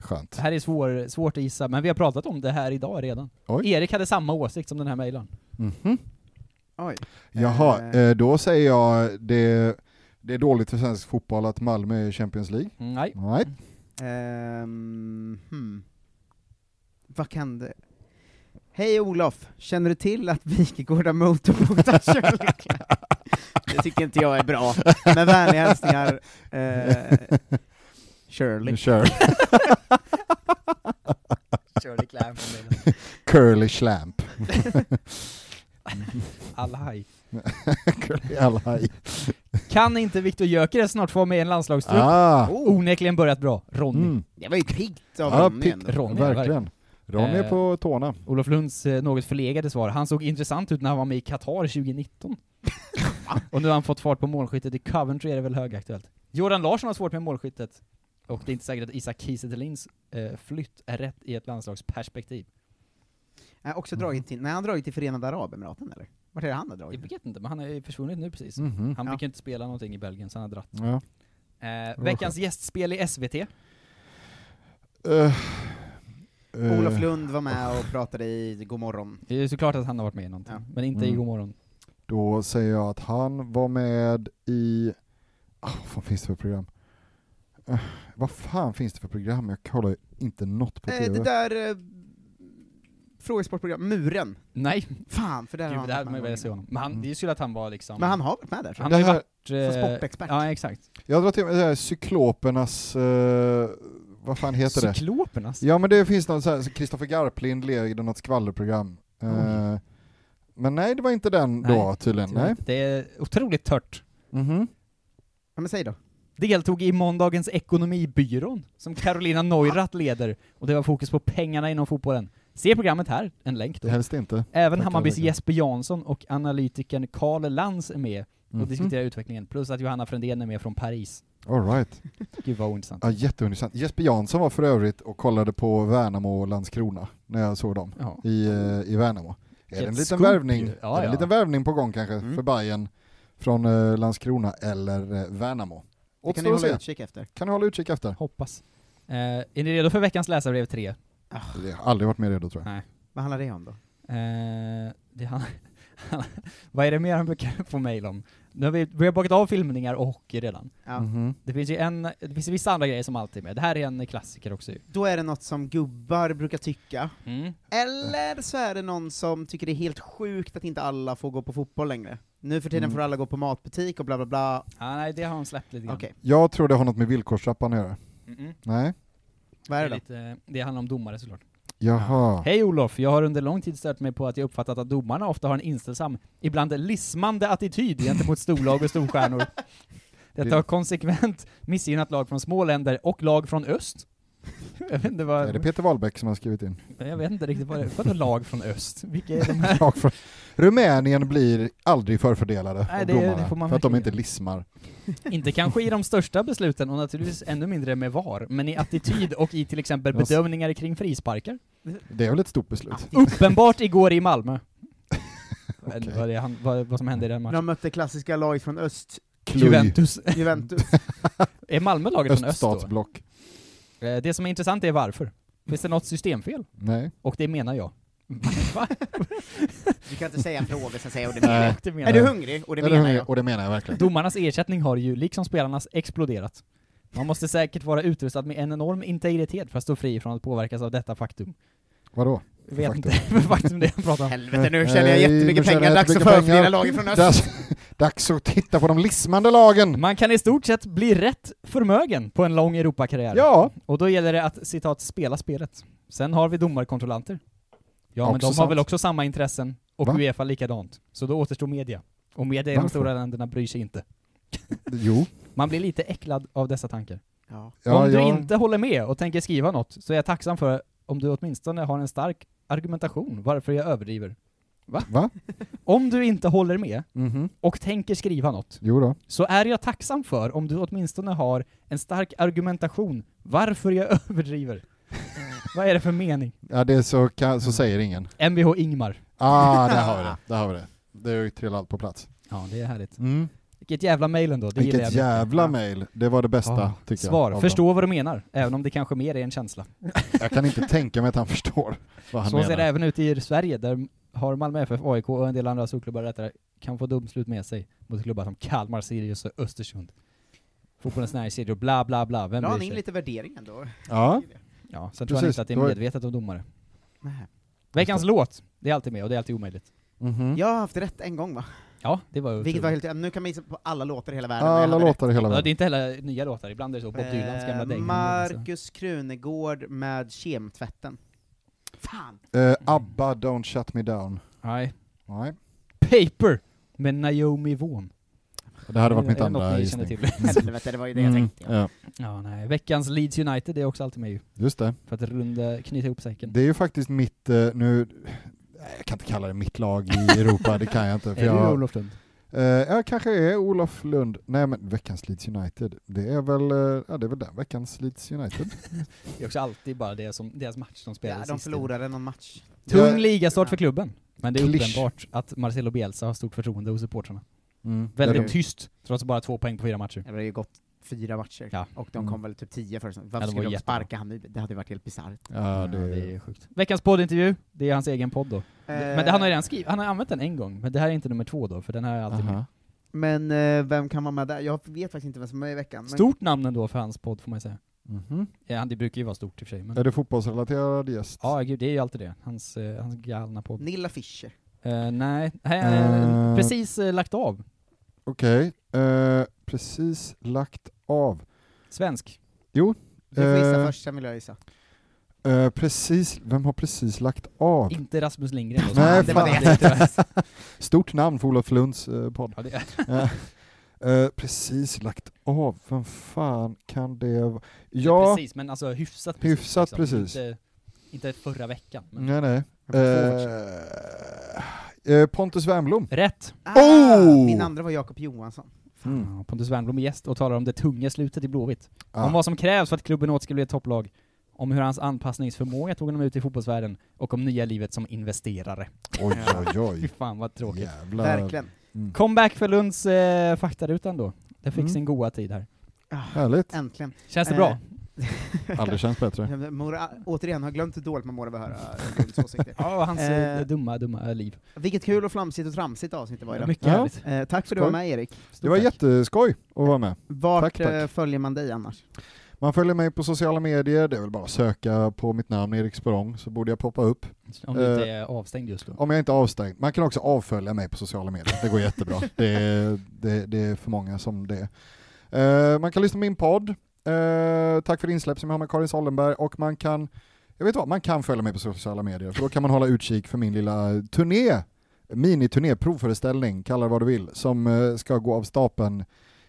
Speaker 2: Skönt.
Speaker 1: Det här är svår, svårt att gissa, men vi har pratat om det här idag redan.
Speaker 2: Oj.
Speaker 1: Erik hade samma åsikt som den här mejlaren.
Speaker 2: Mhm.
Speaker 8: Oj.
Speaker 2: Jaha, eh, då säger jag det, det är dåligt för svensk fotboll att Malmö är i Champions League.
Speaker 1: Mm, Nej.
Speaker 2: Nej.
Speaker 8: Ehm, hmm. Vad kan det... Hej Olof, känner du till att Wikegård
Speaker 1: (laughs)
Speaker 8: har motorbåtar Shirley Clamp? Det tycker inte jag är bra. Med vänliga hälsningar, eh, Shirley.
Speaker 2: Kör.
Speaker 1: Shirley Clamp.
Speaker 2: Curly Slamp. (laughs)
Speaker 1: Alla haj.
Speaker 2: Curly Alhaj.
Speaker 1: Kan inte Viktor Gyökeres snart få med i en landslagstrupp? Oh.
Speaker 2: Ah.
Speaker 1: Onekligen börjat bra. Ronny.
Speaker 2: Mm.
Speaker 1: Det var ju piggt
Speaker 2: av Ja, Ronny piggt. ändå. Verkligen. Ronny är på tårna.
Speaker 1: Olof Lunds eh, något förlegade svar. Han såg intressant ut när han var med i Qatar
Speaker 2: (laughs)
Speaker 1: 2019. och nu har han fått fart på målskyttet. I Coventry är det väl högaktuellt. Jordan Larsson har svårt med målskyttet. Och det är inte säkert att Isak Kiese Thelins, eh, flytt är rätt i ett landslagsperspektiv.
Speaker 8: Han har också dragit till, nej han har dragit till Förenade Arabemiraten eller? Vart är det han har
Speaker 1: Jag
Speaker 8: dragit?
Speaker 1: vet inte, men han är ju försvunnit nu precis.
Speaker 2: Mhm.
Speaker 1: Han fick ju inte spela någonting i Belgien, så han har dratt.
Speaker 2: Ja.
Speaker 1: Eh, veckans gästspel i SVT.
Speaker 2: Eh, eh,
Speaker 8: Olof Lund var med och pratade i Godmorgon.
Speaker 1: Det är såklart att han har varit med i någonting, men inte i
Speaker 2: Mm.
Speaker 1: Godmorgon.
Speaker 2: Då säger jag att han var med i... Ah, vad fan finns det för program? Eh, vad fan finns det för program? Jag kollar ju inte något på TV.
Speaker 8: Eh, det där eh, frågesportprogram, Muren.
Speaker 1: Nej. Mm.
Speaker 8: Fan, för där har
Speaker 1: Gud,
Speaker 8: han
Speaker 1: det hade
Speaker 8: varit
Speaker 1: man ju
Speaker 8: med
Speaker 1: velat se honom. Men han, det är ju kul att han var liksom...
Speaker 8: Men han har varit med där, tror
Speaker 1: Han
Speaker 8: jag.
Speaker 1: har ju
Speaker 8: Det här-
Speaker 1: varit... eh,
Speaker 8: som sportexpert.
Speaker 1: Ja, exakt.
Speaker 2: Jag drar till med det här cyklopernas, eh, vad fan heter det?
Speaker 1: Cyklopernas?
Speaker 2: Ja men det finns något så här, så Kristoffer Garplind leder något skvallerprogram. Eh, men nej det var inte den då tydligen. Nej.
Speaker 1: Det är otroligt tört.
Speaker 2: Mhm.
Speaker 8: Ja, men säg då.
Speaker 1: Deltog i måndagens Ekonomibyrån, som Carolina Neurath leder, och det var fokus på pengarna inom fotbollen. Se programmet här, en länk då.
Speaker 2: Helst inte.
Speaker 1: Även
Speaker 2: Tackar,
Speaker 1: Hammarbys
Speaker 2: tackar.
Speaker 1: Jesper Jansson och analytikern Karl Lantz är med och
Speaker 2: Mhm.
Speaker 1: diskuterar utvecklingen, plus att Johanna Frändén är med från Paris.
Speaker 2: All right.
Speaker 1: Gud vad ointressant.
Speaker 2: Ja, jätteintressant. Jesper Jansson var för övrigt och kollade på Värnamo och Landskrona när jag såg dem
Speaker 1: Ja.
Speaker 2: i, eh, i Värnamo. Är det en
Speaker 1: Ett
Speaker 2: liten
Speaker 1: scoop
Speaker 2: värvning,
Speaker 1: ju. Ja,
Speaker 2: är det en
Speaker 1: ja. Mm.
Speaker 2: liten värvning på gång kanske för Bayern från eh, Landskrona eller eh, Värnamo?
Speaker 8: Det kan ni
Speaker 2: Återstår att
Speaker 8: hålla
Speaker 2: se.
Speaker 8: utkik efter.
Speaker 2: Kan ni hålla utkik efter?
Speaker 1: Hoppas. Eh, är ni redo för veckans läsarbrev Eh, 3? Ah.
Speaker 2: Det har aldrig varit mer redo tror jag.
Speaker 1: Nej.
Speaker 8: Vad handlar det om då?
Speaker 1: Eh, det han, vad är det mer han brukar få mejl om? Nu har vi, vi har bakat av filmningar och hockey redan.
Speaker 8: Ja.
Speaker 2: Mhm.
Speaker 1: Det finns ju en, det finns vissa andra grejer som alltid är med. Det här är en klassiker också ju.
Speaker 8: Då är det något som gubbar brukar tycka.
Speaker 1: Mm.
Speaker 8: Eller så är det någon som tycker det är helt sjukt att inte alla får gå på fotboll längre. Nu för tiden
Speaker 1: Mm.
Speaker 8: får alla gå på matbutik och bla bla bla.
Speaker 1: Ah, nej, det har han släppt lite grann.
Speaker 8: Okej.
Speaker 2: Jag tror det har något med villkorstrappan att göra.
Speaker 1: Mm-mm.
Speaker 2: Nej?
Speaker 8: Vad är det då?
Speaker 1: lite, det handlar om domare såklart.
Speaker 2: Jaha.
Speaker 1: Hej Olof, jag har under lång tid stört mig på att jag uppfattat att domarna ofta har en inställsam, ibland lismande attityd gentemot storlag och storstjärnor.
Speaker 2: (laughs)
Speaker 1: Detta har konsekvent missgynnat lag från små länder och lag från öst. Jag vet inte vad...
Speaker 2: Är det Peter Wahlbeck som har skrivit in?
Speaker 1: Jag vet inte riktigt vad det vadå lag från öst. Vilka är de
Speaker 2: (laughs)
Speaker 1: här?
Speaker 2: Lag från- Rumänien blir aldrig förfördelade
Speaker 1: Nej,
Speaker 2: av
Speaker 1: det är- det
Speaker 2: domarna,
Speaker 1: får man
Speaker 2: för att de
Speaker 1: verkligen
Speaker 2: inte lismar.
Speaker 1: Inte kanske i de största besluten, och naturligtvis ännu mindre med VAR, men i attityd och i till exempel
Speaker 2: Jag s-
Speaker 1: bedömningar kring frisparkar.
Speaker 2: Det är väl ett stort beslut?
Speaker 1: Uppenbart igår i
Speaker 2: (laughs)
Speaker 1: Malmö. Vad- vad, det, han, vad, vad som hände i den
Speaker 8: När
Speaker 1: matchen.
Speaker 8: de mötte klassiska laget från öst.
Speaker 2: Kluj.
Speaker 1: Juventus.
Speaker 8: Juventus.
Speaker 1: Är Malmö laget från öst då?
Speaker 2: Öststatsblock.
Speaker 1: Eh, Det som är intressant är varför. Finns det något systemfel?
Speaker 2: Nej.
Speaker 1: Och det menar jag. Va?
Speaker 8: (laughs) Du kan inte säga en fråga sen (laughs) säga och det
Speaker 2: Nej.
Speaker 8: menar
Speaker 1: Det
Speaker 8: jag.
Speaker 1: menar
Speaker 8: Är du
Speaker 1: jag.
Speaker 8: hungrig? Och det
Speaker 2: Är du
Speaker 8: menar
Speaker 2: hungrig?
Speaker 8: jag.
Speaker 2: Och det menar jag verkligen.
Speaker 1: Domarnas ersättning har ju, liksom spelarnas, exploderat. Man måste säkert vara utrustad med en enorm integritet för att stå fri från att påverkas av detta faktum.
Speaker 2: Vadå?
Speaker 1: Jag vet
Speaker 2: Faktum.
Speaker 1: inte (laughs) vad faktum det är jag pratar om.
Speaker 8: Helvete, nu tjänar jag jättemycket pengar, dags att förfördela laget från öst.
Speaker 2: Dags, alltså (laughs) dags att titta på de lismande lagen!
Speaker 1: Man kan i stort sett bli rätt förmögen på en lång Europakarriär.
Speaker 2: Ja.
Speaker 1: Och då gäller det att, citat, spela spelet. Sen har vi domarkontrollanter. Ja, men
Speaker 2: Också
Speaker 1: de har
Speaker 2: sant.
Speaker 1: väl också samma intressen, och
Speaker 2: Va?
Speaker 1: Uefa likadant. Så då återstår media. Och media i de
Speaker 2: Varför?
Speaker 1: stora länderna bryr sig inte.
Speaker 2: Jo.
Speaker 1: Man blir lite äcklad av dessa tankar.
Speaker 2: Ja,
Speaker 1: om du
Speaker 2: jag-
Speaker 1: inte håller med och tänker skriva något, så är jag tacksam för om du åtminstone har en stark argumentation varför jag överdriver. Va?
Speaker 2: Va?
Speaker 1: Om du inte håller med
Speaker 2: Mhm.
Speaker 1: och tänker skriva något,
Speaker 2: Jo då.
Speaker 1: så är jag tacksam för om du åtminstone har en stark argumentation varför jag (laughs) överdriver. Vad är det för mening?
Speaker 2: Ja, det är så, ka- så säger ingen.
Speaker 1: Mvh Ingmar.
Speaker 2: Ah, där har vi det. Där har vi det. Det är ju trillat allt på plats.
Speaker 1: Ja, det är härligt.
Speaker 2: Mm.
Speaker 1: Vilket jävla mejl ändå, det gillar jag.
Speaker 2: Vilket
Speaker 1: mycket.
Speaker 2: jävla mail. Det var det bästa,
Speaker 1: Ah,
Speaker 2: tycker jag.
Speaker 1: Svar,
Speaker 2: av
Speaker 1: förstå vad du menar, även om det kanske mer är en känsla.
Speaker 2: dem. Jag kan inte tänka mig att han förstår vad han
Speaker 1: Så
Speaker 2: menar.
Speaker 1: ser det även ut i Sverige, där har Malmö FF, AIK och en del andra storklubbar rättare kan få dumslut med sig mot klubbar som Kalmar, Sirius och Östersund. Fotbollens näringskedjor, bla bla bla, vem
Speaker 8: La
Speaker 1: bryr
Speaker 8: han in
Speaker 1: sig?
Speaker 8: lite värdering ändå?
Speaker 2: Ja.
Speaker 1: Ja, sen tror jag
Speaker 2: Precis,
Speaker 1: inte att det
Speaker 2: det var-
Speaker 1: är medvetet av domare.
Speaker 8: Nej.
Speaker 1: Veckans låt, det är alltid med och det är alltid omöjligt.
Speaker 2: Mhm.
Speaker 8: Jag har haft rätt en gång va?
Speaker 1: Ja, det var
Speaker 8: Vilket var helt... Nu kan man gissa på alla låtar i hela världen. men jag
Speaker 2: Alla
Speaker 8: hade rätt.
Speaker 2: låtar i
Speaker 1: Ja,
Speaker 2: hela
Speaker 1: det är
Speaker 2: världen.
Speaker 1: inte heller nya låtar, ibland är det så, Bob Dylans gamla alltså-
Speaker 8: Eh,
Speaker 1: däng.
Speaker 8: Marcus Krunegård med Kemtvätten. Fan!
Speaker 2: Eh, ABBA, Don't Shut Me Down.
Speaker 1: Nej.
Speaker 2: Nej.
Speaker 1: Paper med Naomi Vaughan.
Speaker 2: Det hade varit mitt
Speaker 1: Är det något
Speaker 2: andra
Speaker 1: ni känner
Speaker 2: gissning.
Speaker 1: till? (laughs)
Speaker 8: Helvete, det var ju det jag Mm, tänkte, ja.
Speaker 2: ja.
Speaker 1: Ja, nej. Veckans Leeds United det är också alltid med ju.
Speaker 2: Just det.
Speaker 1: För att runda, knyta ihop säcken.
Speaker 2: Det är ju faktiskt mitt, eh, nu, nej, jag kan inte kalla det mitt lag i Europa, det kan
Speaker 1: (laughs)
Speaker 2: jag inte.
Speaker 1: Är du
Speaker 2: jag,
Speaker 1: Olof Lund?
Speaker 2: Eh, ja, kanske är Olof Lund. Nej men veckans Leeds United, det är väl, eh, ja det är väl den, veckans Leeds United.
Speaker 1: Det är också alltid bara det som, deras match de spelar
Speaker 8: Ja, de förlorade någon match.
Speaker 1: Tung ligastart för klubben. Men det är
Speaker 2: Klisch.
Speaker 1: uppenbart att Marcelo Bielsa har stort förtroende hos supportrarna.
Speaker 2: Mm.
Speaker 1: (laughs) Väldigt
Speaker 8: Ja, de-
Speaker 1: tyst, trots bara två poäng på fyra matcher.
Speaker 8: Det har ju gått fyra matcher, och de kom väl typ tio först. Varför
Speaker 1: Mm. Ja, de var
Speaker 8: skulle de
Speaker 1: jättebra.
Speaker 8: sparka han nu? Det hade ju varit helt bisarrt.
Speaker 2: Ja, det,
Speaker 1: är sjukt. Veckans poddintervju, det är hans egen podd då. Eh,
Speaker 8: Eh.
Speaker 1: Men det, han har ju redan skrivit, han har använt den en gång, men det här är inte nummer två då, för den här är alltid med.
Speaker 8: Men eh, vem kan vara med där? Jag vet faktiskt inte vem som är med i veckan. Men...
Speaker 1: Stort namn ändå för hans podd får man ju säga.
Speaker 2: Mhm.
Speaker 1: Ja, han- det brukar ju vara stort i och för sig. Men...
Speaker 2: Är det fotbollsrelaterad gäst?
Speaker 1: Ja, gud, det är ju alltid det. Hans, eh, hans galna podd.
Speaker 8: Nilla Fischer.
Speaker 1: Eh, nej, eh,
Speaker 2: Eh.
Speaker 1: precis eh, lagt av.
Speaker 2: Okej, eh, precis lagt av.
Speaker 1: Svensk.
Speaker 2: Jo.
Speaker 8: Du får gissa
Speaker 2: eh,
Speaker 8: först, sen vill jag gissa.
Speaker 2: eh, precis, vem har precis lagt av?
Speaker 1: Inte Rasmus Lindgren då, som
Speaker 2: Nej,
Speaker 1: hade
Speaker 2: fan.
Speaker 1: varit det.
Speaker 2: (laughs) Stort namn för Olof Lunds eh, podd.
Speaker 1: Ja, det
Speaker 2: Eh, eh, precis lagt av, vem fan kan det vara?
Speaker 1: Ja.
Speaker 2: Ja,
Speaker 1: Precis, men alltså hyfsat
Speaker 2: Hyfsat precis. Mm.
Speaker 1: Inte, inte förra veckan. Men
Speaker 2: nej nej. Eh, eh, Pontus Wernbloom.
Speaker 1: Rätt!
Speaker 2: oh!
Speaker 8: Ah, Min andra var Jakob Johansson.
Speaker 2: Mm.
Speaker 1: Ja, Pontus Wernbloom är gäst och talar om det tunga slutet i Blåvitt.
Speaker 2: Ah.
Speaker 1: Om vad som krävs för att klubben åter ska bli ett topplag. Om hur hans anpassningsförmåga tog honom ut i fotbollsvärlden och om nya livet som investerare.
Speaker 2: Oj, oj, oj. (laughs)
Speaker 1: Fy fan vad tråkigt.
Speaker 2: Jävlar. Verkligen. Mm.
Speaker 1: Comeback för Lunds eh, faktarutan då. Det fick
Speaker 8: Mm.
Speaker 1: sin goa tid här.
Speaker 2: Härligt.
Speaker 8: Äntligen.
Speaker 1: Känns det
Speaker 8: Eh,
Speaker 1: bra?
Speaker 2: Aldrig känns bättre.
Speaker 8: Mora, återigen, har glömt hur dåligt man mår av att höra
Speaker 1: (laughs)
Speaker 8: Lunds åsikter.
Speaker 1: Ja, och hans
Speaker 8: Eh,
Speaker 1: eh, dumma, dumma liv.
Speaker 8: vilket kul och flamsigt och tramsigt avsnitt det var idag.
Speaker 1: Mycket
Speaker 2: Ja.
Speaker 1: härligt.
Speaker 8: Eh, tack för att du
Speaker 2: Skoj.
Speaker 8: var med Erik.
Speaker 2: Det var jätteskoj att vara med.
Speaker 8: Vart
Speaker 2: Tack, tack.
Speaker 8: eh, följer man dig annars?
Speaker 2: Man följer mig på sociala medier, det är väl bara att söka på mitt namn Erik Sporrong så borde jag poppa upp.
Speaker 1: Om du inte
Speaker 2: Eh,
Speaker 1: är avstängd just då.
Speaker 2: om jag inte är avstängd. Man kan också avfölja mig på sociala medier, det går
Speaker 8: (laughs)
Speaker 2: jättebra. det, är, det, det är för många som det är. Eh, Man kan lyssna på min podd, Eh, Tack för insläpp som jag har med Karin Sollenberg och man kan, jag vet vad, man kan följa mig på sociala medier för då kan man hålla utkik för min lilla turné, miniturné, provföreställning, kalla det vad du vill, som eh, ska gå av stapeln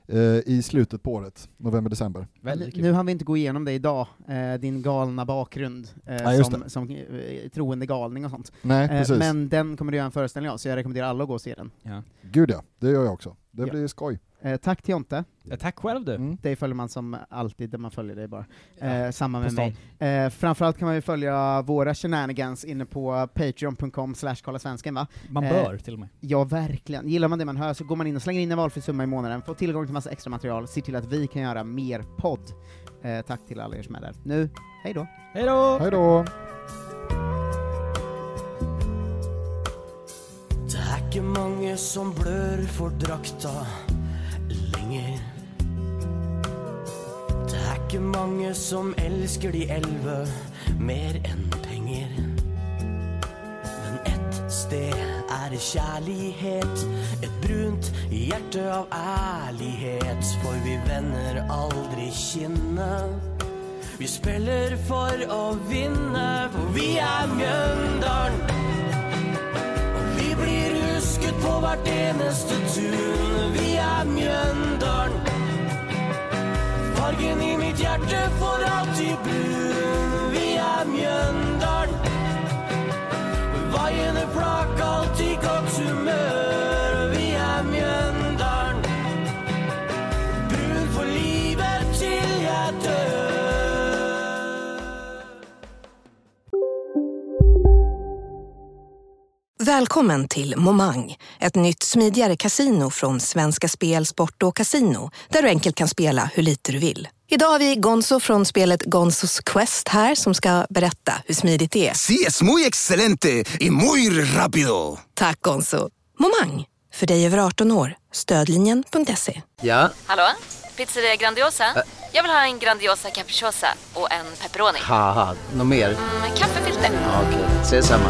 Speaker 2: eh, i slutet på året, november-december.
Speaker 1: Väldigt kul.
Speaker 8: Nu hann vi inte gå igenom det idag, eh, din galna bakgrund eh,
Speaker 2: Nej, just
Speaker 8: som, som eh, troende galning och sånt.
Speaker 2: Nej,
Speaker 8: Eh,
Speaker 2: precis.
Speaker 8: men den kommer du göra en föreställning av, så jag rekommenderar alla att gå och se den.
Speaker 1: Ja.
Speaker 2: Gud ja, det gör jag också. Det
Speaker 8: Ja.
Speaker 2: blir skoj.
Speaker 8: Eh, tack till Jonte.
Speaker 2: Mm.
Speaker 1: Ja, tack själv du.
Speaker 8: Dig följer man som alltid, där man följer dig bara.
Speaker 1: Ja,
Speaker 8: Eh, samma med
Speaker 1: på stan.
Speaker 8: mig. Eh, framförallt kan man ju följa våra shenanigans inne på patreon.com slash kollasvensken va?
Speaker 1: Man
Speaker 2: Eh.
Speaker 1: bör till och med.
Speaker 8: Ja, verkligen. Gillar man det man hör så går man in och slänger in en valfri summa i månaden, får tillgång till massa extra material, ser till att vi kan göra mer podd. Eh, tack till alla er som är där. Nu, hej då!
Speaker 1: Hej då!
Speaker 2: Hej då!
Speaker 6: Det er ikke mange som blør for drakta lenger. Det er ikke mange som elsker de elleve mer enn penger. Men ett sted er det kjærlighet, et brunt hjerte av ærlighet. For vi vender aldri kinnet. Vi spiller for å vinne, for vi er Mjøndalen. Vi blir husket på hvert eneste tun. Vi er Mjøndalen. Fargen i mitt hjerte for alltid brun. Vi er Mjøndalen. Vaiende flak, alltid godt humør. Vi er Mjøndalen. Brun for livet til jeg dør.
Speaker 3: Välkommen till Momang, ett nytt smidigare casino från Svenska Spel, Sport och Casino, där du enkelt kan spela hur lite du vill. Idag har vi Gonzo från spelet Gonzos Quest här som ska berätta hur smidigt det är.
Speaker 21: Sí, es muy excelente y muy rápido.
Speaker 3: Tack Gonzo! Momang, för dig över 18 år. Stödlinjen.se.
Speaker 22: Ja,
Speaker 23: Hallå? Pizzeria Grandiosa? Jag vill ha en Grandiosa capriciosa och en pepperoni.
Speaker 22: haha, något mer?
Speaker 23: Med kaffefilter.
Speaker 22: Ja, Okej, ses samma.